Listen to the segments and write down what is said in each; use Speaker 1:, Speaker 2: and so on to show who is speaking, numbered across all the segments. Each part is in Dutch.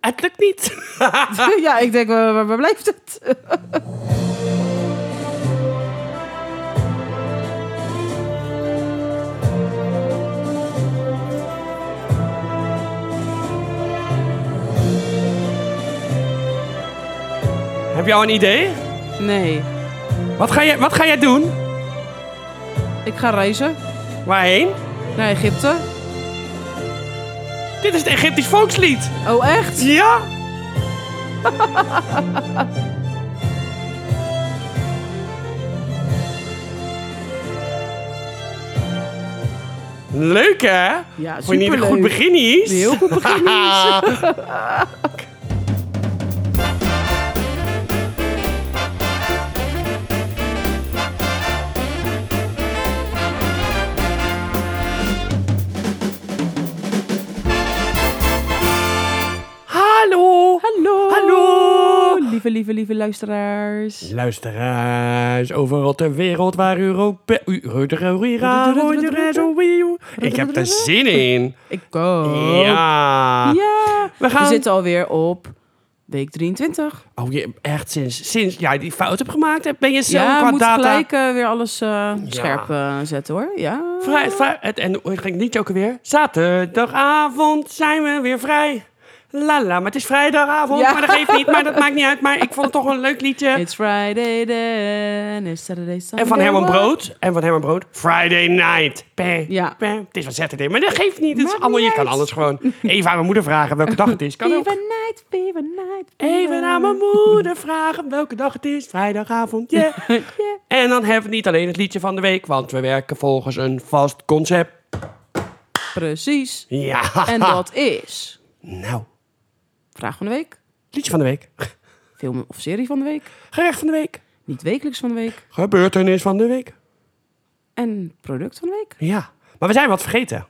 Speaker 1: het lukt niet.
Speaker 2: ja, ik denk, waar, waar- waar blijft het?
Speaker 1: Heb jij al een idee?
Speaker 2: Nee,
Speaker 1: Wat ga, jij, wat ga jij doen?
Speaker 2: ik ga reizen
Speaker 1: Waarheen?
Speaker 2: naar Egypte.
Speaker 1: Dit is het Egyptisch volkslied.
Speaker 2: Oh, echt?
Speaker 1: Ja? Leuk hè?
Speaker 2: Ja,
Speaker 1: Vond je niet een goed
Speaker 2: superleuk.
Speaker 1: begin is?
Speaker 2: Heel goed begin.
Speaker 1: Ah. Hallo.
Speaker 2: Hallo.
Speaker 1: Hallo.
Speaker 2: Lieve, lieve, lieve luisteraars.
Speaker 1: Luisteraars, overal ter wereld waar Europa... U- Rudera, Rudera, Rudera, zo, wieuw. Ik heb er zin in.
Speaker 2: Ik ook.
Speaker 1: Ja.
Speaker 2: Ja.
Speaker 1: We gaan-
Speaker 2: zitten alweer op week 23.
Speaker 1: Oh, je, echt sinds, sinds jij die fout hebt gemaakt, hebt, ben je zo
Speaker 2: ja,
Speaker 1: qua
Speaker 2: moet
Speaker 1: data...
Speaker 2: gelijk eh, weer alles eh, scherp eh, zetten hoor. Ja.
Speaker 1: Vrij, vrij, het, en oh, hoe ging het liedje ook alweer? Zaterdagavond zijn we weer vrij. La la, maar het is vrijdagavond,
Speaker 2: Ja.
Speaker 1: maar dat geeft niet, maar dat maakt niet uit. Maar ik vond het toch een leuk liedje.
Speaker 2: It's Friday then, it's Saturday, Sunday.
Speaker 1: En van Herman
Speaker 2: what?
Speaker 1: Brood, en van Herman Brood, Friday night. Pe,
Speaker 2: Ja.
Speaker 1: pe. Het is van Saturday, maar dat geeft niet. Het is
Speaker 2: Maakt
Speaker 1: allemaal,
Speaker 2: niet
Speaker 1: je kan
Speaker 2: uit.
Speaker 1: alles gewoon even aan mijn moeder vragen welke dag het is. Kan
Speaker 2: Fever
Speaker 1: ook.
Speaker 2: night, fever night. fever
Speaker 1: Even aan mijn moeder vragen welke dag het is. Vrijdagavond, yeah.
Speaker 2: Yeah.
Speaker 1: En dan hebben we niet alleen het liedje van de week, want we werken volgens een vast concept.
Speaker 2: Precies.
Speaker 1: Ja.
Speaker 2: En dat is
Speaker 1: Nou,
Speaker 2: vraag van de week,
Speaker 1: liedje van de week.
Speaker 2: film of serie van de week,
Speaker 1: Gerecht van de week.
Speaker 2: niet wekelijks van de week
Speaker 1: Gebeurtenis van de week.
Speaker 2: en product van de week.
Speaker 1: Ja. Maar we zijn wat vergeten.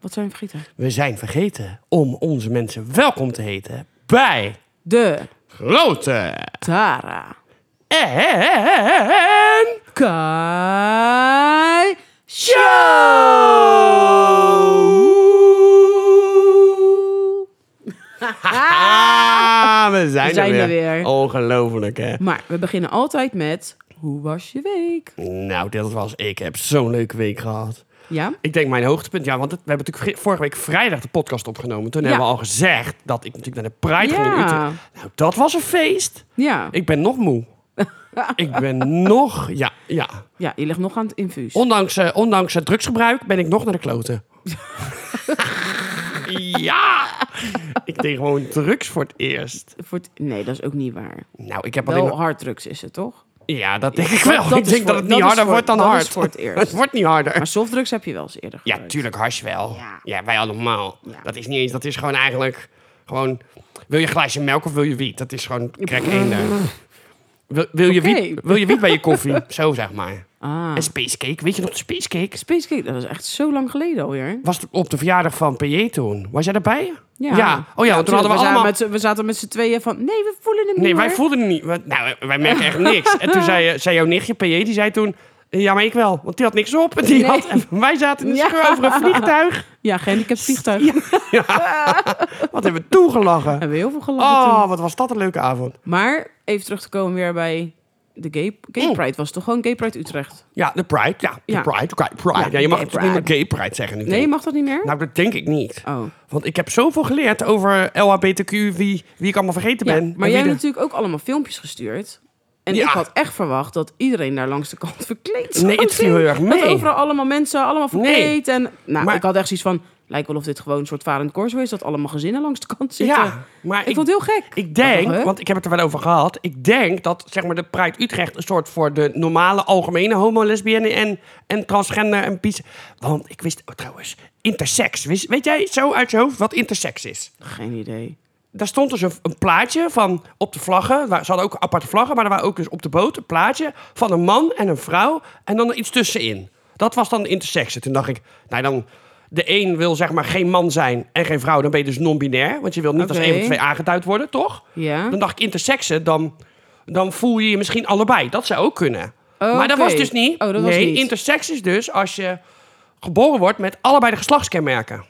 Speaker 2: Wat zijn we vergeten?
Speaker 1: We zijn vergeten om onze mensen welkom te heten bij
Speaker 2: De
Speaker 1: Grote
Speaker 2: Tara
Speaker 1: en
Speaker 2: Kai
Speaker 1: Show. Ah, we zijn,
Speaker 2: We zijn er weer.
Speaker 1: Ongelooflijk, hè?
Speaker 2: Maar we beginnen altijd met hoe was je week?
Speaker 1: Nou, dat was. Ik heb zo'n leuke week gehad.
Speaker 2: Ja?
Speaker 1: Ik denk mijn hoogtepunt, ja, want het- we hebben natuurlijk vri- vorige week vrijdag de podcast opgenomen. Toen
Speaker 2: Ja.
Speaker 1: hebben we al gezegd dat ik natuurlijk naar de Pride ging in
Speaker 2: Ja.
Speaker 1: Utrecht. Nou, dat was een feest.
Speaker 2: Ja.
Speaker 1: Ik ben nog moe. ik ben nog, ja, ja.
Speaker 2: Ja, je ligt nog aan het infuus.
Speaker 1: Ondanks, eh, ondanks het drugsgebruik ben ik nog naar de kloten. ja! Ik deed gewoon drugs voor het eerst.
Speaker 2: Voor het- Nee, dat is ook niet waar.
Speaker 1: Nou, ik heb alleen
Speaker 2: Wel
Speaker 1: maar-
Speaker 2: harddrugs is het toch?
Speaker 1: Ja, dat denk ik wel.
Speaker 2: dat
Speaker 1: ik
Speaker 2: is
Speaker 1: denk
Speaker 2: voor-
Speaker 1: dat het niet
Speaker 2: dat is
Speaker 1: harder
Speaker 2: voor-
Speaker 1: wordt dan
Speaker 2: dat is
Speaker 1: hard.
Speaker 2: voor het eerst.
Speaker 1: het wordt niet harder.
Speaker 2: Maar softdrugs heb je wel eens eerder
Speaker 1: Ja,
Speaker 2: gebruikt.
Speaker 1: tuurlijk, hars wel. Ja,
Speaker 2: Ja.
Speaker 1: wij allemaal.
Speaker 2: Ja.
Speaker 1: Dat is niet eens, dat is gewoon eigenlijk gewoon... Wil je een glaasje melk of wil je wiet? Dat is gewoon krek één daar. Wil, wil, je
Speaker 2: Oké.
Speaker 1: wiet, wil je wiet bij je koffie? Zo zeg maar.
Speaker 2: Ah.
Speaker 1: En spacecake, weet je nog de spacecake?
Speaker 2: Spacecake, dat is echt zo lang geleden alweer.
Speaker 1: Was het op de verjaardag van PJ toen? Was jij daarbij?
Speaker 2: Ja.
Speaker 1: Oh ja, want toen
Speaker 2: tuurlijk,
Speaker 1: hadden we
Speaker 2: zaten
Speaker 1: allemaal...
Speaker 2: Met z'n- we zaten met z'n tweeën van, nee, we voelen hem
Speaker 1: Nee,
Speaker 2: niet
Speaker 1: wij
Speaker 2: hoor.
Speaker 1: voelden het niet. We- Nou, wij merken echt niks. En toen zei, eh, zei jouw nichtje, PJ, die zei toen... Ja, maar ik wel. Want die had niks op. En die
Speaker 2: Nee.
Speaker 1: had, en wij zaten in de
Speaker 2: Ja.
Speaker 1: scheur over een vliegtuig.
Speaker 2: Ja, gehandicapt vliegtuig.
Speaker 1: Wat hebben we toegelachen.
Speaker 2: Hebben we heel veel gelachen toen.
Speaker 1: Oh, wat was dat een leuke avond.
Speaker 2: Maar even terug te komen weer bij de Gay,
Speaker 1: Mm.
Speaker 2: gay Pride. Was het toch gewoon Gay Pride Utrecht?
Speaker 1: Ja, de Pride. Ja, de
Speaker 2: Ja.
Speaker 1: Pride. oké, pride. Ja,
Speaker 2: Ja,
Speaker 1: je mag
Speaker 2: gay
Speaker 1: het niet meer
Speaker 2: pride.
Speaker 1: gay Pride zeggen nu.
Speaker 2: Nee,
Speaker 1: denk ik.
Speaker 2: mag dat niet meer?
Speaker 1: Nou, dat denk ik niet.
Speaker 2: Oh.
Speaker 1: Want ik heb zoveel geleerd over LHBTQ, wie, wie ik allemaal vergeten
Speaker 2: Ja,
Speaker 1: ben. en
Speaker 2: maar
Speaker 1: wie
Speaker 2: jij hebt
Speaker 1: de-
Speaker 2: natuurlijk ook allemaal filmpjes gestuurd. En
Speaker 1: Ja.
Speaker 2: ik had echt verwacht dat iedereen daar langs de kant verkleed zou
Speaker 1: Nee, het viel
Speaker 2: zijn.
Speaker 1: heel erg
Speaker 2: Dat
Speaker 1: mee.
Speaker 2: overal allemaal mensen, allemaal verkleed. En, nou,
Speaker 1: Maar-
Speaker 2: ik had echt zoiets van... Lijkt wel of dit gewoon een soort varend corso is... dat allemaal gezinnen langs de kant zitten.
Speaker 1: Ja, maar
Speaker 2: ik,
Speaker 1: ik,
Speaker 2: vond het heel gek.
Speaker 1: ik denk,
Speaker 2: dacht, hè?
Speaker 1: want ik heb het er wel over gehad. Ik denk dat zeg maar, de Pride Utrecht een soort voor de normale algemene homo, lesbienne en, en transgender en pies. Want ik wist oh, trouwens, intersex. Wist, weet jij zo uit je hoofd wat intersex is?
Speaker 2: Geen idee.
Speaker 1: daar stond dus een, een plaatje van op de vlaggen. Waar- Ze hadden ook aparte vlaggen, maar er waren ook dus op de boot een plaatje van een man en een vrouw. En dan iets tussenin. Dat was dan de intersexe. Toen dacht ik, nou dan. De een wil zeg maar geen man zijn en geen vrouw, dan ben je dus non-binair. Want je wil niet als
Speaker 2: Oké.
Speaker 1: een van de twee aangeduid worden, toch?
Speaker 2: Ja.
Speaker 1: Dan dacht ik, intersexe, dan, dan voel je je misschien allebei. Dat zou ook kunnen.
Speaker 2: Oh,
Speaker 1: Maar dat
Speaker 2: oké.
Speaker 1: was dus niet.
Speaker 2: Oh, dat was
Speaker 1: nee,
Speaker 2: niet.
Speaker 1: intersex is dus als je geboren wordt met allebei de geslachtskenmerken.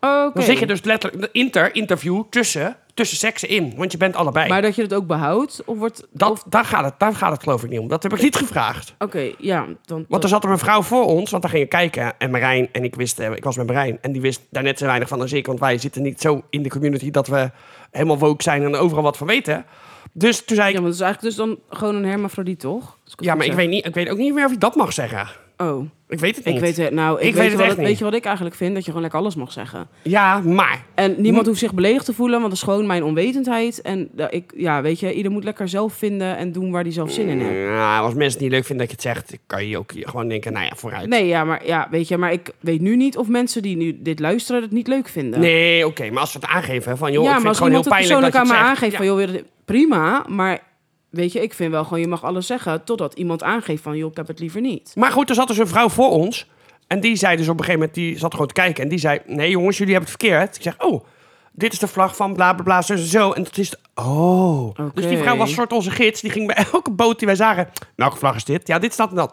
Speaker 2: Oké.
Speaker 1: Dan zit je dus letterlijk de inter interview tussen, tussen seksen in. Want je bent allebei.
Speaker 2: Maar dat je het ook behoudt? Of wordt...
Speaker 1: dat,
Speaker 2: of-
Speaker 1: daar, gaat het, daar gaat het geloof ik niet om. Dat heb ik niet gevraagd.
Speaker 2: Oké, ja. Dan,
Speaker 1: Want er zat er een vrouw voor ons, want daar gingen kijken. En Marijn, en ik wist, eh, ik was met Marijn. En die wist daar net zo weinig van als ik. Want wij zitten niet zo in de community dat we helemaal woke zijn en overal wat van weten. Dus toen zei
Speaker 2: ja,
Speaker 1: ik,
Speaker 2: maar dat is eigenlijk dus dan gewoon een hermafrodiet, toch? Als het
Speaker 1: ja,
Speaker 2: goed
Speaker 1: maar ik
Speaker 2: zeg.
Speaker 1: weet, niet, ik weet ook niet meer of ik dat mag zeggen.
Speaker 2: Oh,
Speaker 1: Ik weet het niet.
Speaker 2: ik weet het. Nou, ik,
Speaker 1: Ik
Speaker 2: weet,
Speaker 1: weet het
Speaker 2: wel-
Speaker 1: echt niet.
Speaker 2: Weet je wat ik eigenlijk vind? Dat je gewoon lekker alles mag zeggen.
Speaker 1: Ja, maar.
Speaker 2: En niemand
Speaker 1: Hm.
Speaker 2: hoeft zich beledigd te voelen, want dat is gewoon mijn onwetendheid. En ja, ik, ja, weet je, ieder moet lekker zelf vinden en doen waar hij zelf zin in heeft.
Speaker 1: Ja, als mensen het niet leuk vinden dat je het zegt, kan je ook gewoon denken, nou ja, vooruit.
Speaker 2: Nee, ja, maar, ja, weet je, maar ik weet nu niet of mensen die nu dit luisteren het niet leuk vinden.
Speaker 1: Nee, oké, maar als ze het aangeven, van joh,
Speaker 2: ja,
Speaker 1: ik
Speaker 2: maar
Speaker 1: vind het gewoon
Speaker 2: als
Speaker 1: heel
Speaker 2: iemand het
Speaker 1: pijnlijk dat
Speaker 2: persoonlijk
Speaker 1: je
Speaker 2: aan
Speaker 1: het
Speaker 2: me
Speaker 1: zegt.
Speaker 2: aangeeft
Speaker 1: Ja.
Speaker 2: van, joh, wil je dat- prima, maar weet je, ik vind wel gewoon, je mag alles zeggen totdat iemand aangeeft van, joh, ik heb het liever niet.
Speaker 1: Maar goed, er zat dus een vrouw voor ons. En die zei dus op een gegeven moment, die zat gewoon te kijken. En die zei, nee jongens, jullie hebben het verkeerd. Ik zeg, oh, dit is de vlag van bla bla bla, zo zo, zo. En dat is, de- oh. Dus die vrouw was soort onze gids. Die ging bij elke boot die wij zagen, welke vlag is dit? Ja, dit staat en dat.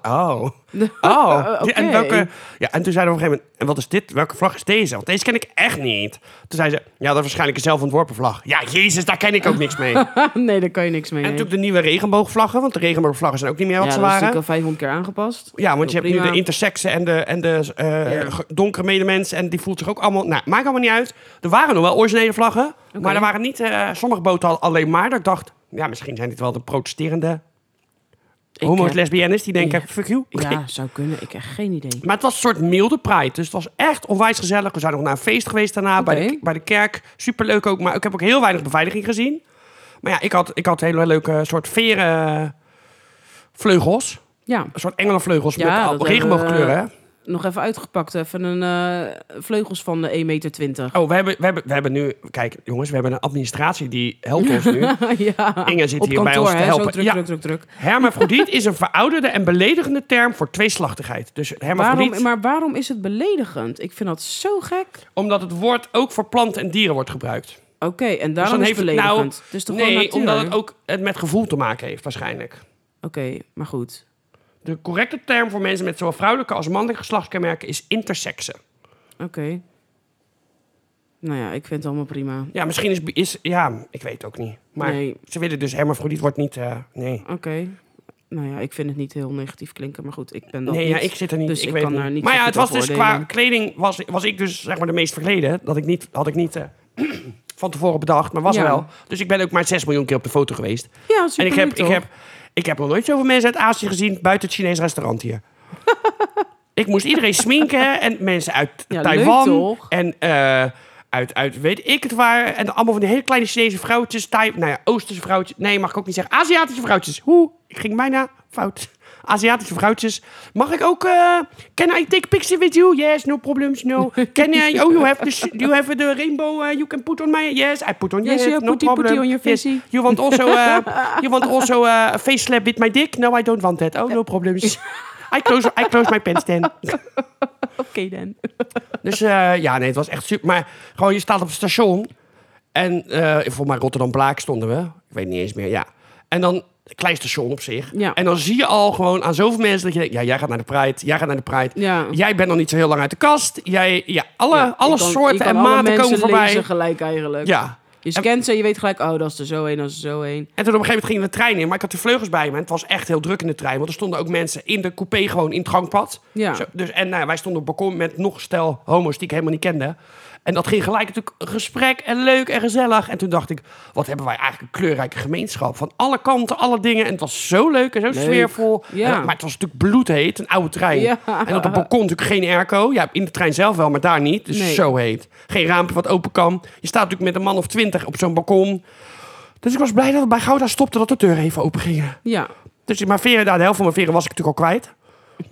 Speaker 1: Oh. Oh,
Speaker 2: Oké.
Speaker 1: en, welke, ja, en toen zeiden we op een gegeven moment, en wat is dit? Welke vlag is deze? Want deze ken ik echt niet. Toen zei ze, ja, dat is waarschijnlijk een zelfontworpen vlag. Ja, jezus, daar ken ik ook niks mee. en
Speaker 2: nee, daar kan je niks mee. nee.
Speaker 1: natuurlijk de nieuwe regenboogvlaggen, want de regenboogvlaggen zijn ook niet meer wat
Speaker 2: ja,
Speaker 1: ze
Speaker 2: dat is
Speaker 1: waren.
Speaker 2: natuurlijk al 500 keer aangepast.
Speaker 1: Ja, want je hebt
Speaker 2: Prima.
Speaker 1: nu de intersexen en de, en de eh,
Speaker 2: Ja.
Speaker 1: ge- donkere medemens. En die voelt zich ook allemaal... Nou, maakt allemaal niet uit. Er waren nog wel originele vlaggen. Maar er waren niet... eh, sommige boten hadden alleen maar. Dat ik dacht, ja, misschien zijn dit wel de protesterende
Speaker 2: Ik,
Speaker 1: homo's,
Speaker 2: eh,
Speaker 1: lesbiennes. Die denken,
Speaker 2: ja.
Speaker 1: fuck you.
Speaker 2: Ja, zou kunnen. Ik heb geen idee.
Speaker 1: Maar het was een soort milde pride. Dus het was echt onwijs gezellig. We zijn nog naar een feest geweest daarna bij, de,
Speaker 2: Oké.
Speaker 1: bij de kerk. Superleuk ook. Maar ik heb ook heel weinig beveiliging gezien. Maar ja, ik had, ik had hele leuke soort veren eh, vleugels.
Speaker 2: Ja,
Speaker 1: Een soort engelenvleugels
Speaker 2: Ja, dat
Speaker 1: met al-
Speaker 2: hebben we-
Speaker 1: regenboogkleuren. hè?
Speaker 2: nog even uitgepakt. Even een eh, vleugels van de 1,20 meter.
Speaker 1: Oh, we hebben, we, hebben, we hebben nu... Kijk, jongens, we hebben een administratie die helpt ons nu.
Speaker 2: ja.
Speaker 1: Inge zit
Speaker 2: Op
Speaker 1: hier bij
Speaker 2: kantoor,
Speaker 1: ons te
Speaker 2: hè,
Speaker 1: helpen.
Speaker 2: Zo druk,
Speaker 1: Ja.
Speaker 2: druk, druk, druk.
Speaker 1: Hermafrodiet is een verouderde en beledigende term voor tweeslachtigheid. Dus hermafrodiet,
Speaker 2: Waarom, maar waarom is het beledigend? Ik vind dat zo gek.
Speaker 1: omdat het woord ook voor planten en dieren wordt gebruikt.
Speaker 2: Oké, en daarom
Speaker 1: dan
Speaker 2: is
Speaker 1: heeft
Speaker 2: het
Speaker 1: het nou-
Speaker 2: beledigend. Het is toch gewoon
Speaker 1: nee,
Speaker 2: natuur?
Speaker 1: omdat het ook het met gevoel te maken heeft waarschijnlijk.
Speaker 2: Oké, maar goed.
Speaker 1: De correcte term voor mensen met zowel vrouwelijke als mannelijke geslachtskenmerken is interseksen.
Speaker 2: Oké. Nou ja, ik vind het allemaal prima.
Speaker 1: Ja, misschien is, is... Ja, ik weet ook niet. Maar
Speaker 2: Nee.
Speaker 1: ze willen dus hermafrodiet wordt niet... eh, nee.
Speaker 2: Oké. Nou ja, ik vind het niet heel negatief klinken, maar goed, ik ben dat
Speaker 1: Nee,
Speaker 2: niet.
Speaker 1: ja, ik zit er niet.
Speaker 2: Dus
Speaker 1: ik
Speaker 2: ik
Speaker 1: weet
Speaker 2: kan
Speaker 1: niet.
Speaker 2: daar niet
Speaker 1: Maar
Speaker 2: zo
Speaker 1: ja, het
Speaker 2: goed
Speaker 1: was
Speaker 2: over
Speaker 1: dus
Speaker 2: oordelen.
Speaker 1: qua kleding was, was ik dus zeg maar de meest verkleden. Dat ik niet, had ik niet eh, van tevoren bedacht, maar was er
Speaker 2: Ja.
Speaker 1: wel. Dus ik ben ook maar 6 miljoen keer op de foto geweest.
Speaker 2: Ja, super
Speaker 1: en ik heb, ik, heb, ik heb nog nooit zoveel mensen uit Azië gezien buiten het Chinees restaurant hier. ik moest iedereen sminken en mensen uit
Speaker 2: Ja,
Speaker 1: Taiwan
Speaker 2: leuk toch?
Speaker 1: en eh, uit, uit weet ik het waar. En allemaal van die hele kleine Chinese vrouwtjes, Thai, nou ja, Oosterse vrouwtjes. Nee, mag ik ook niet zeggen. Aziatische vrouwtjes. Hoe? Ik ging bijna fout. Aziatische vrouwtjes. Mag ik ook... eh, can I take picture with you? Yes, no problems, no. Can I... Oh, you have the, sh- you have the rainbow eh, you can put on my... Yes, I put on
Speaker 2: Yes, you have
Speaker 1: no
Speaker 2: putty, putty
Speaker 1: problem.
Speaker 2: on your
Speaker 1: Yes.
Speaker 2: facey.
Speaker 1: You want also, uh, you want also uh, a face slap with my dick? No, I don't want that. Oh, no problems. I close, I close my pants then.
Speaker 2: Oké dan.
Speaker 1: Dus eh, ja, nee, het was echt super. Maar gewoon, je staat op het station. En eh volgens mij Rotterdam-Blaak stonden we. Ik weet niet eens meer, ja. En dan, een klein station op zich.
Speaker 2: Ja.
Speaker 1: En dan zie je al gewoon aan zoveel mensen dat je denkt... Ja, jij gaat naar de Pride, jij gaat naar de Pride.
Speaker 2: Ja.
Speaker 1: Jij bent nog niet zo heel lang uit de kast. Jij, ja, alle,
Speaker 2: Ja, je
Speaker 1: alle
Speaker 2: kan- je
Speaker 1: soorten
Speaker 2: kan
Speaker 1: en
Speaker 2: alle
Speaker 1: maten
Speaker 2: mensen
Speaker 1: komen voorbij.
Speaker 2: lezen gelijk eigenlijk.
Speaker 1: Ja.
Speaker 2: Je scant ze en je weet gelijk, oh, dat is er zo een, dat is er zo een.
Speaker 1: En toen op een gegeven moment gingen we de trein in. Maar ik had de vleugels bij me. En het was echt heel druk in de trein. Want er stonden ook mensen in de coupé gewoon in het gangpad.
Speaker 2: Ja.
Speaker 1: Zo, dus, en nou ja, wij stonden op het balkon met nog een stel homo's die ik helemaal niet kende. En dat ging gelijk natuurlijk een gesprek en leuk en gezellig. En toen dacht ik, wat hebben wij eigenlijk een kleurrijke gemeenschap. Van alle kanten, alle dingen. En het was zo leuk en zo sfeervol.
Speaker 2: Ja.
Speaker 1: En- maar het was natuurlijk bloedheet, een oude trein.
Speaker 2: Ja.
Speaker 1: En op het balkon natuurlijk geen airco. Ja, in de trein zelf wel, maar daar niet. Dus
Speaker 2: Nee.
Speaker 1: zo heet. Geen raampje wat open kan. Je staat natuurlijk met een man of twintig op zo'n balkon. Dus ik was blij dat het bij Gouda stopte dat de deuren even open gingen.
Speaker 2: Ja, Oh,
Speaker 1: Dus ik- mijn veren, nou, de helft van mijn veren was ik natuurlijk al kwijt.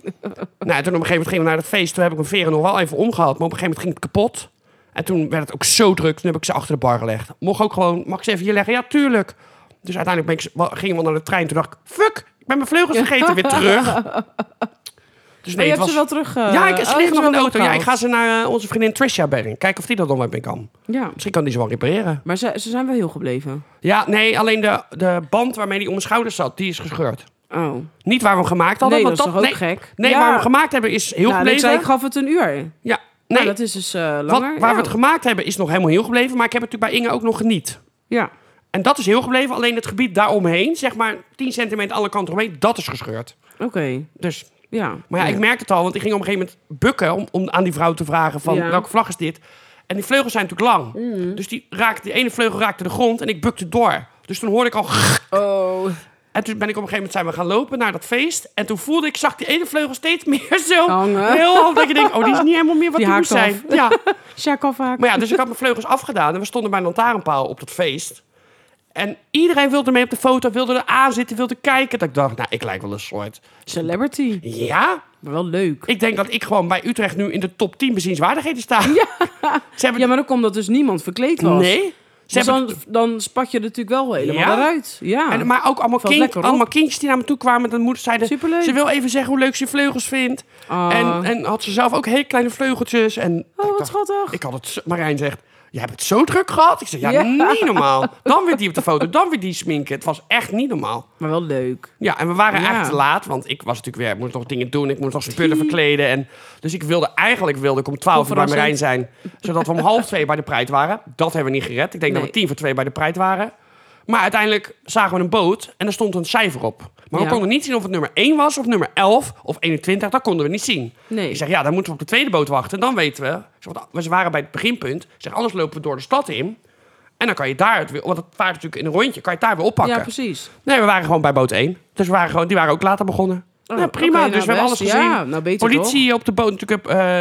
Speaker 1: nou, toen op een gegeven moment gingen we naar het feest. Toen heb ik mijn veren nog wel even omgehad. Maar op een gegeven moment ging het kapot. En toen werd het ook zo druk. Toen heb ik ze achter de bar gelegd. Mocht ook gewoon, mag ik ze even hier leggen? Ja, tuurlijk. Dus uiteindelijk ben ik, ze- wa- gingen we naar de trein. Toen dacht ik, fuck, ik ben mijn vleugels vergeten. Weer terug. Dus
Speaker 2: Maar
Speaker 1: nee,
Speaker 2: je
Speaker 1: het
Speaker 2: hebt
Speaker 1: was...
Speaker 2: ze wel terug... eh,
Speaker 1: ja, ik,
Speaker 2: oh,
Speaker 1: ze liggen
Speaker 2: je
Speaker 1: nog in
Speaker 2: hebt
Speaker 1: de
Speaker 2: ze
Speaker 1: auto.
Speaker 2: wel
Speaker 1: Ja, ik ga ze naar eh, onze vriendin Trisha brengen. Kijken of die dat dan wel mee kan.
Speaker 2: Ja,
Speaker 1: Misschien kan die ze wel repareren.
Speaker 2: maar ze, ze zijn wel heel gebleven.
Speaker 1: Ja, nee, alleen de, de band waarmee die om mijn schouders zat, die is gescheurd.
Speaker 2: Oh,
Speaker 1: Niet waar we hem gemaakt hadden.
Speaker 2: nee, dat
Speaker 1: want
Speaker 2: is toch ook
Speaker 1: nee,
Speaker 2: gek?
Speaker 1: Nee,
Speaker 2: Ja.
Speaker 1: waar we hem gemaakt hebben is heel
Speaker 2: Nou, en ik
Speaker 1: gebleven.
Speaker 2: zei, ik gaf het een uur.
Speaker 1: Ja,
Speaker 2: Nee,
Speaker 1: Nee,
Speaker 2: dat is dus eh,
Speaker 1: wat,
Speaker 2: langer.
Speaker 1: waar
Speaker 2: ja.
Speaker 1: we het gemaakt hebben is nog helemaal heel gebleven. Maar ik heb het natuurlijk bij Inge ook nog geniet.
Speaker 2: ja.
Speaker 1: En dat is heel gebleven. Alleen het gebied daaromheen, zeg maar 10 centimeter alle kanten omheen, dat is gescheurd.
Speaker 2: Oké,
Speaker 1: Dus,
Speaker 2: ja.
Speaker 1: maar ja,
Speaker 2: ja.
Speaker 1: ik merkte het al, want ik ging op een gegeven moment bukken om, om aan die vrouw te vragen van
Speaker 2: Ja. Mm.
Speaker 1: welke vlag is dit. En die vleugels zijn natuurlijk lang. Dus die, raakte, die ene vleugel raakte de grond en ik bukte door. Dus toen hoorde ik al...
Speaker 2: Oh,
Speaker 1: En toen ben ik op een gegeven moment zijn we gaan lopen naar dat feest. En toen voelde ik, zag die ene vleugel steeds meer zo
Speaker 2: Hangen.
Speaker 1: heel hard. Dat je denkt, oh, die is niet helemaal meer wat
Speaker 2: Die
Speaker 1: die, moest
Speaker 2: haakt
Speaker 1: zijn. Ja.
Speaker 2: Sjaak afhaak.
Speaker 1: Maar ja, dus ik had mijn vleugels afgedaan en we stonden bij een lantaarnpaal op dat feest. En iedereen wilde mee op de foto, wilde er aan zitten, wilde kijken. Dat ik dacht, nou, ik lijk wel een soort.
Speaker 2: Celebrity.
Speaker 1: Ja,
Speaker 2: Maar wel leuk.
Speaker 1: ik denk dat ik gewoon bij Utrecht nu in de top 10 bezienswaardigheden sta. Ze hebben...
Speaker 2: Ja, maar dan komt dat dus niemand verkleed was.
Speaker 1: Nee. Ze
Speaker 2: Dus
Speaker 1: hebben...
Speaker 2: dan, dan spat je natuurlijk wel helemaal
Speaker 1: Ja?
Speaker 2: eruit. Ja.
Speaker 1: En, maar ook allemaal,
Speaker 2: Valt
Speaker 1: kind-
Speaker 2: lekker op.
Speaker 1: allemaal kindjes die naar me toe kwamen. Dan moeder zeiden,
Speaker 2: Superleuk.
Speaker 1: ze wil even zeggen hoe leuk ze vleugels vindt.
Speaker 2: Ah.
Speaker 1: En, en had ze zelf ook hele kleine vleugeltjes. En
Speaker 2: oh,
Speaker 1: ik
Speaker 2: wat
Speaker 1: dacht,
Speaker 2: schattig.
Speaker 1: Ik had het, zo- Marijn zegt, je hebt het zo druk gehad. Ik zeg, ja,
Speaker 2: Ja.
Speaker 1: niet normaal. Dan weer die op de foto, dan weer die sminken. Het was echt niet normaal.
Speaker 2: Maar wel leuk.
Speaker 1: Ja, en we waren
Speaker 2: Ja.
Speaker 1: eigenlijk te laat, want ik was natuurlijk weer, ik moest nog dingen doen, ik moest nog spullen verkleden. En, dus ik wilde eigenlijk wilde ik om twaalf uur bij Marijn
Speaker 2: Verrassend.
Speaker 1: zijn, zodat we om half twee bij de preit waren. Dat hebben we niet gered. Ik denk dat we
Speaker 2: Nee.
Speaker 1: tien voor twee bij de preit waren. Maar uiteindelijk zagen we een boot en er stond een cijfer op. Maar we
Speaker 2: Ja.
Speaker 1: konden niet zien of het nummer 1 was, of nummer 11, of 21. Dat konden we niet zien.
Speaker 2: Nee.
Speaker 1: Ik zeg, ja, dan moeten we op de tweede boot wachten. Dan weten we. Ik zeg, want we waren bij het beginpunt. Ik zeg, anders lopen we door de stad in. En dan kan je daar het weer... Want het vaart natuurlijk in een rondje. Kan je het daar weer oppakken.
Speaker 2: Ja, precies.
Speaker 1: Nee, we waren gewoon bij boot 1. Dus we waren gewoon, die waren ook later begonnen.
Speaker 2: Oh,
Speaker 1: nou, prima.
Speaker 2: oké, nou,
Speaker 1: dus we hebben alles
Speaker 2: best.
Speaker 1: gezien.
Speaker 2: Ja, nou beter
Speaker 1: politie op de boot natuurlijk. eh,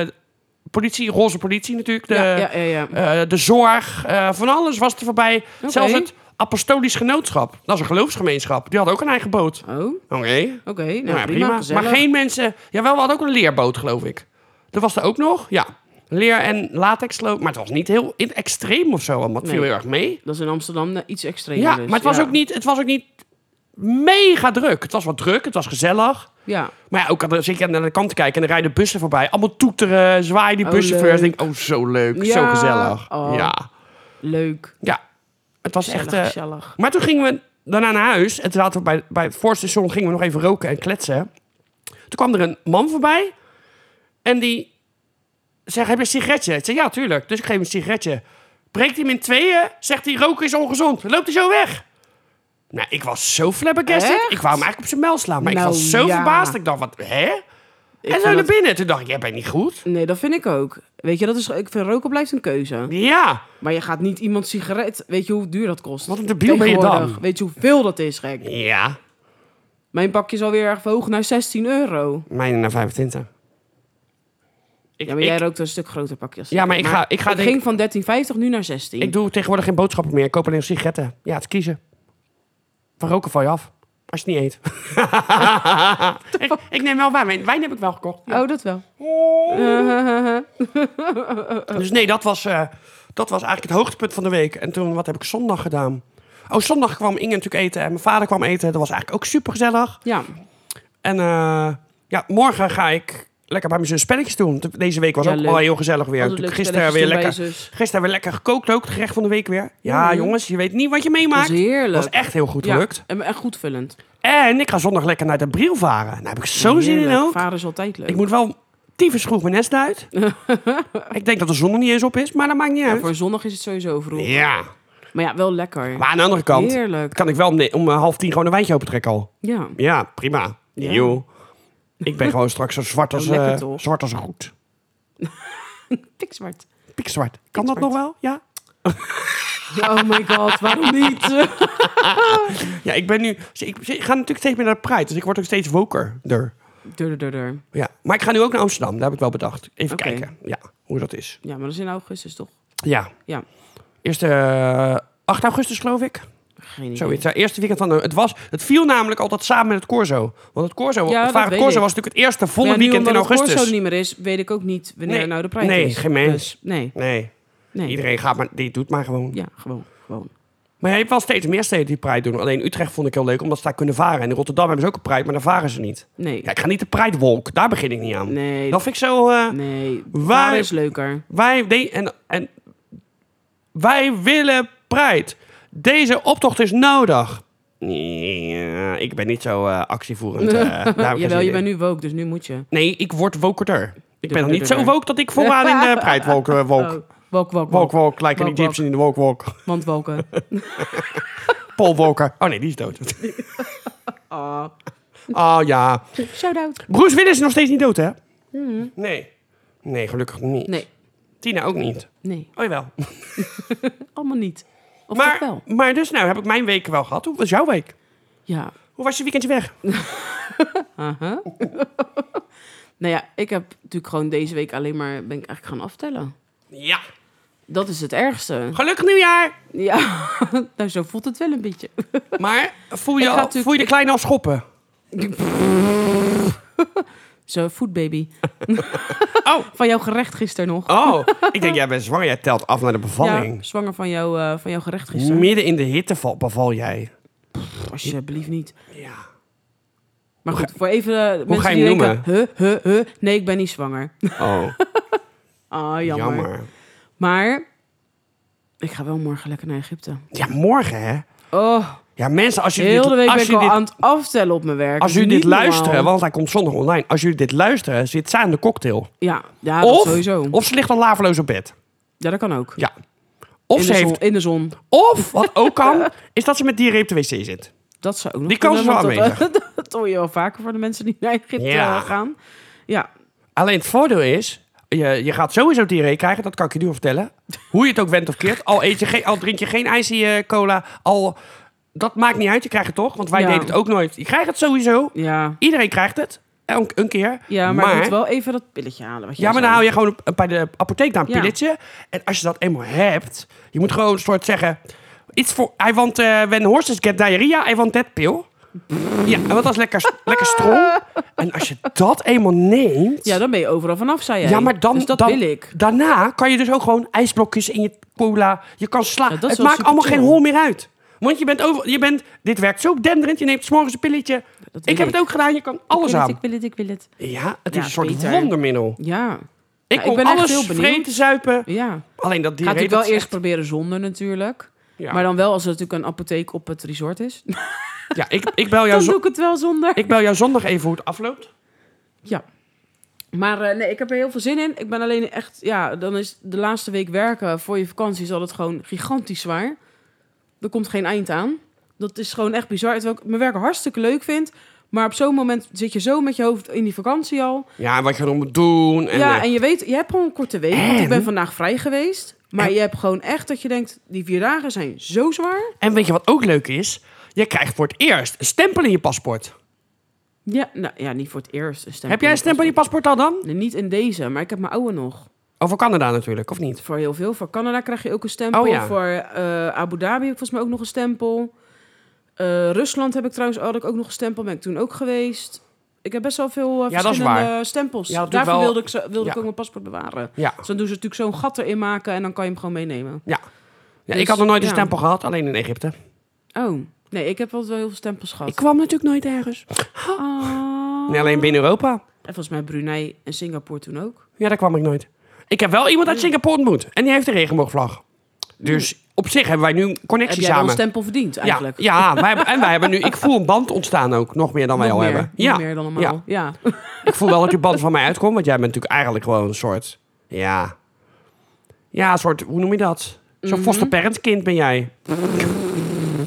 Speaker 1: politie, roze politie natuurlijk. De,
Speaker 2: toch? Ja, ja, ja. ja.
Speaker 1: eh, de zorg. eh, van alles was er voorbij.
Speaker 2: Oké.
Speaker 1: Zelfs het apostolisch genootschap. Dat is een geloofsgemeenschap. Die had ook een eigen boot.
Speaker 2: Oh,
Speaker 1: Oké.
Speaker 2: oké. Nou,
Speaker 1: Nou ja,
Speaker 2: prima. gezellig.
Speaker 1: Maar geen mensen... Jawel, we hadden ook een leerboot, geloof ik. Dat was er ook nog, ja. Leer- en latexloop. Maar het was niet heel in extreem of zo. allemaal. Het viel
Speaker 2: Nee.
Speaker 1: heel erg mee.
Speaker 2: Dat is in Amsterdam nou, iets extremer.
Speaker 1: Ja,
Speaker 2: dus,
Speaker 1: maar het was,
Speaker 2: ja.
Speaker 1: Ook niet, het was ook niet mega druk. Het was wat druk, het was gezellig.
Speaker 2: Ja.
Speaker 1: Maar ja, ook aan de- zit je aan de kant te kijken en dan rijden bussen voorbij. Allemaal toeteren, zwaaien die
Speaker 2: Oh,
Speaker 1: buschauffeurs.
Speaker 2: leuk.
Speaker 1: Denk, oh, zo leuk, zo
Speaker 2: Ja,
Speaker 1: gezellig.
Speaker 2: oh.
Speaker 1: Ja.
Speaker 2: Leuk.
Speaker 1: ja, het was
Speaker 2: Gezellig,
Speaker 1: echt... eh,
Speaker 2: gezellig.
Speaker 1: maar toen gingen we daarna naar huis. En toen zaten we bij, bij het voorstation gingen we nog even roken en kletsen. Toen kwam er een man voorbij. En die zegt, heb je een sigaretje? Ik zeg, ja, tuurlijk. Dus ik geef hem een sigaretje. Breekt hij hem in tweeën, zegt hij, roken is ongezond. Loopt hij zo weg. Nou, ik was zo flabbergasted.
Speaker 2: Echt?
Speaker 1: Ik wou hem eigenlijk op zijn mel slaan. Maar
Speaker 2: Nou,
Speaker 1: ik was zo
Speaker 2: ja.
Speaker 1: verbaasd. Ik dacht, wat, hè? en
Speaker 2: vind
Speaker 1: zo naar
Speaker 2: dat-
Speaker 1: binnen. Toen dacht ik, jij bent niet goed.
Speaker 2: Nee, dat vind ik ook. Weet je, dat is, ik vind roken blijft een keuze.
Speaker 1: Ja,
Speaker 2: Maar je gaat niet iemand sigaret... Weet je hoe duur dat kost?
Speaker 1: Wat een debiel ben je dan.
Speaker 2: Tegenwoordig. Weet je hoeveel dat is, gek?
Speaker 1: ja.
Speaker 2: Mijn pakje is alweer erg verhoogd naar 16 euro.
Speaker 1: Mijne naar 25. Ik,
Speaker 2: Ja, maar
Speaker 1: ik-
Speaker 2: jij rookt een stuk groter pakje. als
Speaker 1: Ja, maar ik ga- ik ga denk-
Speaker 2: ging van 13,50 nu naar 16.
Speaker 1: Ik doe tegenwoordig geen boodschappen meer. Ik koop alleen sigaretten. Ja, het is kiezen. Van roken val je af. Als je het niet eet. ik, ik neem wel wijn. Wijn- Wijn heb ik wel gekocht. Ja.
Speaker 2: Oh, dat wel. Eh,
Speaker 1: Dus nee, dat was, eh, dat was eigenlijk het hoogtepunt van de week. En toen, wat heb ik zondag gedaan? Oh, zondag kwam Inge natuurlijk eten en mijn vader kwam eten. Dat was eigenlijk ook super gezellig.
Speaker 2: ja,
Speaker 1: En eh, ja, morgen ga ik lekker bij mijn zus spelletjes doen. Deze week was
Speaker 2: Ja,
Speaker 1: ook
Speaker 2: leuk.
Speaker 1: wel heel gezellig weer.
Speaker 2: Altijd
Speaker 1: Natuurlijk
Speaker 2: leuk
Speaker 1: gisteren weer
Speaker 2: spelletjes doen bij
Speaker 1: lekker,
Speaker 2: je zus.
Speaker 1: gisteren weer lekker gekookt ook. Het gerecht van de week weer. Ja,
Speaker 2: Mhm.
Speaker 1: jongens, je weet niet wat je
Speaker 2: dat
Speaker 1: meemaakt.
Speaker 2: is heerlijk.
Speaker 1: was echt heel goed
Speaker 2: Ja,
Speaker 1: gelukt.
Speaker 2: en, en goed vullend.
Speaker 1: En ik ga zondag lekker naar de Briel varen. Daar heb ik zo'n zin in
Speaker 2: Heerlijk.
Speaker 1: ook.
Speaker 2: Varen is altijd leuk.
Speaker 1: Ik moet wel tyfus vroeg mijn nest uit. ik denk dat de zon nog niet eens op is, maar dat maakt niet
Speaker 2: Ja,
Speaker 1: uit.
Speaker 2: voor zondag is het sowieso vroeg.
Speaker 1: Ja,
Speaker 2: Maar ja, wel lekker.
Speaker 1: maar aan de andere kant
Speaker 2: Heerlijk.
Speaker 1: kan ik wel om, ne- om eh, half tien gewoon een wijntje opentrekken al.
Speaker 2: Ja.
Speaker 1: Ja, prima.
Speaker 2: Ja.
Speaker 1: Joh. Ik ben gewoon straks zo zwart als,
Speaker 2: Ja, lekker
Speaker 1: eh,
Speaker 2: toch?
Speaker 1: zwart als een goed.
Speaker 2: Pikzwart.
Speaker 1: Pikzwart. Kan dat
Speaker 2: Pikzwart.
Speaker 1: nog wel? Ja.
Speaker 2: Oh my god, waarom niet?
Speaker 1: Ja, ik ben nu... zie, Ik, zie, ik ga natuurlijk steeds meer naar de Pride, dus ik word ook steeds wokerder.
Speaker 2: Dur, dur, dur, dur.
Speaker 1: Ja. Maar ik ga nu ook naar Amsterdam, daar heb ik wel bedacht. Even
Speaker 2: Oké.
Speaker 1: kijken ja, hoe dat is.
Speaker 2: Ja, maar dat is in augustus toch?
Speaker 1: Ja.
Speaker 2: Ja.
Speaker 1: Eerste eh, 8 augustus, geloof ik.
Speaker 2: Geen idee.
Speaker 1: Zoiets. Het eerste weekend van de, het was. Het viel namelijk altijd samen met het Corso. Want het Corso,
Speaker 2: Ja,
Speaker 1: het
Speaker 2: dat
Speaker 1: Varen
Speaker 2: weet
Speaker 1: Corso
Speaker 2: ik.
Speaker 1: was natuurlijk het eerste volle
Speaker 2: Maar ja, nu
Speaker 1: weekend in
Speaker 2: omdat het
Speaker 1: augustus.
Speaker 2: Corso er niet meer is, weet ik ook niet wanneer
Speaker 1: Nee.
Speaker 2: nou de prijs
Speaker 1: Nee,
Speaker 2: is.
Speaker 1: geen mens.
Speaker 2: Dus, nee,
Speaker 1: Nee,
Speaker 2: nee.
Speaker 1: iedereen gaat maar. Die doet maar gewoon.
Speaker 2: Ja, gewoon, gewoon.
Speaker 1: Maar je hebt wel steeds meer steden die Pride doen. Alleen Utrecht vond ik heel leuk omdat ze daar kunnen varen. En in Rotterdam hebben ze ook een Pride, maar daar varen ze niet.
Speaker 2: Nee,
Speaker 1: Ja, ik ga niet de Pride Walk. Daar begin ik niet aan.
Speaker 2: nee,
Speaker 1: Dat vind ik zo. eh,
Speaker 2: nee.
Speaker 1: Waar- Nou,
Speaker 2: Waar is leuker?
Speaker 1: Wij, nee, en, en, wij willen Pride. Deze optocht is nodig. Ja, ik ben niet zo eh, actievoerend. eh, daar heb ik geen
Speaker 2: Jawel,
Speaker 1: zin
Speaker 2: je
Speaker 1: in.
Speaker 2: bent nu woke, dus nu moet je.
Speaker 1: Nee, ik word wokerder. Ik ben nog niet zo woke dat ik vooraan in de Pride walk, walk.
Speaker 2: Walk, walk,
Speaker 1: Walk,
Speaker 2: walk.
Speaker 1: walk, like
Speaker 2: Oh. Walk,
Speaker 1: Nick Gibson in de walk, walk.
Speaker 2: Want walken.
Speaker 1: Paul Walker. Oh nee, die is dood.
Speaker 2: Ah.
Speaker 1: Oh ja.
Speaker 2: Shout-out.
Speaker 1: Bruce Willis is nog steeds niet dood, hè? Nee. Nee, gelukkig niet.
Speaker 2: Hmm. Nee,
Speaker 1: Tina ook niet.
Speaker 2: nee.
Speaker 1: Oh jawel.
Speaker 2: Allemaal niet. Of toch
Speaker 1: Maar,
Speaker 2: wel?
Speaker 1: maar dus, nou heb ik mijn weken wel gehad. Hoe was jouw week?
Speaker 2: Ja.
Speaker 1: Hoe was je weekendje weg?
Speaker 2: Aha. nou ja, ik heb natuurlijk gewoon deze week alleen maar... ben ik eigenlijk gaan aftellen.
Speaker 1: Ja.
Speaker 2: Dat is het ergste.
Speaker 1: Gelukkig nieuwjaar!
Speaker 2: Ja, nou zo voelt het wel een beetje.
Speaker 1: Maar voel je,
Speaker 2: Ik ga
Speaker 1: al-
Speaker 2: natuurlijk-
Speaker 1: voel je de kleine al schoppen?
Speaker 2: Zo, foodbaby.
Speaker 1: Oh.
Speaker 2: Van jouw gerecht gisteren nog.
Speaker 1: Oh, ik denk jij bent zwanger. Jij telt af naar de
Speaker 2: Ja,
Speaker 1: bevalling.
Speaker 2: zwanger van, jou, eh, van jouw gerecht gisteren.
Speaker 1: Midden in de hitte val- beval jij.
Speaker 2: Alsjeblieft niet.
Speaker 1: Ja.
Speaker 2: Maar goed, voor even eh, mensen
Speaker 1: ga je
Speaker 2: die
Speaker 1: hem
Speaker 2: denken... Huh, huh, huh. Nee, ik ben niet zwanger.
Speaker 1: Oh,
Speaker 2: Ah, jammer.
Speaker 1: jammer.
Speaker 2: Maar ik ga wel morgen lekker naar Egypte.
Speaker 1: Ja, morgen hè?
Speaker 2: Oh,
Speaker 1: Ja, mensen, als jullie
Speaker 2: heel de
Speaker 1: dit,
Speaker 2: week ben
Speaker 1: als
Speaker 2: ik
Speaker 1: jullie
Speaker 2: al
Speaker 1: dit,
Speaker 2: aan het aftellen op mijn
Speaker 1: als
Speaker 2: werk. Dat is
Speaker 1: jullie dit
Speaker 2: niet normaal.
Speaker 1: luisteren, want hij komt zondag online. Als jullie dit luisteren, zit zij aan de cocktail.
Speaker 2: Ja, ja dat
Speaker 1: Of,
Speaker 2: sowieso.
Speaker 1: of ze ligt al laveloos op bed.
Speaker 2: Ja, dat kan ook.
Speaker 1: Ja. Of
Speaker 2: in,
Speaker 1: ze
Speaker 2: de zon,
Speaker 1: heeft
Speaker 2: in de zon.
Speaker 1: Of, wat ook kan, is dat ze met diarree op de wc zit.
Speaker 2: Dat zou ook nog
Speaker 1: Die kans is
Speaker 2: kunnen,
Speaker 1: wel
Speaker 2: want dat- Dat hoor je wel vaker van de mensen die naar Egypte
Speaker 1: Ja.
Speaker 2: eh, gaan. Ja,
Speaker 1: Alleen het voordeel is, je, je gaat sowieso diarree krijgen, dat kan ik je nu al vertellen. Hoe je het ook went of keert, al, eet je geen, al drink je geen ijs in je cola, al, dat maakt niet uit, je krijgt het toch? Want wij
Speaker 2: Ja.
Speaker 1: deden het ook nooit. Je krijgt het sowieso,
Speaker 2: ja.
Speaker 1: iedereen krijgt het, een, een keer.
Speaker 2: Ja, maar, je moet wel even dat pilletje halen. Wat jij
Speaker 1: Ja, maar nou, dan
Speaker 2: zei.
Speaker 1: haal je gewoon op- eh, bij de apotheek naar een
Speaker 2: Ja.
Speaker 1: pilletje. En als je dat eenmaal hebt, je moet gewoon een soort zeggen... Iets voor, I want, eh when horses get diarrhea, I want that pill. Ja, want dat is lekker, lekker strong. En als je dat eenmaal neemt...
Speaker 2: Ja, dan ben je overal vanaf, zei jij.
Speaker 1: Ja, maar dan,
Speaker 2: Dus dat
Speaker 1: dan-
Speaker 2: wil ik.
Speaker 1: daarna kan je dus ook gewoon ijsblokjes in je cola. Je kan sla.
Speaker 2: Ja, dat is
Speaker 1: het
Speaker 2: wel
Speaker 1: maakt
Speaker 2: super
Speaker 1: allemaal
Speaker 2: chill.
Speaker 1: geen hol meer uit. Want je bent over, je bent, dit werkt zo denderend. Je neemt 's morgens een pilletje.
Speaker 2: Dat wil
Speaker 1: Ik heb het ook gedaan. Je kan alles
Speaker 2: Ik wil het,
Speaker 1: aan.
Speaker 2: Ik wil het, ik wil het.
Speaker 1: Ja, het
Speaker 2: Ja,
Speaker 1: is een soort
Speaker 2: beter.
Speaker 1: wondermiddel.
Speaker 2: Ja,
Speaker 1: Ik
Speaker 2: ik
Speaker 1: kon
Speaker 2: ben echt
Speaker 1: alles
Speaker 2: heel benieuwd.
Speaker 1: vreten, zuipen.
Speaker 2: ja.
Speaker 1: Alleen dat
Speaker 2: Gaat
Speaker 1: diarree...
Speaker 2: natuurlijk wel
Speaker 1: dat is
Speaker 2: eerst
Speaker 1: echt-
Speaker 2: proberen zonder natuurlijk.
Speaker 1: Ja,
Speaker 2: Maar dan wel als er natuurlijk een apotheek op het resort is.
Speaker 1: ja ik, ik, bel jou
Speaker 2: Dan doe
Speaker 1: zo-
Speaker 2: ik het wel zonder.
Speaker 1: ik bel jou zondag even hoe het afloopt.
Speaker 2: Ja. Maar eh, nee, ik heb er heel veel zin in. Ik ben alleen echt, ja, dan is de laatste week werken voor je vakantie is altijd gewoon gigantisch zwaar. Er komt geen eind aan. Dat is gewoon echt bizar. Terwijl ik mijn werk hartstikke leuk vind. Maar op zo'n moment zit je zo met je hoofd in die vakantie al.
Speaker 1: Ja, en wat je dan moet doen. En,
Speaker 2: ja,
Speaker 1: eh,
Speaker 2: en je weet, je hebt gewoon een korte week. Want
Speaker 1: En?
Speaker 2: ik ben vandaag vrij geweest. Maar
Speaker 1: En?
Speaker 2: je hebt gewoon echt dat je denkt, die vier dagen zijn zo zwaar.
Speaker 1: en weet je wat ook leuk is? Je krijgt voor het eerst een stempel in je paspoort.
Speaker 2: Ja, nou ja, niet voor het eerst. Een stempel
Speaker 1: Heb jij een stempel in je paspoort al dan?
Speaker 2: Nee, niet in deze, maar ik heb mijn oude nog.
Speaker 1: Over Canada natuurlijk, of niet?
Speaker 2: Voor heel veel. Voor Canada krijg je ook een stempel.
Speaker 1: Oh ja.
Speaker 2: Voor eh, Abu Dhabi heb ik volgens mij ook nog een stempel. Eh, Rusland heb ik trouwens had ik ook nog een stempel. Ben ik toen ook geweest. Ik heb best wel veel eh,
Speaker 1: Ja, dat is
Speaker 2: verschillende stempels.
Speaker 1: Ja, dat doe ik
Speaker 2: Daarvoor
Speaker 1: wel-
Speaker 2: wilde, ik, zo- wilde ik
Speaker 1: Ja.
Speaker 2: ook mijn paspoort bewaren.
Speaker 1: Ja.
Speaker 2: Dus dan doen ze natuurlijk zo'n gat erin maken en dan kan je hem gewoon meenemen.
Speaker 1: Ja. ja
Speaker 2: Dus,
Speaker 1: ik had nog nooit een
Speaker 2: ja.
Speaker 1: stempel gehad, alleen in Egypte.
Speaker 2: Oh, nee, ik heb wel heel veel stempels gehad.
Speaker 1: Ik kwam natuurlijk nooit ergens.
Speaker 2: Ah.
Speaker 1: Nee, alleen binnen Europa.
Speaker 2: En volgens mij Brunei en Singapore toen ook.
Speaker 1: Ja, daar kwam ik nooit. Ik heb wel iemand uit
Speaker 2: Mm.
Speaker 1: Singapore ontmoet. En die heeft een regenboogvlag. Dus op zich hebben wij nu een
Speaker 2: Heb
Speaker 1: connectie
Speaker 2: jij wel
Speaker 1: samen.
Speaker 2: een stempel verdiend
Speaker 1: ja,
Speaker 2: eigenlijk?
Speaker 1: ja wij hebben- en wij hebben nu... Ik voel een band ontstaan ook. Nog meer dan wij
Speaker 2: Nog
Speaker 1: al
Speaker 2: meer,
Speaker 1: hebben.
Speaker 2: nog
Speaker 1: Ja,
Speaker 2: meer dan normaal.
Speaker 1: ja.
Speaker 2: ja.
Speaker 1: Ik voel wel dat die band van mij uitkomt. Want jij bent natuurlijk eigenlijk gewoon een soort... Ja. Ja, een soort... Hoe noem je dat? Zo'n
Speaker 2: Mhm.
Speaker 1: foster parent kind ben jij.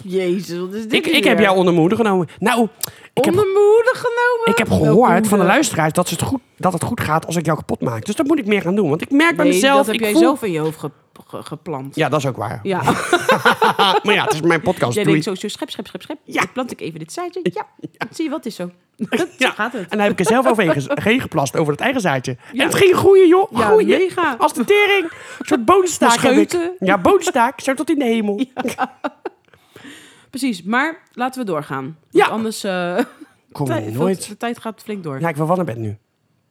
Speaker 2: Jezus, wat is dit
Speaker 1: Ik, ik
Speaker 2: hier?
Speaker 1: heb jou onder mijn hoede genomen. Nou, ik heb,
Speaker 2: onder mijn hoede genomen.
Speaker 1: ik heb gehoord van de luisteraars dat, ze het goed, dat het goed gaat als ik jou kapot maak. Dus dat moet ik meer gaan doen. Want ik merk bij
Speaker 2: Nee,
Speaker 1: mezelf...
Speaker 2: dat heb
Speaker 1: ik
Speaker 2: jij
Speaker 1: voel-
Speaker 2: zelf in je hoofd ge- ge- geplant.
Speaker 1: Ja, dat is ook waar.
Speaker 2: Ja.
Speaker 1: Maar ja, het is mijn podcast.
Speaker 2: jij
Speaker 1: doei.
Speaker 2: denkt zo, zo, schep, schep, schep, schep.
Speaker 1: Ja.
Speaker 2: Dan plant ik even dit zaadje. Ja. Zie je wat is zo. zo
Speaker 1: Ja.
Speaker 2: gaat het.
Speaker 1: En dan heb ik er zelf overheen ges- heen geplast over dat eigen zaadje.
Speaker 2: Ja.
Speaker 1: En het ging groeien, joh.
Speaker 2: Ja,
Speaker 1: groeien.
Speaker 2: mega.
Speaker 1: Als de tering. Een soort boonstaak
Speaker 2: De
Speaker 1: heb ik.
Speaker 2: scheuten.
Speaker 1: Ja, boonstaak. Zo tot in de hemel.
Speaker 2: Precies, maar laten we doorgaan. Want
Speaker 1: Ja.
Speaker 2: Anders, eh
Speaker 1: Kom
Speaker 2: tijd-
Speaker 1: nooit.
Speaker 2: de tijd gaat flink door.
Speaker 1: Ja, ik wil wel naar bed nu.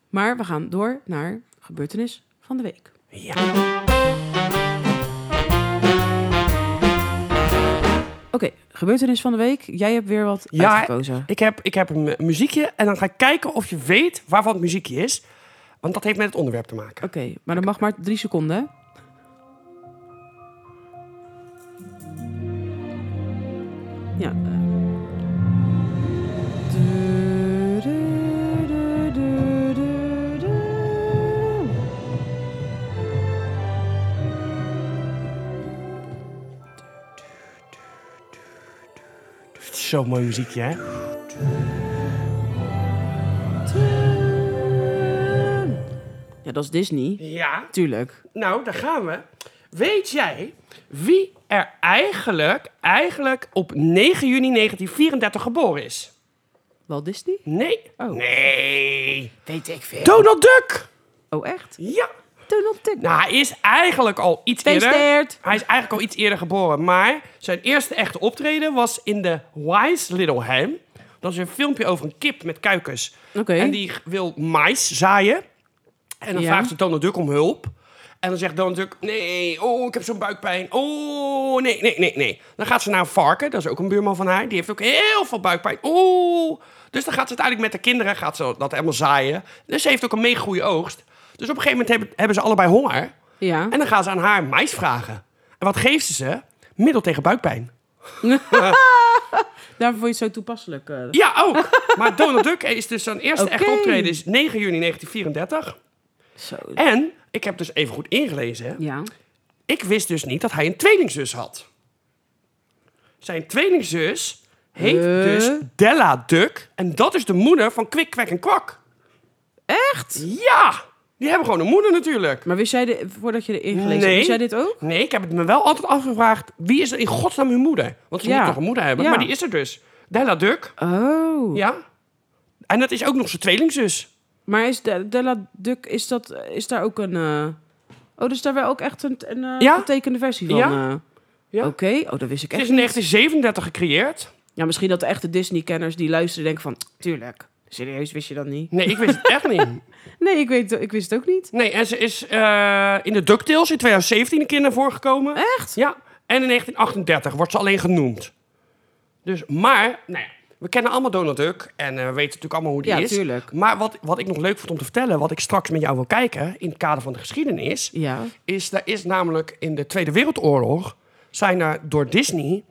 Speaker 2: Maar we gaan door naar gebeurtenis van de week.
Speaker 1: Ja.
Speaker 2: Oké, gebeurtenis van de week. Jij hebt weer wat
Speaker 1: Ja,
Speaker 2: uitgekozen.
Speaker 1: Ik heb, ik heb een mu- muziekje en dan ga ik kijken of je weet waarvan het muziekje is. Want dat heeft met het onderwerp te maken.
Speaker 2: Oké, maar dat mag maar drie seconden. hè? Ja. eh. Du- du- du- du- du- du-
Speaker 1: Zo'n mooi muziekje, hè?
Speaker 2: Ja, dat is Disney.
Speaker 1: Ja.
Speaker 2: Tuurlijk.
Speaker 1: Nou, daar gaan we. Weet jij wie er eigenlijk, eigenlijk op 9 juni 1934 geboren is?
Speaker 2: Wel Disney?
Speaker 1: Nee. Nee.
Speaker 2: Weet ik veel.
Speaker 1: Donald Duck!
Speaker 2: Oh, echt?
Speaker 1: Ja.
Speaker 2: Donald Duck.
Speaker 1: Nou, hij is eigenlijk al iets eerder...
Speaker 2: Gefeliciteerd.
Speaker 1: Hij is eigenlijk al iets eerder geboren, maar zijn eerste echte optreden was in de Wise Little Ham. Dat is een filmpje over een kip met kuikens.
Speaker 2: Oké.
Speaker 1: En die wil mais zaaien. En dan
Speaker 2: Ja.
Speaker 1: vraagt ze Donald Duck om hulp. En dan zegt Donald Duck, nee, oh, ik heb zo'n buikpijn. Oh, nee, nee, nee, nee. Dan gaat ze naar een varken, dat is ook een buurman van haar. Die heeft ook heel veel buikpijn. Oh. Dus dan gaat ze uiteindelijk met de kinderen gaat ze dat helemaal zaaien. Dus ze heeft ook een mega goede oogst. Dus op een gegeven moment hebben, hebben ze allebei honger.
Speaker 2: Ja.
Speaker 1: En dan gaan ze aan haar mais vragen. En wat geeft ze ze? Middel tegen buikpijn.
Speaker 2: Daarvoor vond je het zo toepasselijk. eh.
Speaker 1: Ja, ook. maar Donald Duck is dus zijn eerste echte
Speaker 2: Oké.
Speaker 1: optreden is 9 juni 1934.
Speaker 2: Zo.
Speaker 1: En ik heb dus even goed ingelezen. hè.
Speaker 2: Ja.
Speaker 1: Ik wist dus niet dat hij een tweelingzus had. Zijn tweelingzus heet
Speaker 2: Huh?
Speaker 1: dus Della Duck. En dat is de moeder van Kwik, Kwek en Kwak.
Speaker 2: Echt?
Speaker 1: Ja! Die hebben gewoon een moeder natuurlijk.
Speaker 2: Maar wist jij, de, voordat je erin gelezen hebt,
Speaker 1: Nee.
Speaker 2: wist jij dit ook?
Speaker 1: Nee, ik heb het me wel altijd afgevraagd. Wie is er in godsnaam hun moeder? Want ze
Speaker 2: Ja.
Speaker 1: moet toch een moeder hebben?
Speaker 2: Ja.
Speaker 1: Maar die is er dus. Della Duck.
Speaker 2: Oh.
Speaker 1: Ja. En dat is ook nog zijn tweelingzus.
Speaker 2: Maar is de, Della Duck, is, dat, is daar ook een... eh, Oh, dus daar wel ook echt een, een eh,
Speaker 1: Ja.
Speaker 2: getekende versie van?
Speaker 1: Ja.
Speaker 2: eh?
Speaker 1: Ja.
Speaker 2: Oké, oh, dat wist ik
Speaker 1: Het is
Speaker 2: echt
Speaker 1: in
Speaker 2: niet.
Speaker 1: 1937 gecreëerd.
Speaker 2: Ja, misschien dat de echte Disney-kenners die luisteren denken van... Tuurlijk, serieus wist je dat niet?
Speaker 1: Nee, ik wist het echt niet.
Speaker 2: Nee, ik, weet, ik wist het ook niet.
Speaker 1: Nee, en ze is eh, in de DuckTales in 2017 een keer naar voren gekomen.
Speaker 2: Echt?
Speaker 1: Ja. En in 1938 wordt ze alleen genoemd. Dus, maar, nou ja, we kennen allemaal Donald Duck. En eh, we weten natuurlijk allemaal hoe die
Speaker 2: Ja,
Speaker 1: is.
Speaker 2: tuurlijk.
Speaker 1: Maar wat, wat ik nog leuk vond om te vertellen, wat ik straks met jou wil kijken... in het kader van de geschiedenis...
Speaker 2: Ja.
Speaker 1: is, daar is namelijk in de Tweede Wereldoorlog zijn er door Disney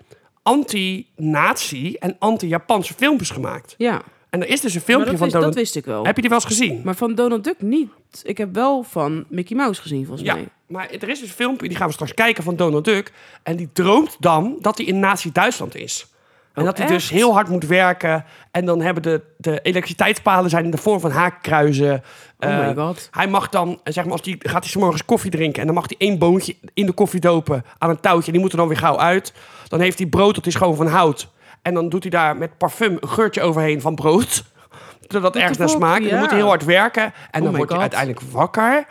Speaker 1: anti-nazi en anti-Japanse filmpjes gemaakt.
Speaker 2: Ja.
Speaker 1: En er is dus een
Speaker 2: Maar
Speaker 1: filmpje
Speaker 2: dat
Speaker 1: van
Speaker 2: wist,
Speaker 1: Donald.
Speaker 2: dat wist ik wel.
Speaker 1: Heb je die wel eens gezien?
Speaker 2: Maar van Donald Duck niet. Ik heb wel van Mickey Mouse gezien, volgens
Speaker 1: ja,
Speaker 2: mij.
Speaker 1: maar er is dus een filmpje, die gaan we straks kijken van Donald Duck. En die droomt dan dat hij in Nazi-Duitsland is. En
Speaker 2: Oh,
Speaker 1: dat hij dus
Speaker 2: echt?
Speaker 1: heel hard moet werken. En dan hebben de, de elektriciteitspalen zijn in de vorm van haakkruizen.
Speaker 2: Oh
Speaker 1: Eh,
Speaker 2: my god.
Speaker 1: Hij mag dan, eh, zeg maar, als die, gaat hij 's morgens koffie drinken. En dan mag hij één boontje in de koffie dopen aan een touwtje. Die moet er dan weer gauw uit. Dan heeft hij brood, dat is gewoon van hout. En dan doet hij daar met parfum een geurtje overheen van brood. Zodat het ergens naar
Speaker 2: fuck,
Speaker 1: smaakt. En dan
Speaker 2: ja. Oh
Speaker 1: moet hij heel hard werken. En dan
Speaker 2: my
Speaker 1: wordt hij
Speaker 2: God.
Speaker 1: uiteindelijk wakker.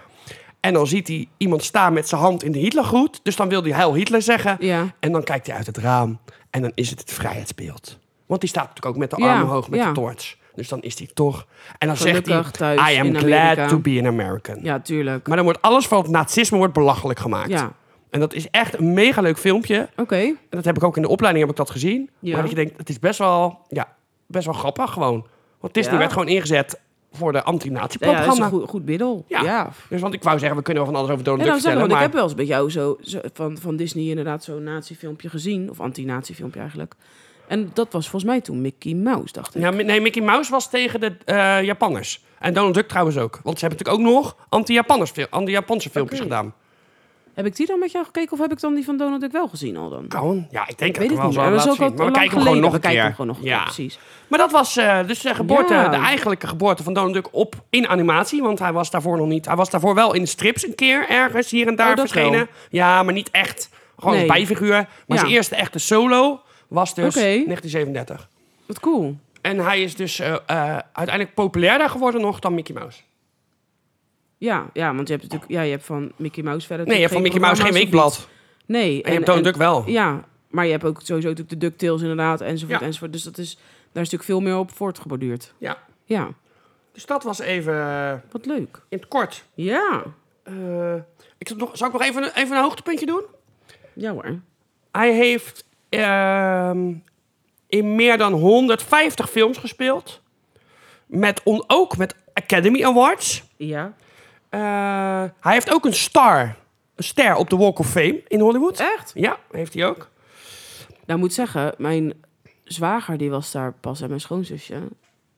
Speaker 1: En dan ziet hij iemand staan met zijn hand in de Hitlergroet. Dus dan wil hij Heil Hitler zeggen.
Speaker 2: Ja.
Speaker 1: En dan kijkt hij uit het raam. En dan is het het vrijheidsbeeld. Want die staat natuurlijk ook met de
Speaker 2: Ja,
Speaker 1: armen hoog met
Speaker 2: ja.
Speaker 1: de toorts. Dus dan is hij toch. En dan
Speaker 2: Gelukkig
Speaker 1: zegt hij,
Speaker 2: thuis
Speaker 1: I am
Speaker 2: in
Speaker 1: glad
Speaker 2: Amerika."
Speaker 1: to be an American.
Speaker 2: Ja, tuurlijk.
Speaker 1: Maar dan wordt alles van het nazisme wordt belachelijk gemaakt.
Speaker 2: Ja,
Speaker 1: En dat is echt een mega leuk filmpje. En
Speaker 2: oké.
Speaker 1: dat heb ik ook in de opleiding heb ik dat gezien.
Speaker 2: Ja.
Speaker 1: Maar dat je denkt, het is best wel, ja, best wel grappig gewoon. Want Disney
Speaker 2: Ja.
Speaker 1: werd gewoon ingezet voor de
Speaker 2: Ja, ja, dat is
Speaker 1: anti-nazi-propaganda.
Speaker 2: een goed, goed middel.
Speaker 1: Ja.
Speaker 2: Ja.
Speaker 1: dus want ik wou zeggen, we kunnen wel van alles over Donald
Speaker 2: En dan
Speaker 1: Duck
Speaker 2: zeggen,
Speaker 1: vertellen.
Speaker 2: want
Speaker 1: Maar
Speaker 2: ik heb wel eens bij jou zo, zo- van, van Disney inderdaad zo'n nazi-filmpje gezien. Of anti-nazi-filmpje eigenlijk. En dat was volgens mij toen Mickey Mouse, dacht ik.
Speaker 1: Ja, mi- nee, Mickey Mouse was tegen de eh, Japanners. En Donald Duck trouwens ook. Want ze hebben natuurlijk ook nog anti-Japanners, fil- anti-Japanse filmpjes
Speaker 2: Oké.
Speaker 1: gedaan.
Speaker 2: Heb ik die dan met jou gekeken of heb ik dan die van Donald Duck wel gezien al dan?
Speaker 1: Kan. Ja, ik denk dat
Speaker 2: weet het
Speaker 1: ik wel
Speaker 2: niet
Speaker 1: zo
Speaker 2: meer. Dat is ook
Speaker 1: laat
Speaker 2: al
Speaker 1: zien. Maar we
Speaker 2: lang
Speaker 1: kijken hem gewoon
Speaker 2: geleden.
Speaker 1: nog
Speaker 2: we
Speaker 1: een keer.
Speaker 2: kijken hem gewoon nog een keer,
Speaker 1: Ja.
Speaker 2: precies.
Speaker 1: Maar dat was eh, dus de geboorte,
Speaker 2: Ja.
Speaker 1: de eigenlijke geboorte van Donald Duck op in animatie. Want hij was daarvoor nog niet. Hij was daarvoor wel in de strips een keer ergens hier en daar
Speaker 2: Oh, dat
Speaker 1: verschenen.
Speaker 2: wel.
Speaker 1: Ja, maar niet echt. Gewoon een
Speaker 2: Nee.
Speaker 1: bijfiguur. Maar
Speaker 2: Ja.
Speaker 1: zijn eerste echte solo was dus
Speaker 2: Oké.
Speaker 1: 1937.
Speaker 2: Wat cool.
Speaker 1: En hij is dus eh, eh, uiteindelijk populairder geworden nog dan Mickey Mouse.
Speaker 2: Ja, ja, want je hebt natuurlijk ja, je hebt van Mickey Mouse verder...
Speaker 1: Nee, je hebt van
Speaker 2: natuurlijk
Speaker 1: Mickey Mouse geen
Speaker 2: programma's of
Speaker 1: weekblad.
Speaker 2: iets. Nee.
Speaker 1: En je hebt Donald Duck wel.
Speaker 2: Ja, maar je hebt ook sowieso natuurlijk de DuckTales inderdaad, enzovoort,
Speaker 1: Ja.
Speaker 2: enzovoort. Dus dat is, daar is natuurlijk veel meer op voortgeborduurd.
Speaker 1: Ja.
Speaker 2: Ja,
Speaker 1: Dus dat was even eh,
Speaker 2: wat leuk.
Speaker 1: in het kort.
Speaker 2: Ja,
Speaker 1: Eh, ik zal, nog, zal ik nog even, een- even een hoogtepuntje doen?
Speaker 2: ja hoor.
Speaker 1: Hij heeft ehm, in meer dan 150 films gespeeld. Met on, ook met Academy Awards.
Speaker 2: Ja.
Speaker 1: Eh, hij heeft ook een star. Een ster op de Walk of Fame in Hollywood.
Speaker 2: Echt?
Speaker 1: Ja, heeft hij ook.
Speaker 2: Nou, moet zeggen, mijn zwager die was daar pas en mijn schoonzusje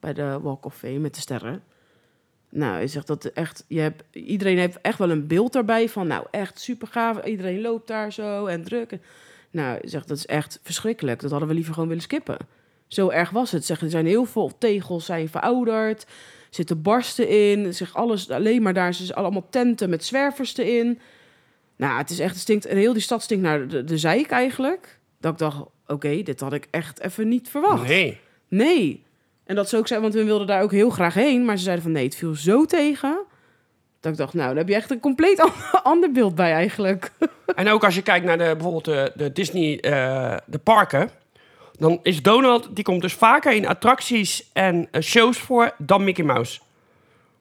Speaker 2: bij de Walk of Fame met de sterren. Nou, hij zegt dat echt, je hebt, iedereen heeft echt wel een beeld daarbij van, nou echt super gaaf. Iedereen loopt daar zo en druk. En- Nou, zegt dat is echt verschrikkelijk. Dat hadden we liever gewoon willen skippen. Zo erg was het. Zeg, er zijn heel veel tegels zijn verouderd. Er zitten barsten in. Zeg, alles alleen maar daar. Ze zijn allemaal tenten met zwervers erin. Nou, het is echt, het stinkt, en heel die stad stinkt naar de, de zeik eigenlijk. Dat ik dacht, oké, dit had ik echt even niet verwacht.
Speaker 1: Nee.
Speaker 2: Nee. En dat ze ook zei, want we wilden daar ook heel graag heen. Maar ze zeiden van nee, het viel zo tegen. Dat ik dacht, nou, daar heb je echt een compleet an- ander beeld bij eigenlijk.
Speaker 1: En ook als je kijkt naar de, bijvoorbeeld de, de Disney, eh, de parken. Dan is Donald, die komt dus vaker in attracties en eh, shows voor dan Mickey Mouse.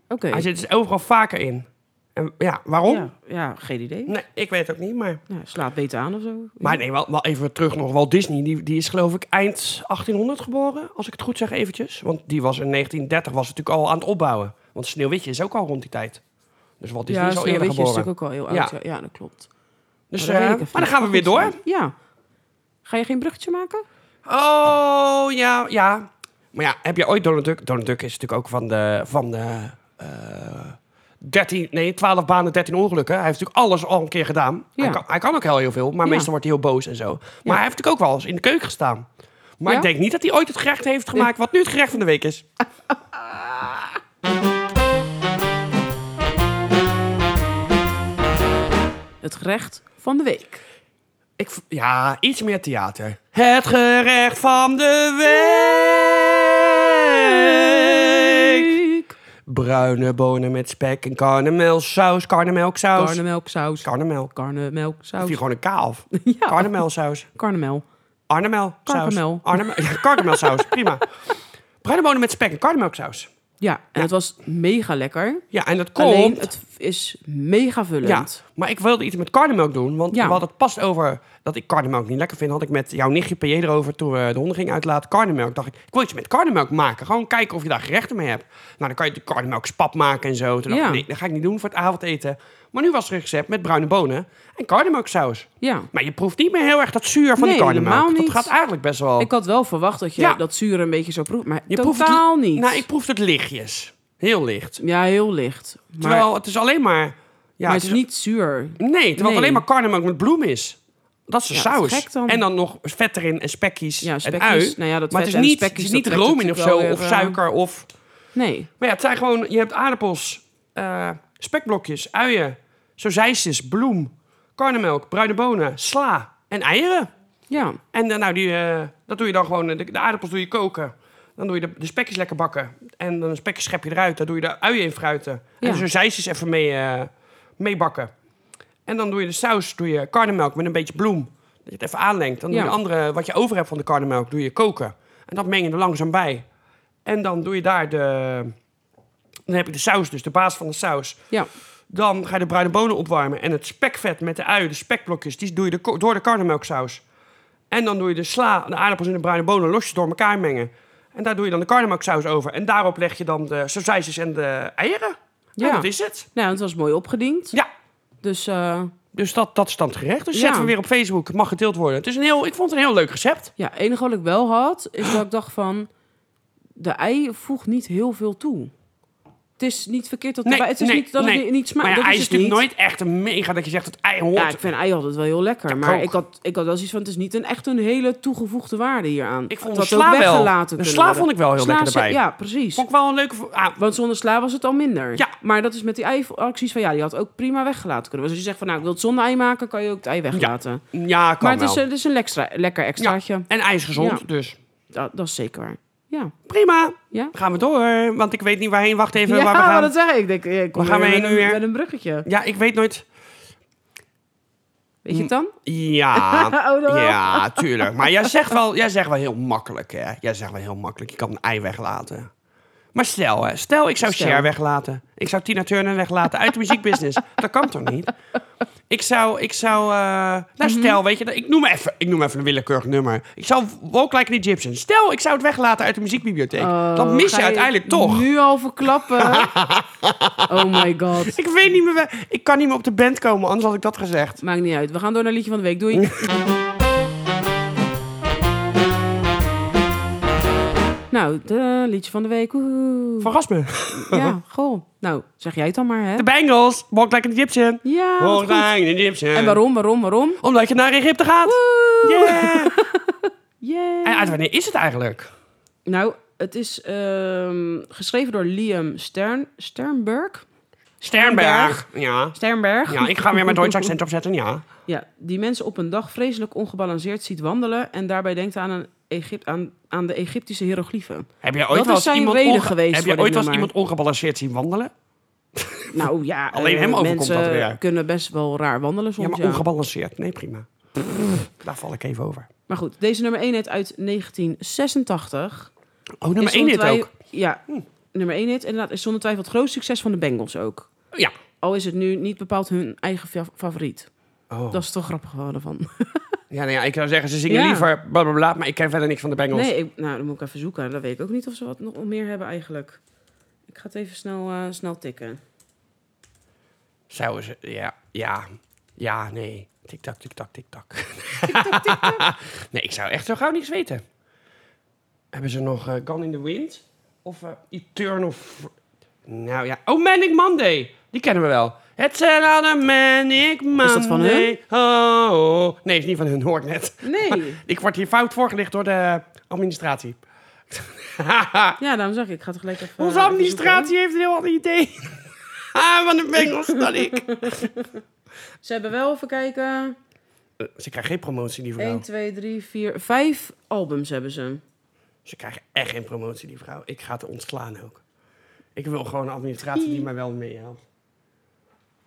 Speaker 2: Oké.
Speaker 1: Hij zit dus overal vaker in. En ja, waarom?
Speaker 2: Ja, ja, geen idee.
Speaker 1: Nee, ik weet het ook niet, maar...
Speaker 2: Nou, slaat beter aan of zo.
Speaker 1: Maar nee, wel, wel even terug nog. Walt Disney, die, die is geloof ik eind 1800 geboren, als ik het goed zeg eventjes. Want die was in 1930 was natuurlijk al aan het opbouwen. Want Sneeuwwitje is ook al rond die tijd. Dus Walt Disney is al eerder
Speaker 2: Sneeuwwitje is
Speaker 1: geboren.
Speaker 2: natuurlijk ook al heel
Speaker 1: Ja.
Speaker 2: oud. Ja, ja dat klopt.
Speaker 1: Dus,
Speaker 2: dat weet
Speaker 1: eh,
Speaker 2: ik even
Speaker 1: maar dan
Speaker 2: niet.
Speaker 1: gaan we weer door.
Speaker 2: Ja. Ga je geen bruggetje maken?
Speaker 1: Oh, ja, ja. Maar ja, heb je ooit Donald Duck? Donald Duck is natuurlijk ook van de... Van de eh, 13, nee, 12 banen, 13 ongelukken. Hij heeft natuurlijk alles al een keer gedaan.
Speaker 2: Ja.
Speaker 1: Hij, kan, hij kan ook heel, heel veel, maar
Speaker 2: Ja.
Speaker 1: meestal wordt hij heel boos en zo. Maar hij heeft natuurlijk ook wel eens in de keuken gestaan. Maar
Speaker 2: Ja?
Speaker 1: ik denk niet dat hij ooit het gerecht heeft gemaakt wat nu het gerecht van de week is.
Speaker 2: Het gerecht van de week.
Speaker 1: Ik, v- ja, iets meer theater. Het gerecht van de week. Bruine bonen met spek en karnemelsaus, karnemelksaus.
Speaker 2: Karnemelksaus.
Speaker 1: Karnemel. Of
Speaker 2: Karnemelksaus.
Speaker 1: je gewoon een kaaf.
Speaker 2: Ja.
Speaker 1: Karnemelsaus.
Speaker 2: Karnemel.
Speaker 1: Arnemel.
Speaker 2: Karkemel.
Speaker 1: Ja, karnemelsaus. Prima. Bruine bonen met spek en karnemelksaus.
Speaker 2: Ja, en het was mega lekker.
Speaker 1: Ja, en dat
Speaker 2: Alleen,
Speaker 1: komt...
Speaker 2: het is mega
Speaker 1: Ja,
Speaker 2: vullend.
Speaker 1: maar ik wilde iets met karnemelk doen. Want
Speaker 2: Ja.
Speaker 1: we hadden het pas over dat ik karnemelk niet lekker vind. Had ik met jouw nichtje P.J. erover toen we de honden gingen uitlaten. Karnemelk. Dacht ik, ik wil iets met karnemelk maken. Gewoon kijken of je daar gerechten mee hebt. Nou, dan kan je de karnemelkspap maken en zo. Toen dacht
Speaker 2: Ja.
Speaker 1: ik, nee, dat ga ik niet doen voor het avondeten. Maar nu was er een recept met bruine bonen en karnemelksaus.
Speaker 2: Ja.
Speaker 1: Maar je proeft niet meer heel erg dat zuur van
Speaker 2: Nee,
Speaker 1: die karnemelk.
Speaker 2: helemaal niet.
Speaker 1: Dat gaat eigenlijk best wel...
Speaker 2: Ik had wel verwacht dat je
Speaker 1: Ja.
Speaker 2: dat zuur een beetje zou proeven, maar
Speaker 1: je proeft het
Speaker 2: totaal
Speaker 1: li-
Speaker 2: niet.
Speaker 1: Nou, ik proef het lichtjes. Heel licht.
Speaker 2: Ja, heel licht. Maar,
Speaker 1: Terwijl het is alleen maar... Ja,
Speaker 2: maar het is niet zuur.
Speaker 1: Nee, terwijl het
Speaker 2: Nee.
Speaker 1: alleen maar karnemelk met bloem is. Dat is de
Speaker 2: Ja, dat is
Speaker 1: saus.
Speaker 2: gek dan.
Speaker 1: En dan nog vet erin en spekkies,
Speaker 2: Ja, spekkies.
Speaker 1: en ui.
Speaker 2: Nou ja, dat
Speaker 1: maar het is
Speaker 2: vet en
Speaker 1: niet,
Speaker 2: spekkies,
Speaker 1: het is niet
Speaker 2: dat trekt
Speaker 1: room in of
Speaker 2: natuurlijk
Speaker 1: zo,
Speaker 2: wel
Speaker 1: of
Speaker 2: weer, eh,
Speaker 1: suiker. Of,
Speaker 2: Nee.
Speaker 1: maar ja, het zijn gewoon... Je hebt aardappels, eh, spekblokjes, uien, sausijsjes, bloem, karnemelk, bruine bonen, sla en eieren.
Speaker 2: Ja.
Speaker 1: En eh, nou, die, eh, dat doe je dan gewoon. eh, De, de aardappels doe je koken. Dan doe je de, de spekjes lekker bakken. En dan de spekjes schep je eruit. Daar doe je de uien in fruiten.
Speaker 2: Ja.
Speaker 1: En zo zijsjes even mee, eh, mee bakken. En dan doe je de saus, doe je karnemelk met een beetje bloem. Dat je het even aanlengt. Dan doe je
Speaker 2: Ja.
Speaker 1: de andere, wat je over hebt van de karnemelk, doe je koken. En dat meng je er langzaam bij. En dan doe je daar de... Dan heb je de saus dus, de basis van de saus.
Speaker 2: Ja.
Speaker 1: Dan ga je de bruine bonen opwarmen. En het spekvet met de ui, de spekblokjes, die doe je de ko- door de karnemelksaus. En dan doe je de sla, de aardappels en de bruine bonen losjes door elkaar mengen. En daar doe je dan de karnemelksaus over. En daarop leg je dan de sausijsjes en de eieren. Ja.
Speaker 2: Ja.
Speaker 1: dat is het.
Speaker 2: Nou, het was mooi opgediend.
Speaker 1: Ja.
Speaker 2: Dus eh,
Speaker 1: Dus dat, dat is dan het gerecht. Dus
Speaker 2: Ja.
Speaker 1: zetten we weer op Facebook. Het mag gedeeld worden. Het is een heel, ik vond het een heel leuk recept.
Speaker 2: ja, het enige wat ik wel had, is dat ik dacht van... De ei voegt niet heel veel toe. Het is niet verkeerd dat, de
Speaker 1: Nee,
Speaker 2: bij- het, is
Speaker 1: nee,
Speaker 2: niet, dat
Speaker 1: nee.
Speaker 2: het niet, niet smaakt.
Speaker 1: maar ja,
Speaker 2: dat
Speaker 1: hij
Speaker 2: is
Speaker 1: is
Speaker 2: het niet.
Speaker 1: natuurlijk nooit echt een mega dat je zegt dat ei hoort.
Speaker 2: Ja, ik vind ei altijd wel heel lekker.
Speaker 1: ik
Speaker 2: maar
Speaker 1: ook.
Speaker 2: ik had, ik had wel zoiets van, het is niet een, echt een hele toegevoegde waarde hieraan.
Speaker 1: Ik vond
Speaker 2: Het
Speaker 1: de
Speaker 2: had ook
Speaker 1: sla wel.
Speaker 2: weggelaten
Speaker 1: De
Speaker 2: kunnen
Speaker 1: sla
Speaker 2: worden.
Speaker 1: vond ik wel heel
Speaker 2: Sla
Speaker 1: lekker
Speaker 2: ze-
Speaker 1: erbij.
Speaker 2: Ja, precies.
Speaker 1: Vond ik wel een leuke... vo- Ah,
Speaker 2: Want zonder sla was het al minder.
Speaker 1: Ja.
Speaker 2: Maar dat is met die ei-acties van ja, die had ook prima weggelaten kunnen. worden. Dus als je zegt van nou, ik wil het zonder ei maken, kan je ook het ei weglaten.
Speaker 1: ja, kan
Speaker 2: maar het
Speaker 1: wel.
Speaker 2: is, een- het is een extra, lekker extraatje.
Speaker 1: En ei is gezond,
Speaker 2: Ja.
Speaker 1: dus
Speaker 2: Dat, dat is zeker waar. Ja.
Speaker 1: prima.
Speaker 2: Ja.
Speaker 1: Gaan we door, want ik weet niet waarheen. Wacht even
Speaker 2: ja,
Speaker 1: waar we gaan.
Speaker 2: maar dat zeg ik. Ik denk, ik kom
Speaker 1: Waar gaan
Speaker 2: weer
Speaker 1: we
Speaker 2: met,
Speaker 1: heen nu
Speaker 2: een,
Speaker 1: weer?
Speaker 2: met een bruggetje.
Speaker 1: Ja, ik weet nooit...
Speaker 2: Weet je het dan?
Speaker 1: Ja,
Speaker 2: Oh, dat wel.
Speaker 1: ja, tuurlijk. Maar jij zegt, wel, jij zegt wel heel makkelijk, hè? Jij zegt wel heel makkelijk. Je kan een ei weglaten. Maar stel, hè, stel ik zou
Speaker 2: Stel.
Speaker 1: Cher weglaten. Ik zou Tina Turner weglaten uit de muziekbusiness. Dat kan toch niet? Ik zou, ik zou, eh,
Speaker 2: Mhm.
Speaker 1: nou stel, weet je, ik noem even, ik noem even een willekeurig nummer. Ik zou Walk Like an Egyptian. Stel, ik zou het weglaten uit de muziekbibliotheek. dan mis
Speaker 2: Oh, ga
Speaker 1: je uiteindelijk toch.
Speaker 2: Nu al verklappen. oh my god.
Speaker 1: Ik weet niet meer, wel- ik kan niet meer op de band komen, anders had ik dat gezegd.
Speaker 2: Maakt niet uit. We gaan door naar liedje van de week. Doei. nou, Nou, de liedje van de week. Woehoe.
Speaker 1: Verras me.
Speaker 2: Ja, goh. Nou, zeg jij het dan maar, hè?
Speaker 1: De Bengals. Walk like an Egyptian.
Speaker 2: Ja, wat
Speaker 1: Walk
Speaker 2: goed.
Speaker 1: like an Egyptian.
Speaker 2: En waarom, waarom, waarom?
Speaker 1: Omdat je naar Egypte gaat.
Speaker 2: Woe!
Speaker 1: Yeah.
Speaker 2: Yay.
Speaker 1: en uit wanneer is het eigenlijk?
Speaker 2: Nou, het is ehm, geschreven door Liam Stern, Sternberg.
Speaker 1: Sternberg. Ja.
Speaker 2: Sternberg.
Speaker 1: Ja, ik ga weer mijn Duits accent opzetten, ja.
Speaker 2: Ja, die mensen op een dag vreselijk ongebalanceerd ziet wandelen... en daarbij denkt aan, een Egypt, aan, aan de Egyptische hieroglyphen.
Speaker 1: Heb je ooit
Speaker 2: is
Speaker 1: wel eens
Speaker 2: zijn
Speaker 1: iemand
Speaker 2: reden
Speaker 1: onge-
Speaker 2: geweest
Speaker 1: Heb
Speaker 2: voor
Speaker 1: je
Speaker 2: dit
Speaker 1: ooit wel eens
Speaker 2: nummer.
Speaker 1: iemand ongebalanceerd zien wandelen?
Speaker 2: Nou ja,
Speaker 1: Alleen
Speaker 2: eh,
Speaker 1: hem overkomt
Speaker 2: mensen
Speaker 1: dat weer.
Speaker 2: kunnen best wel raar wandelen soms.
Speaker 1: Ja, maar
Speaker 2: ja.
Speaker 1: ongebalanceerd. Nee, prima. Daar val ik even over.
Speaker 2: Maar goed, deze nummer 1 hit uit 1986.
Speaker 1: Oh, nummer
Speaker 2: Is
Speaker 1: 1 dit
Speaker 2: zonder
Speaker 1: ook. Hm.
Speaker 2: twij- Ja, nummer 1 hit. Inderdaad, is zonder twijfel het grootste succes van de Bengals ook.
Speaker 1: Ja.
Speaker 2: Al is het nu niet bepaald hun eigen fa- favoriet.
Speaker 1: Oh.
Speaker 2: Dat is toch grappig geworden van.
Speaker 1: Ja, nou ja, ik zou zeggen, ze zingen
Speaker 2: Ja.
Speaker 1: liever bla bla bla, maar ik ken verder niks van de Bengals.
Speaker 2: Nee, ik, nou, dan moet ik even zoeken. Dan weet ik ook niet of ze wat nog meer hebben eigenlijk. Ik ga het even snel, eh, snel tikken.
Speaker 1: Zouden ze, ja, ja, ja, nee. Tik-tak, tik-tak, tik-tak. nee, ik zou echt zo gauw niks weten. Hebben ze nog eh, Gone in the Wind? Of eh, Eternal... Fr- nou ja, oh, Manic Monday. Die kennen we wel. Het zijn alle Manic Monday.
Speaker 2: Is dat van hun?
Speaker 1: Oh, oh. Nee, is niet van hun, hoor ik net.
Speaker 2: Nee.
Speaker 1: Ik word hier fout voorgelegd door de administratie.
Speaker 2: Ja, daarom zeg ik. Ik ga het gelijk even...
Speaker 1: Onze
Speaker 2: even
Speaker 1: administratie heeft een heel ander idee. Ah, van de Bengals dan ik.
Speaker 2: zoeken. Ze hebben wel, even kijken...
Speaker 1: Eh, Ze krijgen geen promotie, die vrouw.
Speaker 2: 1, 2, 3, 4, 5 albums hebben ze.
Speaker 1: Ze krijgen echt geen promotie, die vrouw. Ik ga het ontslaan ook. Ik wil gewoon een administratie
Speaker 2: Hm.
Speaker 1: die mij wel meehelpt.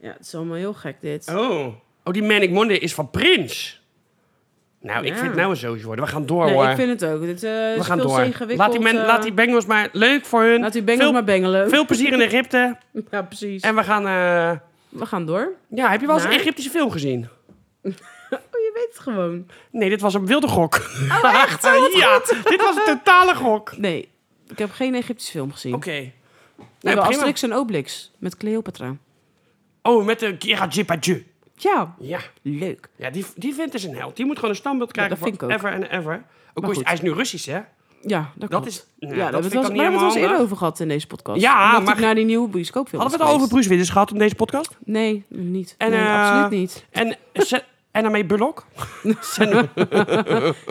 Speaker 2: Ja, het is allemaal heel gek dit.
Speaker 1: Oh. Oh, die Manic Monday is van Prins. Nou, ik
Speaker 2: Ja.
Speaker 1: vind het nou een zootje worden. We gaan door,
Speaker 2: nee,
Speaker 1: hoor.
Speaker 2: ik vind het ook. Dit, eh,
Speaker 1: We
Speaker 2: is
Speaker 1: gaan
Speaker 2: veel
Speaker 1: door.
Speaker 2: te ingewikkeld,
Speaker 1: Laat die, men,
Speaker 2: eh,
Speaker 1: laat die Bengals maar leuk voor hun.
Speaker 2: laat die bengels
Speaker 1: veel,
Speaker 2: maar bengelen.
Speaker 1: Veel plezier in Egypte.
Speaker 2: Ja, precies.
Speaker 1: En we gaan... eh,
Speaker 2: We gaan door.
Speaker 1: Ja, heb je wel eens een
Speaker 2: Naar?
Speaker 1: Egyptische film gezien?
Speaker 2: Oh, je weet het gewoon.
Speaker 1: Nee, dit was een wilde gok. Oh, echt? ja, dit was een totale gok.
Speaker 2: Nee, ik heb geen Egyptische film gezien.
Speaker 1: Oké.
Speaker 2: We
Speaker 1: Nee,
Speaker 2: hebben
Speaker 1: prima.
Speaker 2: Asterix en Obelix met Cleopatra.
Speaker 1: Oh, met de Kira Jipaju.
Speaker 2: Ja,
Speaker 1: Ja.
Speaker 2: leuk.
Speaker 1: Ja, die, die vindt is een held. Die moet gewoon een standbeeld
Speaker 2: Ja,
Speaker 1: krijgen
Speaker 2: dat vind
Speaker 1: voor
Speaker 2: ik ook.
Speaker 1: ever en ever. Ook
Speaker 2: Maar
Speaker 1: al is-
Speaker 2: goed.
Speaker 1: hij is nu Russisch, hè?
Speaker 2: Ja, dat,
Speaker 1: Dat
Speaker 2: klopt.
Speaker 1: is...
Speaker 2: Ja,
Speaker 1: nou,
Speaker 2: daar hebben
Speaker 1: vind
Speaker 2: we
Speaker 1: ik dan
Speaker 2: het wel- maar we
Speaker 1: niet
Speaker 2: hebben het al
Speaker 1: helemaal
Speaker 2: eens eerder
Speaker 1: handig.
Speaker 2: over gehad in deze podcast.
Speaker 1: Ja,
Speaker 2: Omdat
Speaker 1: maar-
Speaker 2: ik naar die nieuwe bioscoopfilm
Speaker 1: Hadden we het al over Bruce Willis gehad in deze podcast?
Speaker 2: Nee, niet.
Speaker 1: En,
Speaker 2: nee,
Speaker 1: eh,
Speaker 2: absoluut niet.
Speaker 1: En, eh, se- en daarmee Bullock?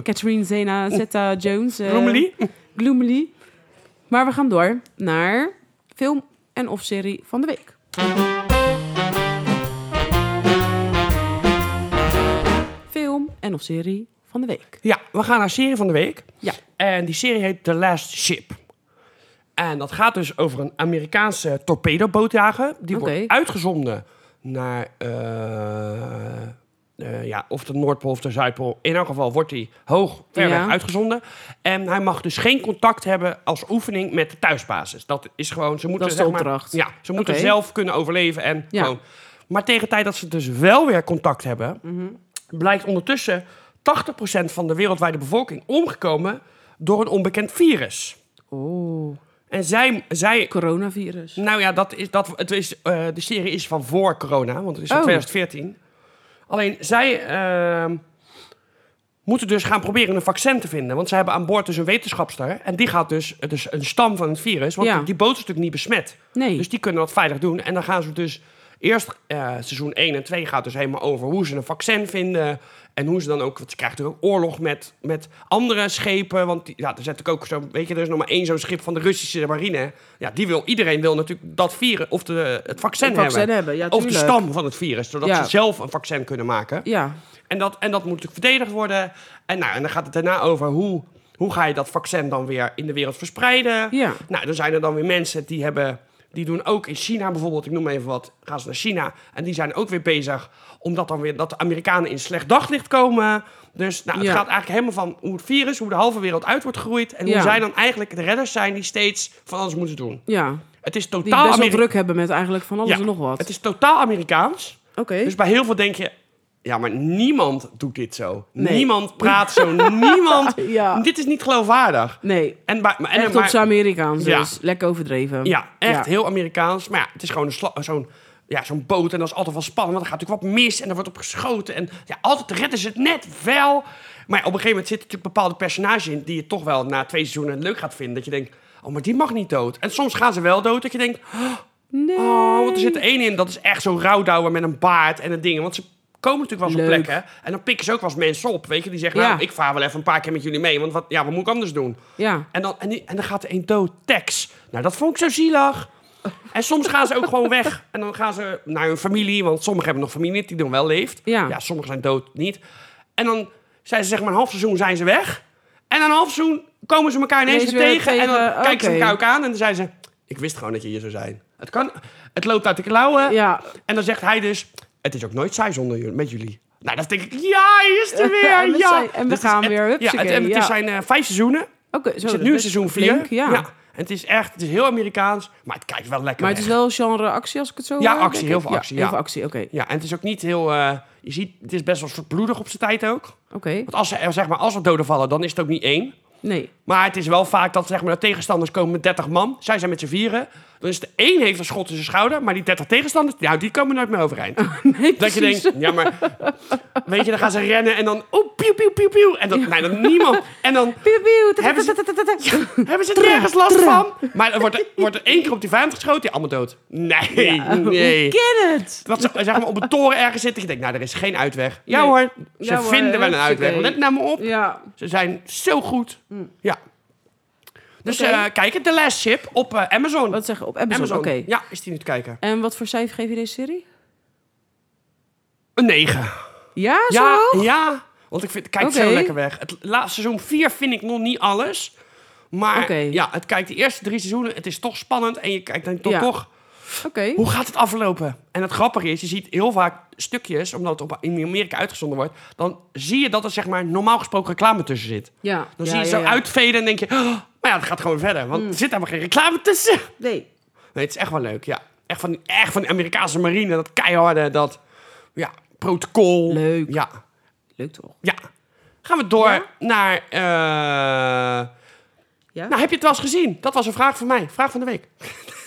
Speaker 2: Catherine Zena Zeta Jones. eh,
Speaker 1: Romilly?
Speaker 2: Gloomily. Maar we gaan door naar film en of serie van de week. Film en of serie van de week.
Speaker 1: Ja, we gaan naar serie van de week.
Speaker 2: Ja.
Speaker 1: En die serie heet The Last Ship. En dat gaat dus over een Amerikaanse torpedobootjager. Die
Speaker 2: Oké.
Speaker 1: wordt uitgezonden naar... eh, eh, ja, of de Noordpool of de Zuidpool. In elk geval wordt hij hoog ver
Speaker 2: Ja.
Speaker 1: weg uitgezonden. En hij mag dus geen contact hebben als oefening met de thuisbasis. Dat is gewoon... Ze moeten,
Speaker 2: is de
Speaker 1: zeg maar-
Speaker 2: opdracht.
Speaker 1: ja, ze moeten
Speaker 2: Oké.
Speaker 1: zelf kunnen overleven en
Speaker 2: Ja.
Speaker 1: gewoon... Maar tegen de tijd dat ze dus wel weer contact hebben
Speaker 2: Mhm.
Speaker 1: blijkt ondertussen 80% van de wereldwijde bevolking omgekomen door een onbekend virus.
Speaker 2: Oh,
Speaker 1: En zij, zij
Speaker 2: coronavirus.
Speaker 1: nou ja, dat is, dat, het is, eh, de serie is van voor corona, want het is van
Speaker 2: Oh.
Speaker 1: 2014. Alleen zij ehm, moeten dus gaan proberen een vaccin te vinden. Want zij hebben aan boord dus een wetenschapster. En die gaat dus, het is een stam van het virus, want
Speaker 2: Ja.
Speaker 1: die boot is natuurlijk niet besmet.
Speaker 2: Nee.
Speaker 1: Dus die kunnen dat veilig doen. En dan gaan ze dus eerst eh, seizoen 1 en 2 gaat dus helemaal over hoe ze een vaccin vinden. En hoe ze dan ook, want ze krijgen natuurlijk ook oorlog met, met andere schepen. Want die, ja, er zet ik ook zo, weet je, er is nog maar één zo'n schip van de Russische marine. Ja, die wil, iedereen wil natuurlijk dat virus, of de, het vaccin,
Speaker 2: Een vaccin
Speaker 1: hebben.
Speaker 2: hebben, ja,
Speaker 1: of de
Speaker 2: tuurlijk.
Speaker 1: stam van het virus, zodat
Speaker 2: Ja.
Speaker 1: ze zelf een vaccin kunnen maken.
Speaker 2: Ja,
Speaker 1: En dat, en dat moet natuurlijk verdedigd worden. En, nou, en dan gaat het daarna over hoe, hoe ga je dat vaccin dan weer in de wereld verspreiden.
Speaker 2: Ja.
Speaker 1: Nou, dan zijn er dan weer mensen die hebben... Die doen ook in China bijvoorbeeld, ik noem even wat, gaan ze naar China. En die zijn ook weer bezig omdat dan weer dat de Amerikanen in slecht daglicht komen. Dus nou, het
Speaker 2: Ja.
Speaker 1: gaat eigenlijk helemaal van hoe het virus, hoe de halve wereld uit wordt geroeid. En
Speaker 2: Ja.
Speaker 1: hoe zij dan eigenlijk de redders zijn die steeds van alles moeten doen.
Speaker 2: ja.
Speaker 1: Het is
Speaker 2: Die
Speaker 1: totaal
Speaker 2: best wel
Speaker 1: Ameri-
Speaker 2: druk hebben met eigenlijk van alles
Speaker 1: Ja,
Speaker 2: en nog wat.
Speaker 1: Het is totaal Amerikaans.
Speaker 2: Oké.
Speaker 1: Dus bij heel veel denk je, ja, maar niemand doet dit zo.
Speaker 2: Nee.
Speaker 1: Niemand praat zo. niemand.
Speaker 2: Ja.
Speaker 1: Dit is niet geloofwaardig.
Speaker 2: Nee,
Speaker 1: En, bij, maar- en
Speaker 2: echt
Speaker 1: maar-
Speaker 2: op zijn Amerikaans
Speaker 1: Ja.
Speaker 2: dus. Lekker overdreven.
Speaker 1: Ja, echt
Speaker 2: Ja.
Speaker 1: heel Amerikaans. Maar ja, het is gewoon een sla- zo'n ja, zo'n boot en dat is altijd wel spannend, want er gaat natuurlijk wat mis en er wordt op geschoten. En ja, altijd redden ze het net wel. Maar ja, op een gegeven moment zitten natuurlijk bepaalde personages in die je toch wel na twee seizoenen leuk gaat vinden. Dat je denkt, oh, maar die mag niet dood. En soms gaan ze wel dood, dat je denkt,
Speaker 2: Nee.
Speaker 1: oh, want er zit er één in, dat is echt zo'n rouwdouwer met een baard en een ding. Want ze komen natuurlijk wel eens op
Speaker 2: Leuk.
Speaker 1: plekken en dan pikken ze ook wel eens mensen op, weet je. Die zeggen,
Speaker 2: Ja.
Speaker 1: nou, ik vaar wel even een paar keer met jullie mee, want wat, ja, wat moet ik anders doen?
Speaker 2: Ja.
Speaker 1: En dan, en, die- en dan gaat er één dood, Tex. Nou, dat vond ik zo zielig. En soms gaan ze ook gewoon weg. En dan gaan ze naar hun familie, want sommigen hebben nog familie die dan wel leeft.
Speaker 2: Ja.
Speaker 1: sommigen zijn dood niet. En dan zijn ze zeg maar een half seizoen zijn ze weg. En dan een half seizoen komen ze elkaar ineens
Speaker 2: Ineens
Speaker 1: weer
Speaker 2: weer
Speaker 1: tegen. En dan
Speaker 2: tegen,
Speaker 1: kijken ze
Speaker 2: oké.
Speaker 1: elkaar ook aan en dan zijn ze... Ik wist gewoon dat je hier zou zijn. Het, kan, het loopt uit de klauwen.
Speaker 2: Ja.
Speaker 1: En dan zegt hij dus... Het is ook nooit saai zonder jullie, met jullie. Nou, dat denk ik... Ja, hij is er weer!
Speaker 2: En we
Speaker 1: ja.
Speaker 2: zijn- en
Speaker 1: Dus
Speaker 2: we
Speaker 1: het is
Speaker 2: gaan
Speaker 1: echt-
Speaker 2: weer,
Speaker 1: Ja, het,
Speaker 2: hupsakee,
Speaker 1: en het
Speaker 2: ja.
Speaker 1: zijn eh, vijf seizoenen.
Speaker 2: Oké, zo.
Speaker 1: Er zit
Speaker 2: Oh, dat
Speaker 1: nu
Speaker 2: is
Speaker 1: seizoen
Speaker 2: flink,
Speaker 1: 4.
Speaker 2: ja.
Speaker 1: En het is echt, het is heel Amerikaans, maar het kijkt wel lekker
Speaker 2: Maar het
Speaker 1: weg.
Speaker 2: is wel genre actie als ik het zo
Speaker 1: Ja,
Speaker 2: hoor,
Speaker 1: actie,
Speaker 2: denk
Speaker 1: heel
Speaker 2: ik.
Speaker 1: veel actie, ja.
Speaker 2: Heel veel actie, oké.
Speaker 1: Ja, en het is ook niet heel, eh, je ziet, het is best wel bloedig op zijn tijd ook.
Speaker 2: Oké.
Speaker 1: Want als, ze, er, zeg maar, als er doden vallen, dan is het ook niet één.
Speaker 2: Nee.
Speaker 1: Maar het is wel vaak dat zeg maar, de tegenstanders komen met 30 man. Zij zijn met z'n vieren. Dan is de één heeft een schot in zijn schouder. Maar die 30 tegenstanders, nou, die komen nooit meer overeind.
Speaker 2: nee
Speaker 1: dat je
Speaker 2: Oh, precies.
Speaker 1: denkt, ja, maar... Weet je, dan gaan ze rennen en dan... Oeh, pieuw, pieuw, pieuw, pieuw. En dan, nee, dan niemand. En dan
Speaker 2: Piep, piep, ta, ta,
Speaker 1: Hebben ze-
Speaker 2: ta, ta, ta, ta.
Speaker 1: Hebben ze nergens last van? Maar er wordt, er wordt er één keer op die vijand geschoten, die allemaal dood. Nee, nee.
Speaker 2: Get it!
Speaker 1: Dat ze eh, zeg maar, op een toren ergens zitten. Ik denk, nou, er is geen uitweg. Ja
Speaker 2: Nee.
Speaker 1: hoor, ze
Speaker 2: Ja hoor,
Speaker 1: vinden wel een
Speaker 2: hupsakee.
Speaker 1: uitweg. Let nou maar op.
Speaker 2: Ja. Hm.
Speaker 1: Ze zijn zo goed. Ja. Dus
Speaker 2: Oké.
Speaker 1: eh, kijk het, The Last Ship op eh, Amazon.
Speaker 2: Wat zeg je? Op Amazon, oké.
Speaker 1: Ja, is die nu te kijken.
Speaker 2: En wat voor cijfer geef je deze serie?
Speaker 1: Een 9.
Speaker 2: Ja, zo
Speaker 1: Ja,
Speaker 2: hoog?
Speaker 1: ja. Want ik vind, het kijkt zo
Speaker 2: Oké.
Speaker 1: lekker weg. Het laatste seizoen 4 vind ik nog niet alles. Maar
Speaker 2: Oké.
Speaker 1: ja, het kijkt de eerste drie seizoenen. Het is toch spannend. En je kijkt dan toch,
Speaker 2: Ja.
Speaker 1: toch
Speaker 2: Oké.
Speaker 1: Hoe gaat het aflopen? En het grappige is, je ziet heel vaak stukjes, omdat het op, in Amerika uitgezonden wordt, dan zie je dat er zeg maar normaal gesproken reclame tussen zit.
Speaker 2: Ja.
Speaker 1: Dan
Speaker 2: ja,
Speaker 1: zie je
Speaker 2: ja,
Speaker 1: zo
Speaker 2: ja.
Speaker 1: uitveden en denk je, "Oh, maar ja, het gaat gewoon verder, want er zit helemaal geen reclame tussen.
Speaker 2: Nee.
Speaker 1: Nee, het is echt wel leuk, ja. Echt van, die- echt van de Amerikaanse marine, dat keiharde, dat ja, protocol.
Speaker 2: Leuk.
Speaker 1: Ja,
Speaker 2: Leuk toch?
Speaker 1: ja. Gaan we door
Speaker 2: Ja?
Speaker 1: naar... eh,
Speaker 2: Ja?
Speaker 1: Nou, heb je het wel eens gezien? Dat was een vraag van mij. Vraag van de week.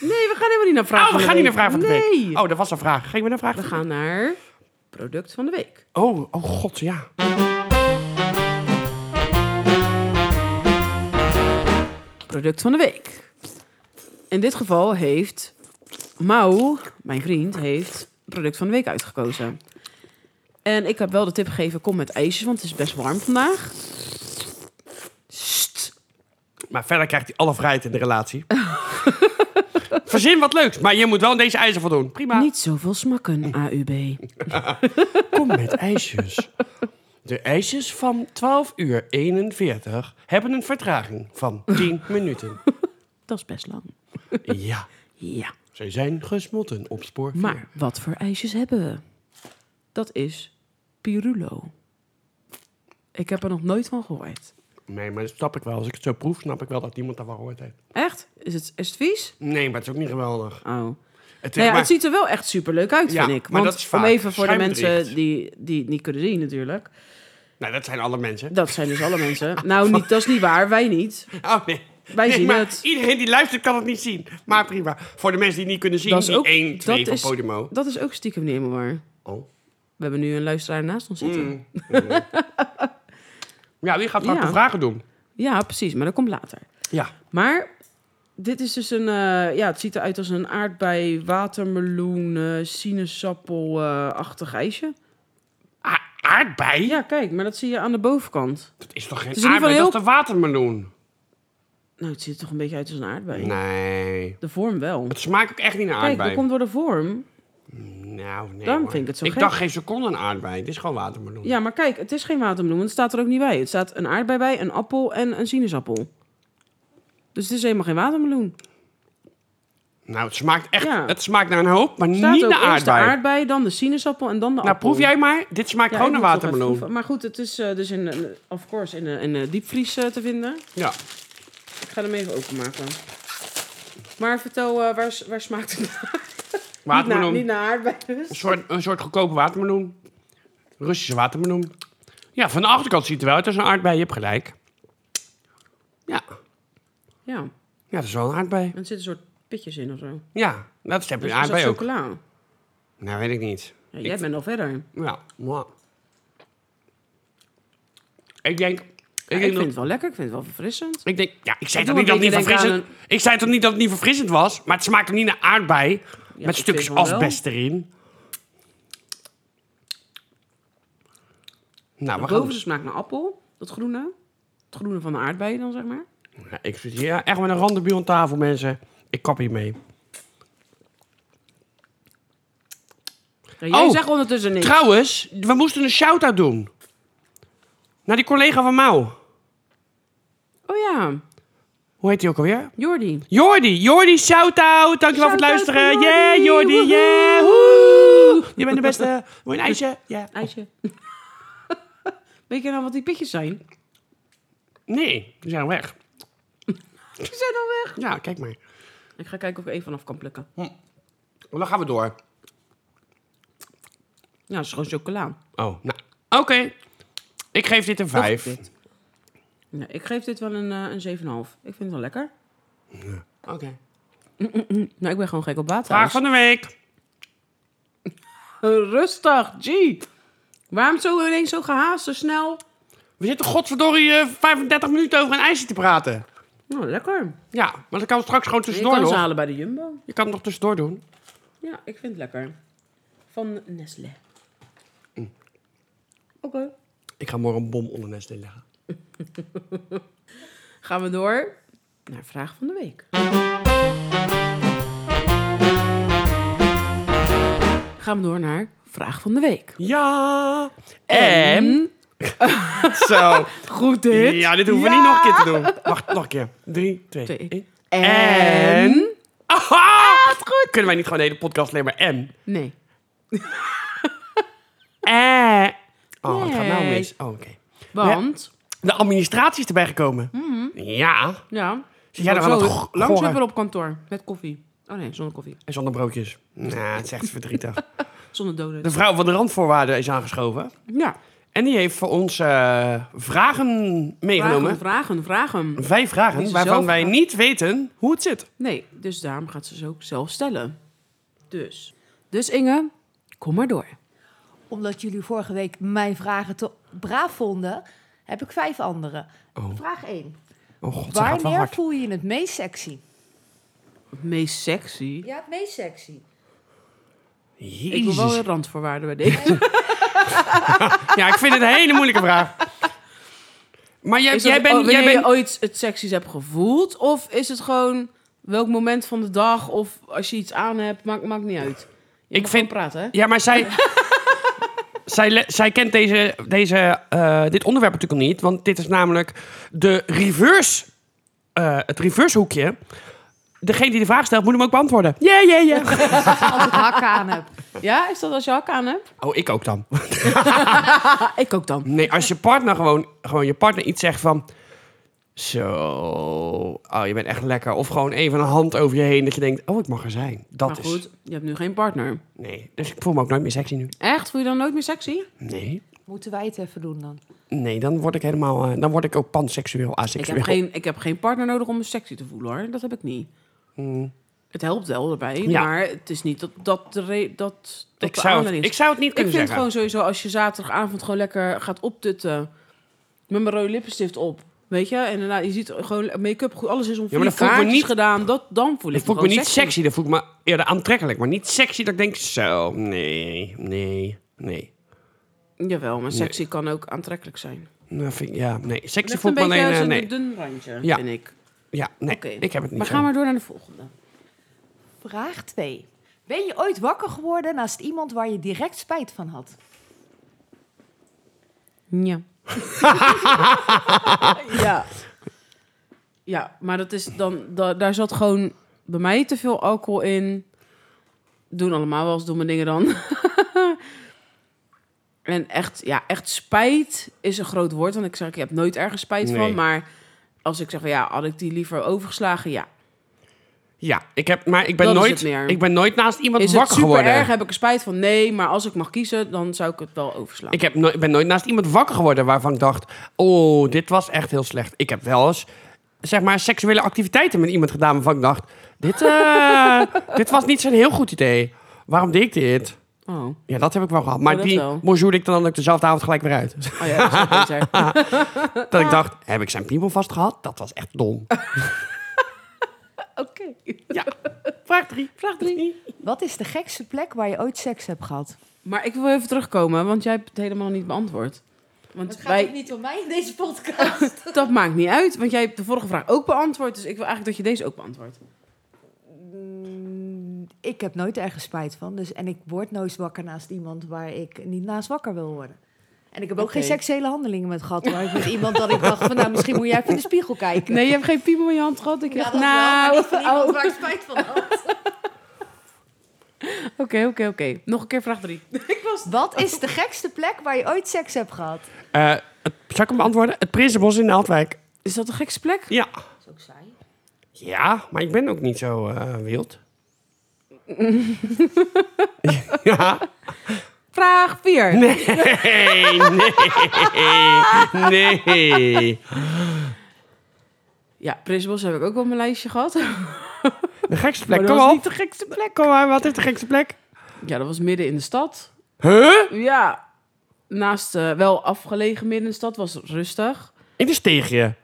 Speaker 2: nee, we gaan helemaal niet naar
Speaker 1: Oh,
Speaker 2: vragen
Speaker 1: we gaan niet naar vraag van de
Speaker 2: nee.
Speaker 1: week. Oh, dat was een vraag. Gingen we naar vraag
Speaker 2: We
Speaker 1: van de
Speaker 2: gaan naar product van de week.
Speaker 1: Oh, oh god, ja.
Speaker 2: Product van de week. In dit geval heeft Mau, mijn vriend, heeft product van de week uitgekozen. En ik heb wel de tip gegeven, kom met ijsjes, want het is best warm vandaag. Sst.
Speaker 1: Maar verder krijgt hij alle vrijheid in de relatie. Verzin wat leuks, maar je moet wel deze ijzer voldoen. Prima.
Speaker 2: Niet zoveel smakken, AUB.
Speaker 1: Kom met ijsjes. De ijsjes van 12 uur 41 hebben een vertraging van 10 minuten.
Speaker 2: Dat is best lang.
Speaker 1: Ja,
Speaker 2: Ja.
Speaker 1: ze zijn gesmolten op spoor. vier.
Speaker 2: Maar wat voor ijsjes hebben we? Dat is Pirulo. Ik heb er nog nooit van gehoord.
Speaker 1: Nee, maar dat snap ik wel. Als ik het zo proef, snap ik wel dat niemand daarvan gehoord heeft.
Speaker 2: Echt? Is het, is het vies?
Speaker 1: Nee, maar het is ook niet geweldig.
Speaker 2: Oh. Nou
Speaker 1: Het,
Speaker 2: ja,
Speaker 1: maar-
Speaker 2: het ziet er wel echt superleuk uit,
Speaker 1: Ja,
Speaker 2: vind ik.
Speaker 1: maar
Speaker 2: Want
Speaker 1: dat is vaak
Speaker 2: om even voor de
Speaker 1: schijnbericht.
Speaker 2: mensen die, die het niet kunnen zien natuurlijk.
Speaker 1: nou, dat zijn alle mensen.
Speaker 2: Dat zijn dus alle mensen. Nou, niet, dat is niet waar. Wij niet.
Speaker 1: Oh nee.
Speaker 2: Wij
Speaker 1: Nee,
Speaker 2: zien
Speaker 1: maar
Speaker 2: het.
Speaker 1: Iedereen die luistert kan het niet zien. Maar prima. Voor de mensen die het niet kunnen zien,
Speaker 2: Dat is
Speaker 1: die
Speaker 2: ook-
Speaker 1: 1, 2
Speaker 2: dat
Speaker 1: van
Speaker 2: is-
Speaker 1: Podimo.
Speaker 2: Dat is ook stiekem niet helemaal waar.
Speaker 1: Oh.
Speaker 2: We hebben nu een luisteraar naast ons zitten.
Speaker 1: Mm. Ja, wie gaat straks
Speaker 2: Ja.
Speaker 1: de vragen doen?
Speaker 2: Ja, precies. Maar dat komt later.
Speaker 1: Ja.
Speaker 2: Maar dit is dus een... eh, ja, het ziet eruit als een aardbei, watermeloen, eh, sinaasappel-achtig ijsje.
Speaker 1: aardbei?
Speaker 2: Ja, kijk. Maar dat zie je aan de bovenkant.
Speaker 1: Dat is toch geen
Speaker 2: Het is in ieder
Speaker 1: aardbei?
Speaker 2: geval
Speaker 1: Dat is de watermeloen.
Speaker 2: Nou, het ziet er toch een beetje uit als een aardbei.
Speaker 1: Nee.
Speaker 2: De vorm wel.
Speaker 1: Het smaakt ook echt niet naar
Speaker 2: Kijk,
Speaker 1: aardbei.
Speaker 2: dat komt door de vorm.
Speaker 1: Nou, nee
Speaker 2: Daarom
Speaker 1: hoor.
Speaker 2: vind ik het zo
Speaker 1: Ik
Speaker 2: gek.
Speaker 1: dacht geen seconde een aardbei. Het is gewoon watermeloen.
Speaker 2: Ja, maar kijk, het is geen watermeloen. want Het staat er ook niet bij. Het staat een aardbei bij, een appel en een sinaasappel. Dus het is helemaal geen watermeloen.
Speaker 1: Nou, het smaakt echt...
Speaker 2: Ja.
Speaker 1: Het smaakt naar een hoop, maar
Speaker 2: staat
Speaker 1: niet
Speaker 2: ook
Speaker 1: naar
Speaker 2: eerst de
Speaker 1: aardbei.
Speaker 2: aardbei, dan de sinaasappel en dan de
Speaker 1: Nou,
Speaker 2: appel.
Speaker 1: proef jij maar. Dit smaakt
Speaker 2: Ja,
Speaker 1: gewoon
Speaker 2: ik
Speaker 1: naar
Speaker 2: moet toch even
Speaker 1: watermeloen.
Speaker 2: proeven. Maar goed, het is eh, dus in, eh, of course in, eh, in eh, diepvries eh, te vinden.
Speaker 1: Ja.
Speaker 2: Ik ga hem even openmaken. Maar vertel, eh, waar, s- waar smaakt het naar? Niet naar,
Speaker 1: Watermeloen.
Speaker 2: niet naar aardbei dus.
Speaker 1: Een soort, een soort goedkope watermeloen. Russische watermeloen. Ja, van de achterkant ziet het er wel uit als een aardbei. Je hebt gelijk. Ja.
Speaker 2: Ja, en
Speaker 1: Ja, dat is wel een aardbei.
Speaker 2: er zitten een soort pitjes in of zo.
Speaker 1: Ja, dat heb je
Speaker 2: Dus
Speaker 1: een
Speaker 2: is dat
Speaker 1: aardbei ook.
Speaker 2: chocola?
Speaker 1: Nou, weet ik niet.
Speaker 2: Ja, jij bent nog verder. Ik,
Speaker 1: Ja, mwah. Ik denk... Ik, denk
Speaker 2: ik vind
Speaker 1: dat,
Speaker 2: het wel lekker, ik vind het wel verfrissend.
Speaker 1: ik denk, ja, ik zei
Speaker 2: doe
Speaker 1: toch niet dat
Speaker 2: een
Speaker 1: het niet
Speaker 2: beetje denken
Speaker 1: verfrissend... Ik zei toch niet dat het niet verfrissend was? Maar het smaakte niet naar aardbei.
Speaker 2: ik
Speaker 1: met stukjes
Speaker 2: vind van wel.
Speaker 1: asbest erin. Nou, we
Speaker 2: De
Speaker 1: gaan...
Speaker 2: bovenste smaakt naar appel, dat groene. Het groene van de aardbei dan, zeg maar.
Speaker 1: Ja, ik zit hier echt met een randebiel aan tafel, mensen. Ik kap hier mee.
Speaker 2: Ja, jij
Speaker 1: Oh,
Speaker 2: zegt ondertussen niks.
Speaker 1: Trouwens, we moesten een shout-out doen. Naar die collega van Mouw.
Speaker 2: Oh ja,
Speaker 1: Hoe heet die ook alweer?
Speaker 2: Jordi.
Speaker 1: Jordi. Jordi, shout-out. Dankjewel voor het
Speaker 2: Shout-out
Speaker 1: luisteren.
Speaker 2: voor
Speaker 1: Yeah,
Speaker 2: Jordi.
Speaker 1: Jordi.
Speaker 2: Woehoe.
Speaker 1: Yeah. Woe. Je bent de beste. Wil je een ijsje? Ja.
Speaker 2: Ijsje. Weet je nou wat die pitjes zijn?
Speaker 1: Nee, die zijn weg.
Speaker 2: Die zijn al weg.
Speaker 1: Ja, kijk maar.
Speaker 2: Ik ga kijken of ik er één vanaf kan plukken.
Speaker 1: Dan gaan we door.
Speaker 2: Ja, dat is gewoon chocola.
Speaker 1: Oh, nou. Oké. Ik geef dit een vijf.
Speaker 2: dit. Ja, ik geef dit wel een, eh, een 7,5. Ik vind het wel lekker.
Speaker 1: Oké.
Speaker 2: Nou, ik ben gewoon gek op water. dus.
Speaker 1: Vraag van de week.
Speaker 2: Rustig, G. Waarom zo ineens zo gehaast, zo snel?
Speaker 1: We zitten godverdorie eh, 35 minuten over een ijsje te praten.
Speaker 2: Nou, lekker.
Speaker 1: Ja, maar dat kan we straks gewoon
Speaker 2: Je
Speaker 1: tussendoor
Speaker 2: kan ze
Speaker 1: Dus nog.
Speaker 2: halen bij de Jumbo.
Speaker 1: Je kan het nog tussendoor doen.
Speaker 2: Ja, ik vind het lekker. Van Nestlé. Oké.
Speaker 1: Ik ga morgen een bom onder Nestlé leggen.
Speaker 2: Gaan we door naar vraag van de week. Gaan we door naar vraag van de week. Mm,
Speaker 1: Ja. En... Zo.
Speaker 2: Goed dit.
Speaker 1: Ja, dit hoeven we
Speaker 2: Ja.
Speaker 1: niet nog een keer te doen. Wacht, nog een keer. Drie, twee,
Speaker 2: Twee.
Speaker 1: één.
Speaker 2: En...
Speaker 1: Aha! goed. Kunnen wij niet gewoon de hele podcast alleen maar en?
Speaker 2: Nee.
Speaker 1: Eh. Oh, het gaat nou
Speaker 2: Nee.
Speaker 1: mis. Oh, oké.
Speaker 2: Want,
Speaker 1: De administratie is erbij gekomen. Ja.
Speaker 2: ja...
Speaker 1: Zit jij daar Mhm. wel
Speaker 2: zo,
Speaker 1: aan het go-
Speaker 2: Langs
Speaker 1: gorren?
Speaker 2: hebben we op kantoor. Met koffie. Oh nee, zonder koffie.
Speaker 1: En zonder broodjes. Nou, het is echt verdrietig.
Speaker 2: Zonder doden.
Speaker 1: De vrouw van de randvoorwaarden is aangeschoven.
Speaker 2: Ja.
Speaker 1: En die heeft voor ons eh, vragen meegenomen.
Speaker 2: Vragen, vragen, vragen.
Speaker 1: Vijf
Speaker 2: Die
Speaker 1: vragen
Speaker 2: ze
Speaker 1: waarvan
Speaker 2: zelf
Speaker 1: wij
Speaker 2: gaat-
Speaker 1: niet weten hoe het zit.
Speaker 2: Nee, dus daarom gaat ze ze ook zelf stellen. Dus. Dus Inge, kom maar door.
Speaker 3: Omdat jullie vorige week mijn vragen te braaf vonden, heb ik vijf andere.
Speaker 1: Oh.
Speaker 3: Vraag 1.
Speaker 1: Oh god, ze gaat wel
Speaker 3: Wanneer
Speaker 1: hard.
Speaker 3: voel je het meest sexy?
Speaker 2: Het meest sexy.
Speaker 3: Ja, het meest sexy.
Speaker 2: Ik wil wel
Speaker 1: Jezus.
Speaker 2: een randvoorwaarde bij deze.
Speaker 1: Ja, ik vind het een hele moeilijke vraag. Maar jij,
Speaker 2: Is dat-
Speaker 1: jij
Speaker 2: oh,
Speaker 1: bent...
Speaker 2: wanneer
Speaker 1: jij
Speaker 2: je
Speaker 1: bent
Speaker 2: ooit het seksies hebt gevoeld? Of is het gewoon welk moment van de dag? Of als je iets aan hebt, maakt, maakt niet uit. Je
Speaker 1: Ik vind-
Speaker 2: mag gewoon praten, hè?
Speaker 1: ja, maar zij... zij, le- zij kent deze, deze, eh, dit onderwerp natuurlijk al niet. Want dit is namelijk de reverse... eh, het reverse hoekje. Degene die de vraag stelt, moet hem ook beantwoorden. Ja, ja, ja.
Speaker 3: Als ik hak aan heb.
Speaker 2: Ja, is dat als je hak aan hebt?
Speaker 1: Oh, ik ook dan.
Speaker 2: Ah, ik ook dan.
Speaker 1: Nee, als je partner gewoon, gewoon je partner iets zegt van... Zo, oh, je bent echt lekker. Of gewoon even een hand over je heen dat je denkt... Oh, ik mag er zijn. Dat
Speaker 2: maar
Speaker 1: is...
Speaker 2: goed, je hebt nu geen partner.
Speaker 1: Nee, dus ik voel me ook nooit meer sexy nu.
Speaker 2: Echt? Voel je dan nooit meer sexy?
Speaker 1: Nee.
Speaker 3: Moeten wij het even doen dan?
Speaker 1: Nee, dan word ik helemaal... eh, dan word ik ook panseksueel,
Speaker 2: Ik
Speaker 1: aseksueel.
Speaker 2: heb, geen, ik heb geen partner nodig om me sexy te voelen, hoor. Dat heb ik niet. Het helpt wel erbij,
Speaker 1: Hmm. Ja.
Speaker 2: maar het is niet dat, dat, de, re- dat, dat
Speaker 1: ik,
Speaker 2: de
Speaker 1: zou het,
Speaker 2: aanleiding
Speaker 1: ik
Speaker 2: is.
Speaker 1: zou het niet
Speaker 2: Ik
Speaker 1: kunnen
Speaker 2: vind
Speaker 1: zeggen.
Speaker 2: gewoon sowieso als je zaterdagavond gewoon lekker gaat optutten met mijn rode lippenstift op. Weet je, en daarna je ziet gewoon make-up goed, alles is om
Speaker 1: Ja, maar dan voel
Speaker 2: vier
Speaker 1: ik me
Speaker 2: kaartjes
Speaker 1: niet-
Speaker 2: gedaan. Dat, dan voel ik,
Speaker 1: Ik voel me
Speaker 2: gewoon
Speaker 1: niet sexy. dat voel ik me eerder aantrekkelijk. Maar niet sexy dat ik denk... Zo, nee, nee, nee.
Speaker 2: Jawel, maar sexy kan ook aantrekkelijk zijn.
Speaker 1: Nou, vind ik- ja, nee. Sexy
Speaker 2: Net
Speaker 1: voel
Speaker 2: een
Speaker 1: ik me
Speaker 2: beetje
Speaker 1: alleen... eh,
Speaker 2: zo'n
Speaker 1: nee.
Speaker 2: dun randje,
Speaker 1: Ja.
Speaker 2: vind ik.
Speaker 1: Ja, nee,
Speaker 2: Oké.
Speaker 1: ik heb het niet
Speaker 2: Maar
Speaker 1: zo.
Speaker 2: ga maar door naar de volgende.
Speaker 3: Vraag 2. Ben je ooit wakker geworden naast iemand waar je direct spijt van had?
Speaker 2: Ja. ja. Ja, maar dat is dan, da- daar zat gewoon bij mij te veel alcohol in. Doen allemaal wel eens domme dingen dan. en echt, ja, echt spijt is een groot woord. Want ik zeg, ik heb nooit ergens spijt
Speaker 1: Nee.
Speaker 2: van. Maar als ik zeg van ja, had ik die liever overgeslagen? Ja.
Speaker 1: Ja, ik heb, maar ik ben,
Speaker 2: Dat is
Speaker 1: nooit,
Speaker 2: het meer.
Speaker 1: ik ben nooit naast iemand
Speaker 2: Is het
Speaker 1: wakker
Speaker 2: super
Speaker 1: geworden.
Speaker 2: erg? Heb ik er spijt van? Nee, maar als ik mag kiezen, dan zou ik het wel overslaan.
Speaker 1: Nou. Ik heb no- ik ben nooit naast iemand wakker geworden waarvan ik dacht... oh, dit was echt heel slecht. Ik heb wel eens, zeg maar, seksuele activiteiten met iemand gedaan... waarvan ik dacht, dit, eh, dit was niet zo'n heel goed idee. Waarom deed ik dit?
Speaker 2: Oh, oh
Speaker 1: Ja, dat heb ik wel gehad. Maar
Speaker 2: dat
Speaker 1: die
Speaker 2: wel.
Speaker 1: bonjourde ik dan ook dezelfde avond gelijk weer uit.
Speaker 2: Oh ja, dat is wel beter.
Speaker 1: Dat ik dacht, heb ik zijn piemel vast gehad? Dat was echt dom.
Speaker 2: Oké.
Speaker 1: Ja. Vraag drie.
Speaker 2: Vraag drie.
Speaker 3: Wat is de gekste plek waar je ooit seks hebt gehad?
Speaker 2: Maar ik wil even terugkomen, want jij hebt het helemaal niet beantwoord. Want wij,
Speaker 3: niet om mij in deze podcast.
Speaker 2: dat maakt niet uit, want jij hebt de vorige vraag ook beantwoord. Dus ik wil eigenlijk dat je deze ook beantwoordt.
Speaker 3: ik heb nooit ergens spijt van. Dus, en ik word nooit wakker naast iemand waar ik niet naast wakker wil worden. En ik heb ook
Speaker 2: Oké.
Speaker 3: geen seksuele handelingen met gehad. Maar ik met iemand dat ik dacht van nou, misschien moet jij even in de spiegel kijken.
Speaker 2: Nee, je hebt geen piemel in je hand gehad. Ik
Speaker 3: Ja,
Speaker 2: dacht,
Speaker 3: dat
Speaker 2: nou,
Speaker 3: wel, maar niet van iemand
Speaker 2: oh.
Speaker 3: waar ik spijt van had.
Speaker 2: Oké, oké, oké. Nog een keer vraag drie. Ik was...
Speaker 3: Wat is de gekste plek waar je ooit seks hebt gehad?
Speaker 1: Eh, het- zal ik hem beantwoorden? Het Prinsenbos in Naaldwijk.
Speaker 2: Is dat een gekste plek?
Speaker 1: Ja.
Speaker 3: Dat is ook saai.
Speaker 1: Ja, maar ik ben ook niet zo eh, wild. ja.
Speaker 2: Vraag vier.
Speaker 1: Nee, nee, nee.
Speaker 2: Ja, Prisbos heb ik ook op mijn lijstje gehad.
Speaker 1: De gekste
Speaker 2: Maar
Speaker 1: plek,
Speaker 2: dat
Speaker 1: kom
Speaker 2: was
Speaker 1: op.
Speaker 2: niet de gekste plek.
Speaker 1: Kom maar, wat is de gekste plek?
Speaker 2: Ja, dat was midden in de stad.
Speaker 1: Huh?
Speaker 2: Ja, naast eh, wel afgelegen midden in de stad was het rustig.
Speaker 1: In de steegje.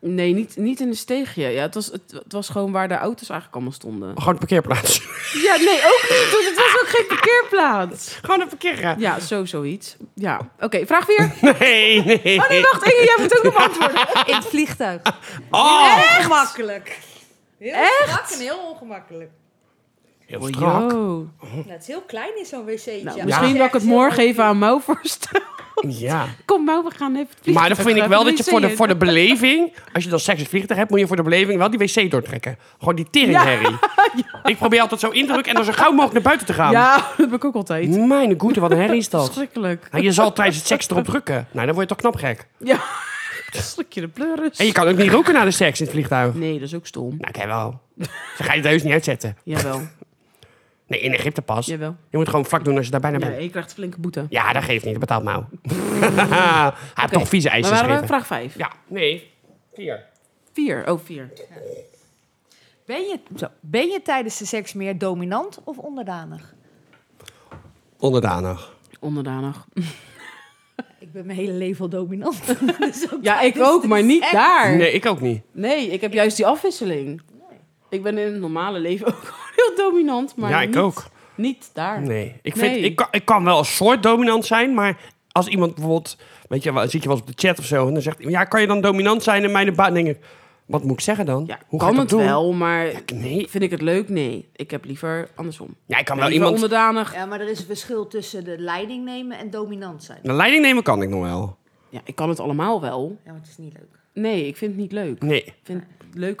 Speaker 2: Nee, niet, niet in een steegje. Ja, het was, het, het was gewoon waar de auto's eigenlijk allemaal stonden.
Speaker 1: Gewoon een parkeerplaats.
Speaker 2: Ja, nee, ook niet. want het was ook geen parkeerplaats.
Speaker 1: Gewoon een parkeerplaats.
Speaker 2: Ja, zo zoiets. Ja, oké. vraag weer.
Speaker 1: Nee, nee.
Speaker 2: Oh nee, wacht. Inge, jij moet ook nog antwoorden.
Speaker 3: In het vliegtuig.
Speaker 1: Oh.
Speaker 3: Ongemakkelijk. Heel
Speaker 2: Echt?
Speaker 3: strak en heel ongemakkelijk.
Speaker 1: Heel strak.
Speaker 2: Yo.
Speaker 3: Nou, het is heel klein in zo'n wc'tje.
Speaker 2: Hm. Nou,
Speaker 3: Ja.
Speaker 2: misschien dat ik het morgen even aan Mau voorstel.
Speaker 1: Ja.
Speaker 2: Kom Mau, we gaan even het
Speaker 1: Maar dan
Speaker 2: vliegtuig
Speaker 1: vind ik
Speaker 2: even
Speaker 1: wel
Speaker 2: de
Speaker 1: dat je
Speaker 2: wc
Speaker 1: voor de,
Speaker 2: in.
Speaker 1: voor de beleving, als je dan seks in het vliegtuig hebt, moet je voor de beleving wel die wc doortrekken. Gewoon die teringherrie. Ik probeer altijd zo in te drukken en dan zo gauw mogelijk naar buiten te gaan.
Speaker 2: Ja, dat heb ik ook altijd.
Speaker 1: Mijn goede, wat een herrie is dat.
Speaker 2: Verschrikkelijk.
Speaker 1: Nou, je zal tijdens het seks erop drukken. Nou, dan word je toch knap gek.
Speaker 2: Ja, slik je de pleuris.
Speaker 1: En je kan ook niet roken na de seks in het vliegtuig.
Speaker 2: Nee, dat is ook stom.
Speaker 1: Nou, oké wel. Dan ga je het heus niet uitzetten.
Speaker 2: Jawel,
Speaker 1: Nee, in Egypte pas. Je
Speaker 2: jawel.
Speaker 1: moet gewoon vlak doen als je daar bijna
Speaker 2: Ja,
Speaker 1: bent.
Speaker 2: je krijgt flinke boete.
Speaker 1: Ja, dat geeft niet. Dat betaalt nou. Hij heeft toch vieze
Speaker 2: Maar
Speaker 1: eisen
Speaker 2: waren we
Speaker 1: geschreven.
Speaker 2: vraag 5?
Speaker 1: Ja, nee. Vier.
Speaker 2: Vier. Oh, vier.
Speaker 3: Ben, je, zo, ben je tijdens de seks meer dominant of onderdanig?
Speaker 1: Onderdanig.
Speaker 2: Onderdanig.
Speaker 3: Ik ben mijn hele leven al dominant. Dat is ook
Speaker 2: Ja, ik
Speaker 3: tijdens
Speaker 2: ook,
Speaker 3: de
Speaker 2: maar niet
Speaker 3: seks.
Speaker 2: daar.
Speaker 1: Nee, ik ook niet.
Speaker 2: Nee, ik heb juist die afwisseling. Ik ben in het normale leven ook gewoon heel dominant, maar
Speaker 1: ja, ik
Speaker 2: niet,
Speaker 1: ook.
Speaker 2: niet daar.
Speaker 1: Nee, ik,
Speaker 2: Nee.
Speaker 1: Vind, ik, kan, ik kan wel een soort dominant zijn, maar als iemand bijvoorbeeld, weet je, wel, zit je wel eens op de chat of zo en dan zegt, ja, kan je dan dominant zijn in mijn baan? Dan denk ik, wat moet ik zeggen dan?
Speaker 2: Ja,
Speaker 1: Hoe ga
Speaker 2: kan
Speaker 1: ik
Speaker 2: het
Speaker 1: dat doen?
Speaker 2: wel, maar
Speaker 1: Nee,
Speaker 2: vind ik het leuk? Nee, ik heb liever andersom.
Speaker 1: ja, ik kan
Speaker 2: Ik
Speaker 1: wel
Speaker 2: ben liever
Speaker 1: iemand.
Speaker 2: onderdanig.
Speaker 3: Ja, maar er is een verschil tussen de leiding nemen en dominant zijn.
Speaker 1: De leiding nemen kan ik nog wel.
Speaker 2: Ja, ik kan het allemaal wel.
Speaker 3: Ja, maar het is niet leuk.
Speaker 2: Nee, ik vind het niet leuk.
Speaker 1: Nee,
Speaker 2: Ik vind het leuker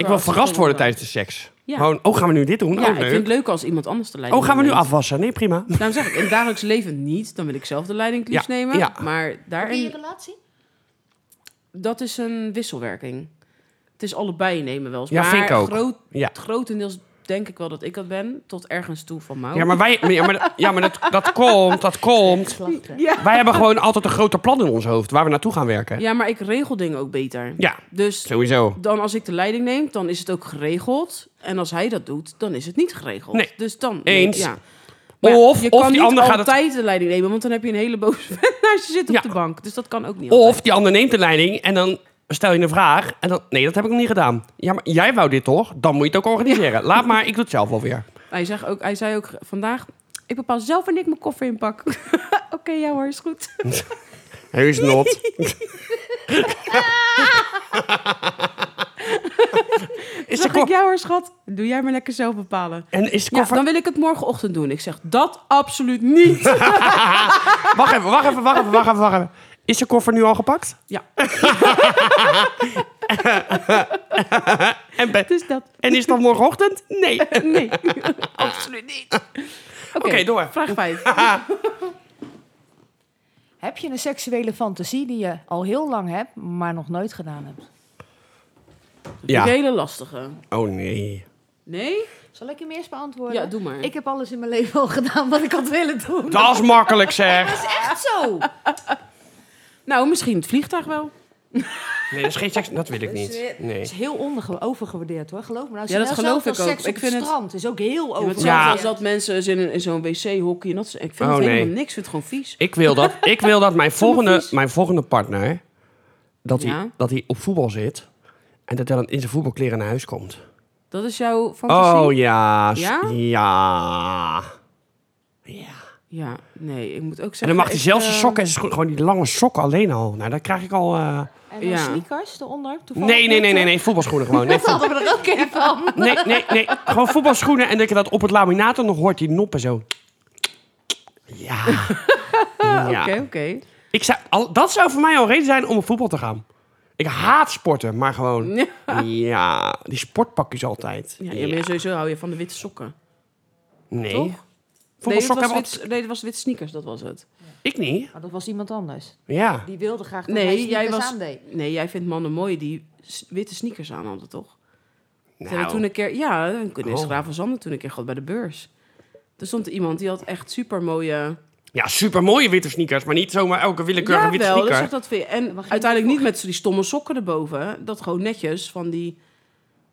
Speaker 1: ik wil
Speaker 2: als het
Speaker 1: verrast
Speaker 2: gewoon
Speaker 1: worden tijdens de seks.
Speaker 2: Ja.
Speaker 1: Gewoon, oh, gaan we nu dit doen?
Speaker 2: Ja,
Speaker 1: oh,
Speaker 2: ik vind het
Speaker 1: leuk.
Speaker 2: leuker als iemand anders de leiding
Speaker 1: Oh, gaan we nu
Speaker 2: neemt.
Speaker 1: afwassen? Nee, prima.
Speaker 2: Daarom zeg ik, in het dagelijks leven niet. Dan wil ik zelf de leiding het liefst
Speaker 1: Ja,
Speaker 2: nemen.
Speaker 1: ja.
Speaker 2: Maar
Speaker 3: In je
Speaker 2: daarin,
Speaker 3: relatie?
Speaker 2: dat is een wisselwerking. Het is allebei nemen wel eens.
Speaker 1: Ja,
Speaker 2: maar
Speaker 1: vind ik ook.
Speaker 2: Groot,
Speaker 1: Ja.
Speaker 2: grotendeels denk ik wel dat ik dat ben. Tot ergens toe van Mau.
Speaker 1: Ja, maar wij, ja, maar, ja, maar dat, dat komt, dat komt.
Speaker 3: Slachten.
Speaker 2: ja.
Speaker 1: Wij hebben gewoon altijd een groter plan in ons hoofd waar we naartoe gaan werken.
Speaker 2: Ja, maar ik regel dingen ook beter.
Speaker 1: Ja,
Speaker 2: Dus
Speaker 1: sowieso.
Speaker 2: dan als ik de leiding neem, dan is het ook geregeld. En als hij dat doet, dan is het niet geregeld.
Speaker 1: Nee.
Speaker 2: Dus dan...
Speaker 1: Eens.
Speaker 2: Ja. Maar ja,
Speaker 1: Of-
Speaker 2: je
Speaker 1: of
Speaker 2: kan
Speaker 1: die
Speaker 2: niet
Speaker 1: ander gaat het-
Speaker 2: altijd de leiding nemen, want dan heb je een hele boze vent naast je zitten op
Speaker 1: Ja.
Speaker 2: de bank. Dus dat kan ook niet altijd.
Speaker 1: Of die ander neemt de leiding en dan stel je een vraag en dan... Nee, dat heb ik nog niet gedaan. Ja, maar jij wou dit toch? Dan moet je het ook organiseren. Laat maar, ik doe het zelf wel weer.
Speaker 2: Hij, zegt ook, hij zei ook vandaag, ik bepaal zelf wanneer ik mijn koffer inpak. Oké, ja hoor, is goed.
Speaker 1: Heus not. is de
Speaker 2: Zeg
Speaker 1: ko-
Speaker 2: ik, ja hoor schat, doe jij maar lekker zelf bepalen.
Speaker 1: en is de
Speaker 2: Ja,
Speaker 1: koffer...
Speaker 2: dan wil ik het morgenochtend doen. Ik zeg, dat absoluut niet.
Speaker 1: Wacht even, wacht even, wacht even, wacht even, wacht even. Is de koffer nu al gepakt?
Speaker 2: Ja.
Speaker 1: en, be-
Speaker 2: Dus dat,
Speaker 1: en is het dan morgenochtend? Nee. Oké,
Speaker 2: nee, absoluut niet. Oké,
Speaker 1: door.
Speaker 2: vraag 5.
Speaker 3: Heb je een seksuele fantasie die je al heel lang hebt, maar nog nooit gedaan hebt?
Speaker 2: Een
Speaker 1: Ja.
Speaker 2: hele lastige.
Speaker 1: Oh nee.
Speaker 2: Nee?
Speaker 3: Zal ik hem eerst beantwoorden?
Speaker 2: Ja, doe maar.
Speaker 3: Ik heb alles in mijn leven al gedaan wat ik had willen doen.
Speaker 1: Dat is makkelijk zeg.
Speaker 3: is echt zo.
Speaker 2: Oh, Nou, misschien het vliegtuig wel.
Speaker 1: Nee, dat is geen seks. Dat wil ik niet.
Speaker 3: Het
Speaker 1: Nee.
Speaker 3: is heel onderge- overgewaardeerd hoor, geloof me. Nou,
Speaker 2: Ja, dat
Speaker 3: Chanel
Speaker 2: geloof
Speaker 3: zelf
Speaker 2: ik
Speaker 3: als
Speaker 2: ook.
Speaker 3: Seks
Speaker 2: Ik
Speaker 3: op
Speaker 2: vind
Speaker 3: het
Speaker 2: het-
Speaker 3: strand is ook heel
Speaker 2: Ja, maar
Speaker 3: overgewaardeerd.
Speaker 2: hetzelfde
Speaker 1: Ja.
Speaker 2: als dat mensen eens in, in zo'n wc-hokje en dat is, Ik vind
Speaker 1: Oh,
Speaker 2: het helemaal
Speaker 1: nee.
Speaker 2: niks. Ik vind het gewoon vies.
Speaker 1: Ik wil dat, ik wil dat mijn, volgende,
Speaker 2: vies.
Speaker 1: mijn volgende partner. Dat hij,
Speaker 2: Ja?
Speaker 1: dat hij op voetbal zit. En dat hij dan in zijn voetbalkleren naar huis komt.
Speaker 2: Dat is jouw fantasie?
Speaker 1: Oh ja. s-
Speaker 2: Ja?
Speaker 1: Ja.
Speaker 2: Ja, nee. Ik moet ook zeggen...
Speaker 1: En dan mag hij
Speaker 2: ik,
Speaker 1: zelfs
Speaker 2: eh,
Speaker 1: zijn sokken en zijn schoenen. Gewoon die lange sokken alleen al. Nou, daar krijg ik al. eh,
Speaker 3: En dan
Speaker 2: Ja.
Speaker 3: sneakers eronder. toevallig
Speaker 1: Nee, nee, nee, nee,
Speaker 3: niet,
Speaker 1: nee. Voetbalschoenen gewoon. Nee,
Speaker 3: hè? Dat hadden we er ook even van.
Speaker 1: Nee, nee, nee. Gewoon voetbalschoenen en dat je dat op het laminaat dan nog hoort, die noppen zo. Ja. ja.
Speaker 2: Oké, oké.
Speaker 1: Ik zou, al, dat zou voor mij al reden zijn om op voetbal te gaan. Ik haat sporten, maar gewoon...
Speaker 2: Ja.
Speaker 1: Ja, die sportpakjes altijd.
Speaker 2: Ja, ja, maar sowieso hou je van de witte sokken.
Speaker 1: Nee.
Speaker 2: toch? Nee, dat
Speaker 1: Voetbalsokken
Speaker 2: was,
Speaker 1: hebben
Speaker 2: wit, nee, dat was witte sneakers, dat was het.
Speaker 1: altijd- Ik niet.
Speaker 3: Maar Nou, dat was iemand anders.
Speaker 1: Ja.
Speaker 3: Die wilde graag dat hij
Speaker 2: Nee,
Speaker 3: sneakers
Speaker 2: jij was...
Speaker 3: aandeed.
Speaker 2: Nee, jij vindt mannen mooi die s- witte sneakers aan hadden, toch? Ze hebben
Speaker 1: Nou,
Speaker 2: toen een keer, ja, in
Speaker 1: Oh.
Speaker 2: Gravenzander toen een keer gehad bij de beurs. Er stond iemand die had echt super mooie.
Speaker 1: Ja, supermooie witte sneakers, maar niet zomaar elke willekeurige witte
Speaker 2: wel, dat
Speaker 1: sneaker.
Speaker 2: zegt dat veel. En
Speaker 3: mag je
Speaker 2: uiteindelijk niet
Speaker 3: niet
Speaker 2: met die stomme sokken erboven. Dat gewoon netjes van die van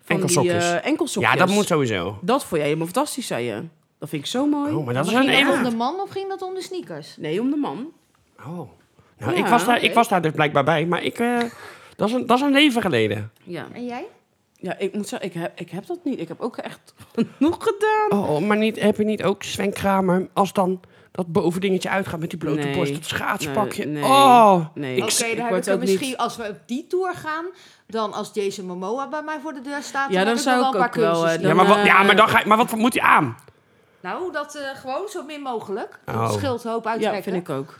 Speaker 2: die
Speaker 1: Enkelsokjes.
Speaker 2: eh, enkelsokjes.
Speaker 1: Ja, dat moet sowieso.
Speaker 2: Dat vond jij helemaal fantastisch, zei je. Dat vind ik zo mooi.
Speaker 1: Oh, maar dat is
Speaker 3: Maar
Speaker 1: een
Speaker 3: ging dat om
Speaker 1: eenmaal...
Speaker 3: de man of ging dat om de sneakers?
Speaker 2: Nee, om de man.
Speaker 1: Oh. Nou,
Speaker 2: Ja,
Speaker 1: ik, was daar, ik
Speaker 2: oké.
Speaker 1: was daar dus blijkbaar bij, maar ik... eh, dat, is een, dat is een leven geleden.
Speaker 2: Ja,
Speaker 3: En jij?
Speaker 2: ja ik moet zeggen, ik heb, ik heb dat niet. Ik heb ook echt genoeg gedaan.
Speaker 1: Oh, maar niet, heb je niet ook Sven Kramer als dan dat bovendingetje uitgaat met die blote
Speaker 2: Nee.
Speaker 1: borst, dat schaatspakje?
Speaker 2: Nee, nee.
Speaker 1: Oh,
Speaker 2: Nee,
Speaker 1: Ik-
Speaker 3: Oké,
Speaker 2: ik
Speaker 3: dan heb
Speaker 2: word
Speaker 3: ik er
Speaker 2: ook niet-
Speaker 3: misschien, als we op die tour gaan, dan als Jason Momoa bij mij voor de deur staat,
Speaker 2: Ja,
Speaker 3: dan,
Speaker 2: dan
Speaker 3: heb
Speaker 2: zou ik
Speaker 3: ik nog wel een
Speaker 2: ook wel,
Speaker 3: paar cursussen.
Speaker 2: eh,
Speaker 1: ja, maar wat, ja, maar, dan ga, je- maar wat moet hij aan?
Speaker 3: Nou, dat eh, gewoon zo min mogelijk. Dat
Speaker 1: Oh.
Speaker 3: scheelt een hoop
Speaker 2: Ja,
Speaker 3: uittrekken.
Speaker 2: vind ik ook.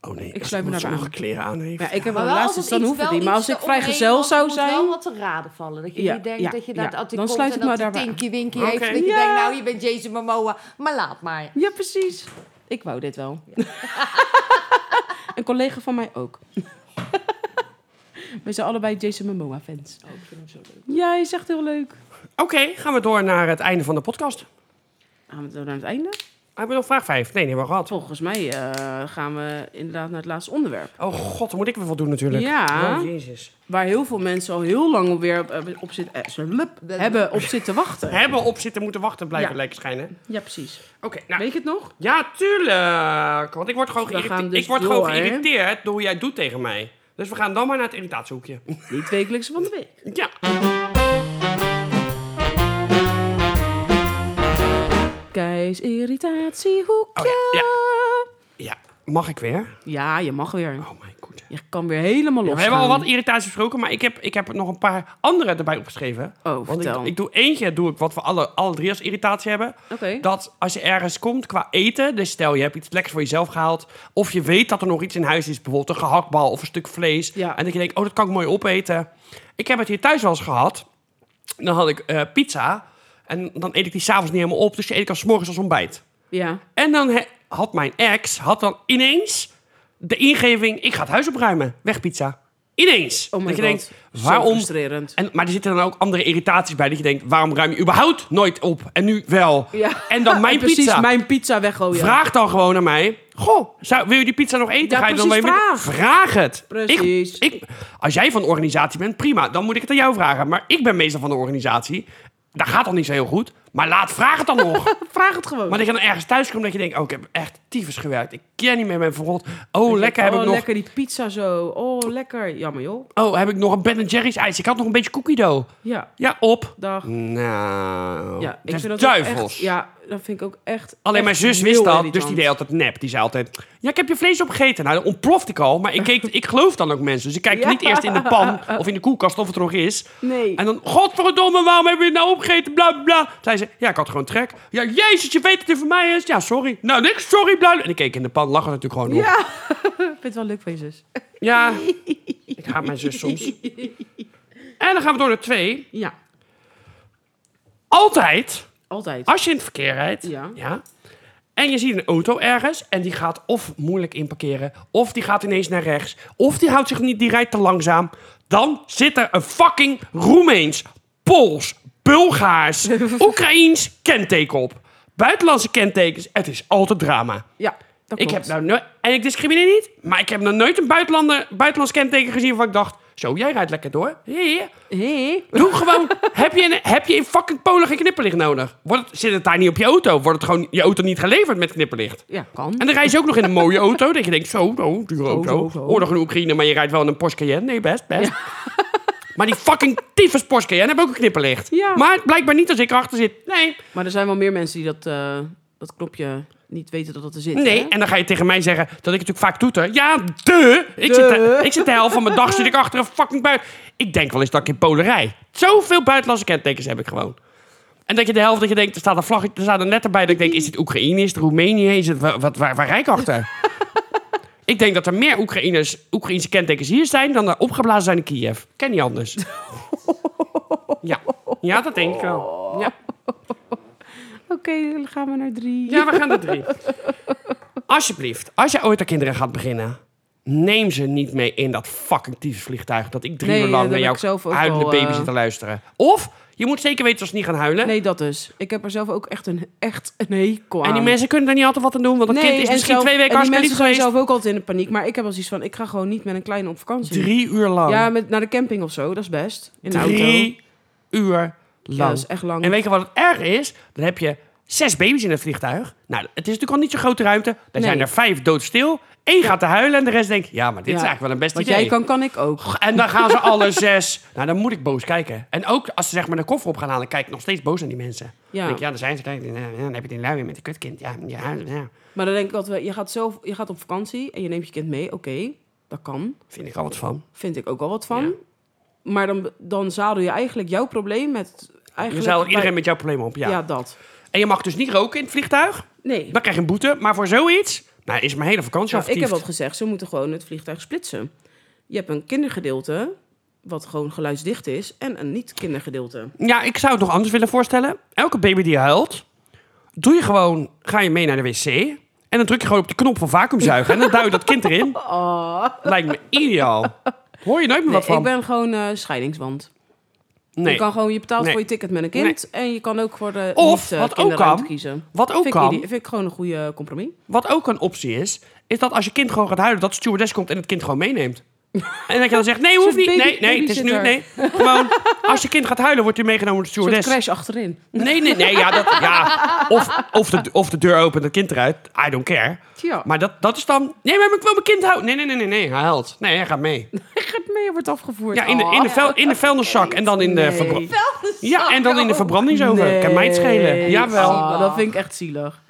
Speaker 1: Oh nee,
Speaker 2: Ik
Speaker 1: als iemand
Speaker 2: sluit me daarbij
Speaker 1: sommige
Speaker 2: aan.
Speaker 1: kleren aan heeft.
Speaker 2: Ja, ik heb
Speaker 3: Maar
Speaker 2: wel
Speaker 3: wel als
Speaker 2: laatst,
Speaker 3: het
Speaker 2: dan
Speaker 3: iets-
Speaker 2: hoeft het
Speaker 3: wel
Speaker 2: niet. Maar als
Speaker 3: iets
Speaker 2: ik
Speaker 3: eromheen,
Speaker 2: vrijgezel
Speaker 3: want
Speaker 2: zou
Speaker 3: er moet wel
Speaker 2: zijn...
Speaker 3: wat te raden vallen. Dat je
Speaker 2: Ja,
Speaker 3: niet denkt
Speaker 2: ja,
Speaker 3: dat je
Speaker 2: ja.
Speaker 3: naar het
Speaker 2: Dan
Speaker 3: komt
Speaker 2: sluit
Speaker 3: en
Speaker 2: ik me
Speaker 3: dat die
Speaker 2: daarbij aan.
Speaker 3: Tinky Winky heeft.
Speaker 1: Oké.
Speaker 3: Dat je
Speaker 2: Ja.
Speaker 3: denkt, nou, je bent Jason Momoa, maar laat maar.
Speaker 2: Ja, precies. Ik wou dit wel. een collega van mij ook. We zijn allebei Jason Momoa fans.
Speaker 3: Oh, ik vind hem zo leuk.
Speaker 2: Ja, je zegt heel leuk.
Speaker 1: Oké, gaan we door naar het einde van de podcast.
Speaker 2: Gaan we door naar het einde?
Speaker 1: Hebben we nog vraag 5? Nee, die hebben we al gehad.
Speaker 2: Volgens mij eh, gaan we inderdaad naar het laatste onderwerp.
Speaker 1: Oh god, dan moet ik weer wat doen natuurlijk.
Speaker 2: Ja.
Speaker 1: Oh, jezus.
Speaker 2: Waar heel veel mensen al heel lang op weer op, eh, op, zit, eh, slup, hebben op zitten wachten.
Speaker 1: Hebben op zitten moeten wachten blijven
Speaker 2: Ja.
Speaker 1: lijkt schijnen.
Speaker 2: Ja, precies.
Speaker 1: Oké, nou...
Speaker 2: Weet je het nog?
Speaker 1: Ja, tuurlijk. Want ik word gewoon,
Speaker 2: We gaan
Speaker 1: geïrrite-
Speaker 2: dus
Speaker 1: ik word gewoon
Speaker 2: door, hè?
Speaker 1: geïrriteerd door hoe jij het doet tegen mij. Dus we gaan dan maar naar het irritatiehoekje.
Speaker 2: Niet wekelijks van de week.
Speaker 1: Ja.
Speaker 2: Keis irritatiehoekje.
Speaker 1: Oh ja, Ja, mag ik weer?
Speaker 2: ja, je mag weer.
Speaker 1: Oh my god.
Speaker 2: Je kan weer helemaal los.
Speaker 1: We hebben al wat
Speaker 2: ehm,
Speaker 1: irritaties besproken, maar ik heb, ik heb er nog een paar andere erbij opgeschreven.
Speaker 2: Oh,
Speaker 1: Want ik,
Speaker 2: vertel.
Speaker 1: ik doe eentje, doe ik wat we alle, alle drie als irritatie hebben.
Speaker 2: Oké.
Speaker 1: Dat als je ergens komt qua eten, dus stel je hebt iets lekkers voor jezelf gehaald. Of je weet dat er nog iets in huis is, bijvoorbeeld een gehaktbal of een stuk vlees.
Speaker 2: Ja.
Speaker 1: En dat je denkt, oh dat kan ik mooi opeten. Ik heb het hier thuis wel eens gehad. Dan had ik eh, pizza en dan eet ik die s'avonds niet helemaal op. Dus die eet ik als 's morgens als ontbijt.
Speaker 2: Ja.
Speaker 1: En dan he- had mijn ex had dan ineens de ingeving: ik ga het huis opruimen. Weg pizza. Ineens.
Speaker 2: Oh my
Speaker 1: dat je
Speaker 2: God.
Speaker 1: denkt:
Speaker 2: Zo
Speaker 1: waarom?
Speaker 2: frustrerend.
Speaker 1: En, maar er zitten dan ook andere irritaties bij. Dat je denkt: waarom ruim je überhaupt nooit op? En nu wel.
Speaker 2: Ja.
Speaker 1: En dan mijn
Speaker 2: Ah, precies
Speaker 1: pizza.
Speaker 2: mijn pizza weggooien.
Speaker 1: Vraag dan gewoon aan mij. Goh, zou, wil je die pizza nog eten?
Speaker 2: Ja,
Speaker 1: Ga je dan
Speaker 2: precies,
Speaker 1: mee met- vraag het.
Speaker 2: Precies.
Speaker 1: Ik, ik, als jij van de organisatie bent, prima. Dan moet ik het aan jou vragen. Maar ik ben meestal van de organisatie. Dat gaat dan niet zo heel goed. Maar laat, vraag het dan nog.
Speaker 2: Ah, Vraag het gewoon.
Speaker 1: Maar dat je dan ergens thuis komt dat je denkt, oh, ik heb echt tyfus gewerkt. Ik ken niet meer mijn verrot. Oh,
Speaker 2: Ik
Speaker 1: lekker
Speaker 2: denk,
Speaker 1: heb ik
Speaker 2: oh,
Speaker 1: nog.
Speaker 2: lekker die pizza zo. Oh, lekker. Jammer joh.
Speaker 1: Oh, heb ik nog een Ben Jerry's ijs. Ik had nog een beetje cookie dough.
Speaker 2: Ja,
Speaker 1: Ja, op.
Speaker 2: dag.
Speaker 1: Nou,
Speaker 2: Ja,
Speaker 1: dat is
Speaker 2: vind dat ook
Speaker 1: duivels.
Speaker 2: echt- ja, dat vind ik ook echt.
Speaker 1: Alleen mijn
Speaker 2: echt
Speaker 1: zus
Speaker 2: heel
Speaker 1: wist dat, dus
Speaker 2: irritant.
Speaker 1: die deed altijd nep. Die zei altijd, ja, ik heb je vlees opgegeten. Nou, dan ontplofte ik al, maar ik, keek, ik geloof dan ook mensen. Dus ik kijk
Speaker 2: Ja.
Speaker 1: niet eerst in de pan of in de koelkast of het er nog is.
Speaker 2: Nee.
Speaker 1: En dan, godverdomme, waarom heb je het nou opgegeten? Bla, bla, bla. Zei ze, ja, ik had gewoon trek. Ja, jezus, je weet dat het voor mij is. Ja, sorry. Nou, niks, sorry, bla. bla. En ik keek in de pan, lag er natuurlijk gewoon op.
Speaker 2: Ja. ik vind het wel leuk van je zus.
Speaker 1: Ja, ik haat mijn zus soms. En dan gaan we door naar twee.
Speaker 2: Ja,
Speaker 1: Altijd,
Speaker 2: altijd.
Speaker 1: als je in het verkeer rijdt...
Speaker 2: Ja.
Speaker 1: en je ziet een auto ergens en die gaat of moeilijk inparkeren... of die gaat ineens naar rechts... of die houdt zich niet, die rijdt te langzaam... dan zit er een fucking Roemeens, Pools, Bulgaars, Oekraïens kenteken op. Buitenlandse kentekens, het is altijd drama.
Speaker 2: Ja, dat
Speaker 1: Ik nou
Speaker 2: klopt.
Speaker 1: heb nou nooit, en ik discrimineer niet, maar ik heb nog nooit een buitenlander, buitenlands kenteken gezien waarvan ik dacht, Zo, jij rijdt lekker door. Hier.
Speaker 2: Hé?
Speaker 1: Doe gewoon. heb, je in, heb je in fucking Polen geen knipperlicht nodig? Wordt het, zit het daar niet op je auto? Wordt het gewoon je auto niet geleverd met knipperlicht?
Speaker 2: Ja, kan.
Speaker 1: En dan rij je ook nog in een mooie auto. Dat je denkt, zo, nou, dure auto.
Speaker 2: zo, zo.
Speaker 1: Oorlog in Oekraïne, maar je rijdt wel in een Porsche Cayenne. Nee, best, best. Maar die fucking tyfus Porsche Cayenne hebben ook een knipperlicht.
Speaker 2: Ja.
Speaker 1: Maar blijkbaar niet als ik erachter zit. Nee,
Speaker 2: Maar er zijn wel meer mensen die dat, eh, dat knopje niet weten dat dat er zit.
Speaker 1: nee.
Speaker 2: hè?
Speaker 1: En dan ga je tegen mij zeggen dat ik natuurlijk vaak toeter. Ja, de. Ik,
Speaker 2: Duh.
Speaker 1: Zit de, ik zit de helft van mijn dag zit ik achter een fucking buiten. Ik denk wel eens dat ik in Polen rij. Zoveel buitenlandse kentekens heb ik gewoon. En dat je de helft dat je denkt, er staat een vlag, er staat een letter bij. Dat ik denk, is het Oekraïne, is het Roemenië, is het, wa- wat, waar, waar rijk achter? ik denk dat er meer Oekraïners, Oekraïnse kentekens hier zijn dan er opgeblazen zijn in Kiev. Ken niet anders. ja. ja, dat denk ik wel. Ja.
Speaker 2: Oké, dan gaan we naar drie.
Speaker 1: Ja, we gaan er drie. Alsjeblieft, als jij ooit aan kinderen gaat beginnen, neem ze niet mee in dat fucking tyfusvliegtuig. Dat ik drie
Speaker 2: Nee,
Speaker 1: uur
Speaker 2: dat
Speaker 1: lang
Speaker 2: heb
Speaker 1: naar
Speaker 2: ik
Speaker 1: jouw
Speaker 2: zelf ook
Speaker 1: huilende
Speaker 2: al,
Speaker 1: baby
Speaker 2: eh.
Speaker 1: zit te luisteren. Of je moet zeker weten dat ze niet gaan huilen.
Speaker 2: Nee, dat dus. Ik heb er zelf ook echt een, echt een hekel aan.
Speaker 1: En die mensen kunnen daar niet altijd wat aan doen, want dat
Speaker 2: Nee,
Speaker 1: kind is
Speaker 2: en
Speaker 1: misschien
Speaker 2: zelf-
Speaker 1: twee weken
Speaker 2: en die
Speaker 1: hartstikke lief
Speaker 2: mensen zijn
Speaker 1: geweest.
Speaker 2: zelf ook altijd in de paniek. Maar ik heb wel zoiets van, ik ga gewoon niet met een kleine op vakantie.
Speaker 1: Drie uur lang.
Speaker 2: Ja, met, naar de camping of zo, dat is best. In de auto.
Speaker 1: drie uur lang.
Speaker 2: nou, Ja, dat is echt lang.
Speaker 1: En weet je wat het erg is? Dan heb je zes baby's in het vliegtuig. Nou, het is natuurlijk al niet zo'n grote ruimte. Dan
Speaker 2: Nee.
Speaker 1: zijn er vijf doodstil. Eén gaat te huilen en de rest denkt, ja, maar dit
Speaker 2: Ja.
Speaker 1: is eigenlijk wel een best
Speaker 2: Wat
Speaker 1: idee.
Speaker 2: jij kan, kan ik ook.
Speaker 1: En dan gaan ze alle zes. Nou, dan moet ik boos kijken. En ook als ze zeg maar de koffer op gaan halen, kijk ik nog steeds boos naar die mensen. Ja,
Speaker 2: Ja.
Speaker 1: denk, ik, ja daar zijn ze. Kijk, ja, ja, dan heb je die lui weer met een kutkind. Ja, ja, ja.
Speaker 2: Maar dan denk ik altijd, wel, je gaat, zelf, je gaat op vakantie en je neemt je kind mee. Oké, dat kan.
Speaker 1: Vind ik al wat van.
Speaker 2: Vind ik ook al wat van.
Speaker 1: Ja.
Speaker 2: Maar dan, dan zadel je eigenlijk jouw probleem met...
Speaker 1: Je
Speaker 2: Eigenlijk
Speaker 1: zou
Speaker 2: bij-
Speaker 1: iedereen met jouw probleem op. Ja.
Speaker 2: Ja. dat.
Speaker 1: En je mag dus niet roken in het vliegtuig.
Speaker 2: Nee.
Speaker 1: Dan krijg je een boete. Maar voor zoiets nou, is mijn hele vakantie
Speaker 2: Nou,
Speaker 1: al
Speaker 2: ik heb
Speaker 1: vertiefd.
Speaker 2: al gezegd, ze moeten gewoon het vliegtuig splitsen. Je hebt een kindergedeelte, wat gewoon geluidsdicht is, en een niet-kindergedeelte.
Speaker 1: Ja, ik zou het nog anders willen voorstellen. Elke baby die huilt, doe je gewoon, ga je mee naar de wc. En dan druk je gewoon op de knop van vacuümzuigen. en dan duw je dat kind erin. Lijkt me ideaal. Hoor je nooit meer
Speaker 2: Oh. Nee,
Speaker 1: wat van.
Speaker 2: ik ben gewoon eh, scheidingswand.
Speaker 1: Nee.
Speaker 2: Je kan gewoon, je betaalt
Speaker 1: Nee.
Speaker 2: voor je ticket met een kind, en je kan ook voor de
Speaker 1: Of,
Speaker 2: niet, eh,
Speaker 1: wat ook
Speaker 2: kinderruimte
Speaker 1: kan,
Speaker 2: kiezen.
Speaker 1: Wat ook
Speaker 2: vind,
Speaker 1: kan,
Speaker 2: Ik, ide- vind ik gewoon een goede compromis.
Speaker 1: wat ook een optie is, is dat als je kind gewoon gaat huilen, dat de stewardess komt en het kind gewoon meeneemt. En dat je dan zegt, nee, hoeft
Speaker 2: Zo'n
Speaker 1: niet. Nee,
Speaker 2: baby-
Speaker 1: nee, het is nu, nee.
Speaker 2: babysitter.
Speaker 1: Gewoon, als je kind gaat huilen, wordt hij meegenomen door de
Speaker 2: Een soort
Speaker 1: stewardess.
Speaker 2: crash achterin.
Speaker 1: Nee, nee, nee, ja, dat, ja. Of, of, de, of de deur opent, het kind eruit. I don't care.
Speaker 2: Tja, maar
Speaker 1: Maar dat, dat is dan, nee, maar ik wil mijn kind houden. Nee, nee, nee, nee, nee, hij huilt. Nee, hij gaat mee.
Speaker 2: gaat mee, wordt afgevoerd.
Speaker 1: Ja, in de, in de, vuil, in de vuilniszak en dan in de
Speaker 2: Nee.
Speaker 1: verbranding. Ja, en dan in de verbrandingsoven.
Speaker 2: Oh. Nee.
Speaker 1: Kan mij het schelen. Jawel.
Speaker 2: Ah, dat vind ik echt zielig.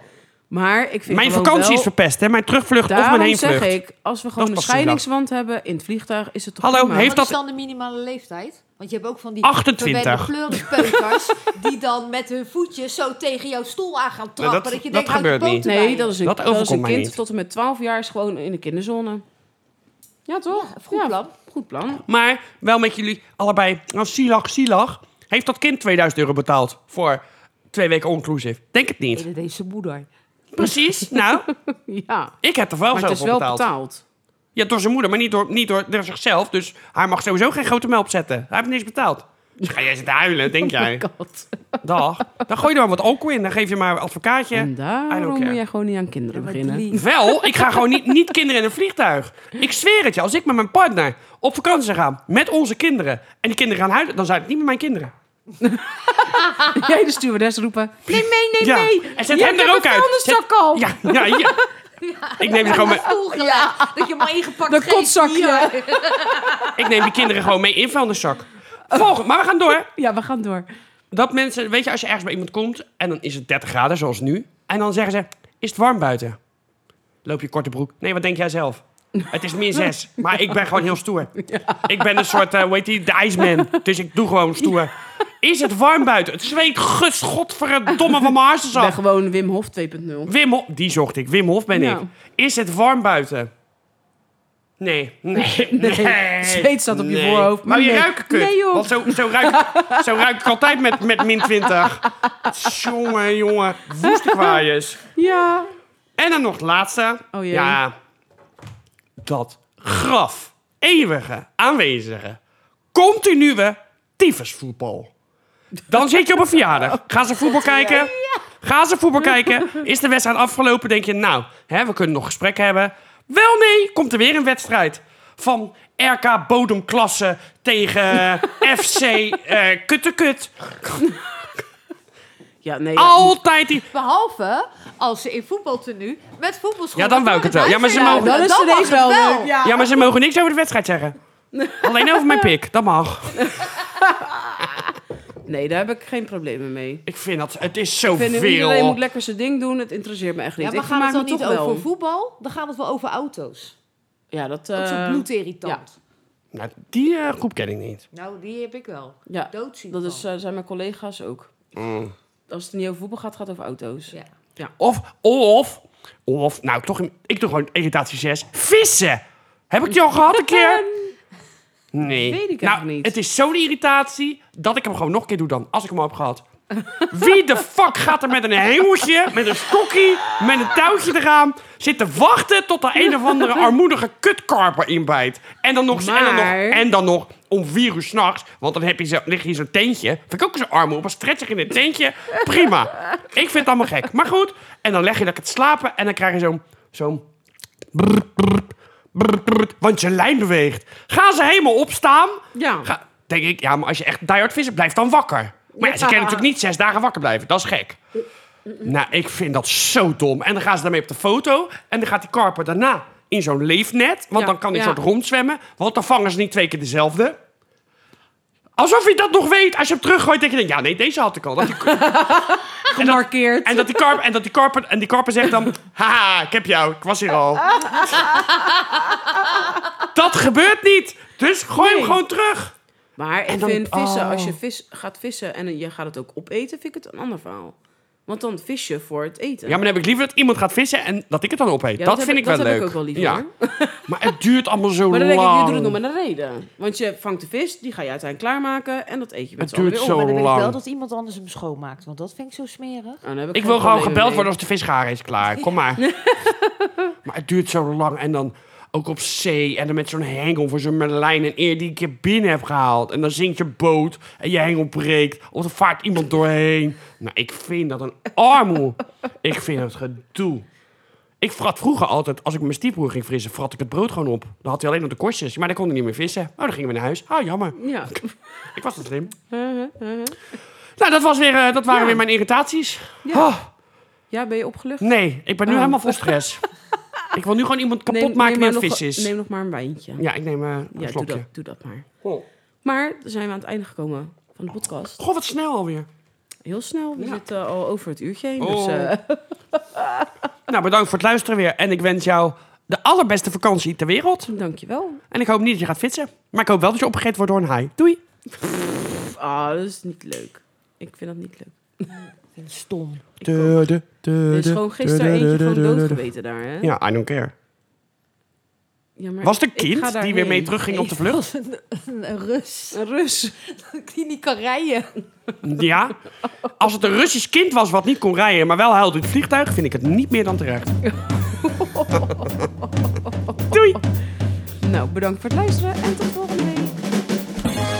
Speaker 2: Maar ik vind
Speaker 1: Mijn
Speaker 2: gewoon
Speaker 1: vakantie
Speaker 2: wel-
Speaker 1: is verpest, hè. Mijn terugvlucht of mijn
Speaker 2: Daarom
Speaker 1: heenvlucht.
Speaker 2: zeg ik, als we
Speaker 1: Dat
Speaker 2: gewoon een
Speaker 1: past niet lang.
Speaker 2: scheidingswand hebben in het vliegtuig, is het toch
Speaker 1: Hallo,
Speaker 2: prima?
Speaker 1: heeft
Speaker 3: Wat is
Speaker 1: dat-
Speaker 3: dan de minimale leeftijd? Want je hebt ook van die
Speaker 1: 28.
Speaker 3: verwende pleurenpeuters die dan met hun voetjes zo tegen jouw stoel aan gaan trappen.
Speaker 1: Nou, dat-
Speaker 3: dat, je
Speaker 1: dat
Speaker 3: denkt, houd je
Speaker 1: gebeurt
Speaker 3: poten
Speaker 1: niet.
Speaker 2: Nee,
Speaker 3: bij
Speaker 2: dat is een,
Speaker 1: Dat
Speaker 2: dat is
Speaker 1: overkomt
Speaker 2: een
Speaker 1: mij
Speaker 2: kind
Speaker 1: niet.
Speaker 2: tot en met 12 jaar is gewoon in de kinderzone. Ja, toch?
Speaker 3: Ja, goed plan.
Speaker 2: Goed plan.
Speaker 1: Maar wel met jullie allebei. Nou, Silag, Silag. Heeft dat kind 2000 euro betaald voor twee weken all-inclusive? Denk het
Speaker 3: Nee,
Speaker 1: niet.
Speaker 3: dat deed zijn moeder.
Speaker 1: Precies. Nou,
Speaker 2: Ja,
Speaker 1: ik heb er wel
Speaker 2: maar het
Speaker 1: zelf
Speaker 2: is
Speaker 1: voor
Speaker 2: wel
Speaker 1: betaald.
Speaker 2: betaald.
Speaker 1: Ja, door zijn moeder, maar niet door, niet door, door zichzelf. Dus hij mag sowieso geen grote melk zetten. Hij heeft niks betaald. Dus ga jij zitten huilen, denk jij.
Speaker 2: Oh God.
Speaker 1: Dag. Dan gooi je er maar wat alcohol in. Dan geef je maar een advocaatje.
Speaker 2: En daarom
Speaker 1: care.
Speaker 2: moet jij gewoon niet aan kinderen beginnen.
Speaker 1: Wel, ik ga gewoon niet, niet kinderen in een vliegtuig. Ik zweer het je, als ik met mijn partner op vakantie zou gaan met onze kinderen en die kinderen gaan huilen, dan zijn het niet meer mijn kinderen.
Speaker 2: Jij de stewardess roepen, nee, nee, nee,
Speaker 1: Ja.
Speaker 2: nee.
Speaker 1: En zet
Speaker 2: Jij
Speaker 1: hem er
Speaker 2: hebt
Speaker 1: ook
Speaker 2: een
Speaker 1: uit.
Speaker 2: vuilniszak al.
Speaker 1: Ja, ja, ja. Ik neem, ze gewoon mee,
Speaker 3: Ja. Dat je hem ingepakt eh,
Speaker 2: Dat
Speaker 3: geeft.
Speaker 2: kotzakje.
Speaker 3: Hier.
Speaker 1: ik neem die kinderen gewoon mee in vuilniszak. Volgende, maar we gaan door.
Speaker 2: Ja, we gaan door.
Speaker 1: Dat mensen, weet je, als je ergens bij iemand komt en dan is het 30 graden, zoals nu. En dan zeggen ze, is het warm buiten? Loop je korte broek. Nee, wat denk jij zelf? Het is min 6, maar ik ben gewoon heel stoer. Ik ben een soort, eh hoe heet die, de ijsman. Dus ik doe gewoon stoer. Is het warm buiten? Het zweet gus, godverdomme van mijn hartjes
Speaker 2: Ik ben
Speaker 1: af.
Speaker 2: gewoon Wim Hof 2.0.
Speaker 1: Wim Hof, die zocht ik. Wim Hof ben
Speaker 2: Ja.
Speaker 1: ik. Is het warm buiten? Nee, nee, nee.
Speaker 2: Zweet staat op je
Speaker 1: Nee.
Speaker 2: voorhoofd, maar
Speaker 1: Maar je
Speaker 2: nee.
Speaker 1: ruikt kut.
Speaker 2: Nee, joh.
Speaker 1: Want zo, zo, ruik, zo ruik ik altijd met, met min 20. Jongen, jongen. Woeste kwaaiers.
Speaker 2: Ja.
Speaker 1: En dan nog het laatste.
Speaker 2: Oh jee.
Speaker 1: Ja. Dat graf. Eeuwige. Aanwezige. Continue tyfusvoetbal. Dan zit je op een verjaardag. Gaan ze voetbal kijken? Gaan ze voetbal kijken? Is de wedstrijd afgelopen? Denk je, nou, hè, we kunnen nog gesprek hebben. Wel nee, komt er weer een wedstrijd. van RK Bodemklasse tegen FC eh Kuttekut.
Speaker 2: Ja, nee. ja.
Speaker 1: Altijd die...
Speaker 4: Behalve als ze in voetbaltenue met voetbalschoenen...
Speaker 1: Ja, dan wou ik het wel. Ja, maar ze
Speaker 4: thuis
Speaker 1: mogen-
Speaker 4: zijn.
Speaker 2: Dan is
Speaker 4: Dan
Speaker 2: het
Speaker 4: mag
Speaker 2: ineens
Speaker 4: het
Speaker 2: wel
Speaker 4: wel.
Speaker 2: leuk. Ja.
Speaker 1: Ja, maar ze mogen niks over de wedstrijd zeggen. Alleen over mijn pik, dat mag.
Speaker 2: Nee, daar heb ik geen problemen mee.
Speaker 1: Ik vind dat, het is
Speaker 2: Ik vind iedereen moet
Speaker 1: zoveel.
Speaker 2: lekker zijn ding doen. Het interesseert me echt niet.
Speaker 4: Ja,
Speaker 2: Ik
Speaker 4: maar gaan we
Speaker 2: vermaak
Speaker 4: het dan
Speaker 2: me
Speaker 4: niet
Speaker 2: toch
Speaker 4: over
Speaker 2: wel.
Speaker 4: voetbal? Dan gaan we het wel over auto's.
Speaker 2: Ja, dat...
Speaker 4: Dat is
Speaker 2: eh,
Speaker 4: ook bloedirritant.
Speaker 1: Nou, die eh, groep ken ik niet.
Speaker 4: Nou, die heb ik wel.
Speaker 2: ja,
Speaker 4: Doodziek
Speaker 2: dat
Speaker 4: van.
Speaker 2: is, eh, zijn mijn collega's ook.
Speaker 1: Mm.
Speaker 2: Als het niet over voetbal gaat, gaat het over auto's.
Speaker 4: Ja.
Speaker 1: Of, of, of, nou, toch, in- ik doe gewoon irritatie 6. Vissen! Heb ik die al gehad een keer? Nee.
Speaker 2: Weet
Speaker 1: nou,
Speaker 2: ik eigenlijk niet.
Speaker 1: Het is zo'n irritatie dat ik hem gewoon nog een keer doe dan, als ik hem al heb gehad. Wie de fuck gaat er met een hengeltje, met een stokkie, met een touwtje eraan zitten wachten tot er een of andere armoedige kutkarper inbijt? En dan nog, en dan nog,
Speaker 2: Maar-
Speaker 1: en dan nog om vier uur s'nachts, want dan heb je zo, lig je in zo'n tentje. Vind ik ook zo'n armen op een stretcher in een tentje. Prima. Ik vind het allemaal gek. Maar goed, en dan leg je lekker te slapen en dan krijg je zo'n, zo'n brrr, brrr, brrr, brrr, want je lijn beweegt. Gaan ze helemaal opstaan?
Speaker 2: Ja.
Speaker 1: Ga- denk ik, ja, maar als je echt diehard visser blijft, dan wakker. Maar ja, ze kunnen natuurlijk niet zes dagen wakker blijven. Dat is gek. Nou, ik vind dat zo dom. En dan gaan ze daarmee op de foto. En dan gaat die karper daarna in zo'n leefnet. Want
Speaker 2: Ja,
Speaker 1: dan kan hij
Speaker 2: ja.
Speaker 1: soort rondzwemmen. Want dan vangen ze niet twee keer dezelfde. Alsof je dat nog weet. Als je hem teruggooit, denk je... Ja, nee, deze had ik al. Dat die-
Speaker 2: Gemarkeerd.
Speaker 1: en dat die karper... En, dat die karper, en die karper zegt dan... Haha, ik heb jou. Ik was hier al. dat gebeurt niet. Dus gooi hem
Speaker 2: Nee.
Speaker 1: gewoon terug.
Speaker 2: Maar ik
Speaker 1: En dan-
Speaker 2: vind vissen,
Speaker 1: oh.
Speaker 2: als je vis gaat vissen en je gaat het ook opeten, vind ik het een ander verhaal. Want dan vis je voor het eten.
Speaker 1: Ja, maar dan heb ik liever dat iemand gaat vissen en dat ik het dan opeet.
Speaker 2: Ja,
Speaker 1: dat,
Speaker 2: heb
Speaker 1: vind ik wel
Speaker 2: dat
Speaker 1: leuk.
Speaker 2: heb ik ook wel liever.
Speaker 1: Ja.
Speaker 2: hoor.
Speaker 1: Maar het duurt allemaal zo
Speaker 2: Maar dan
Speaker 1: lang.
Speaker 2: denk ik, je doet het nog met een reden. Want je vangt de vis, die ga je uiteindelijk klaarmaken en dat eet je met
Speaker 1: Het
Speaker 2: z'n allen
Speaker 1: duurt
Speaker 2: weer op.
Speaker 1: zo
Speaker 3: Oh, Maar dan wil ik
Speaker 1: lang.
Speaker 3: wel dat iemand anders hem schoonmaakt, want dat vind ik zo smerig.
Speaker 2: Nou, dan heb
Speaker 1: Ik
Speaker 2: geen
Speaker 1: wil gewoon
Speaker 2: probleem
Speaker 1: gebeld
Speaker 2: mee.
Speaker 1: worden of de visgaren is klaar. Kom maar. maar het duurt zo lang. En dan ook op zee. En dan met zo'n hengel voor zo'n merlijn. En eer die ik je binnen heb gehaald. En dan zinkt je boot. En je hengel breekt. Of er vaart iemand doorheen. Nou, ik vind dat een armoe. ik vind het gedoe. Ik vrat vroeger altijd, als ik mijn stiefbroer ging frissen, vrat ik het brood gewoon op. Dan had hij alleen nog de korstjes. Maar dan kon hij niet meer vissen. Oh, dan gingen we naar huis. Ah, jammer.
Speaker 2: Ja.
Speaker 1: Ik was te slim. Nou, dat, was weer, eh, dat waren
Speaker 2: Ja.
Speaker 1: weer mijn irritaties.
Speaker 2: Ja.
Speaker 1: Oh.
Speaker 2: ja, ben je opgelucht?
Speaker 1: Nee, ik ben nu
Speaker 2: Oh.
Speaker 1: helemaal vol stress. ik wil nu gewoon iemand kapot
Speaker 2: Neem-
Speaker 1: maken die aan
Speaker 2: neem maar
Speaker 1: het
Speaker 2: nog-
Speaker 1: vis is.
Speaker 2: Neem nog maar een wijntje.
Speaker 1: Ja, ik neem eh, een
Speaker 2: Ja, doe, dat,
Speaker 1: slokje.
Speaker 2: doe dat maar.
Speaker 1: Goh.
Speaker 2: Maar dan zijn we aan het einde gekomen van de podcast.
Speaker 1: Goh, wat snel alweer.
Speaker 2: Heel snel, we
Speaker 1: Ja.
Speaker 2: zitten al over het uurtje heen.
Speaker 1: Oh.
Speaker 2: Dus, eh,
Speaker 1: Nou, bedankt voor het luisteren weer. En ik wens jou de allerbeste vakantie ter wereld.
Speaker 2: dankjewel.
Speaker 1: En ik hoop niet dat je gaat fietsen. Maar ik hoop wel dat je opgegeten wordt door een haai. Doei.
Speaker 2: Ah, dat is niet leuk. Ik vind dat niet leuk.
Speaker 3: Ik vind het stom.
Speaker 1: De, de, de,
Speaker 2: Er is
Speaker 1: de,
Speaker 2: gewoon
Speaker 1: de,
Speaker 2: gisteren
Speaker 1: de, de,
Speaker 2: eentje
Speaker 1: de,
Speaker 2: gewoon
Speaker 1: de, de, de.
Speaker 2: doodgebeten daar, hè?
Speaker 1: Ja, I don't care.
Speaker 2: Ja, maar
Speaker 1: Was het een
Speaker 2: ik ga
Speaker 1: kind
Speaker 2: daar
Speaker 1: die weer mee
Speaker 2: heen.
Speaker 1: terugging op de vlucht?
Speaker 3: Een, een Rus
Speaker 2: Een Rus.
Speaker 3: die niet kan rijden.
Speaker 1: Ja. Als het een Russisch kind was wat niet kon rijden, maar wel huilde in het vliegtuig, vind ik het niet meer dan terecht. Doei!
Speaker 2: Nou, bedankt voor het luisteren en tot volgende week.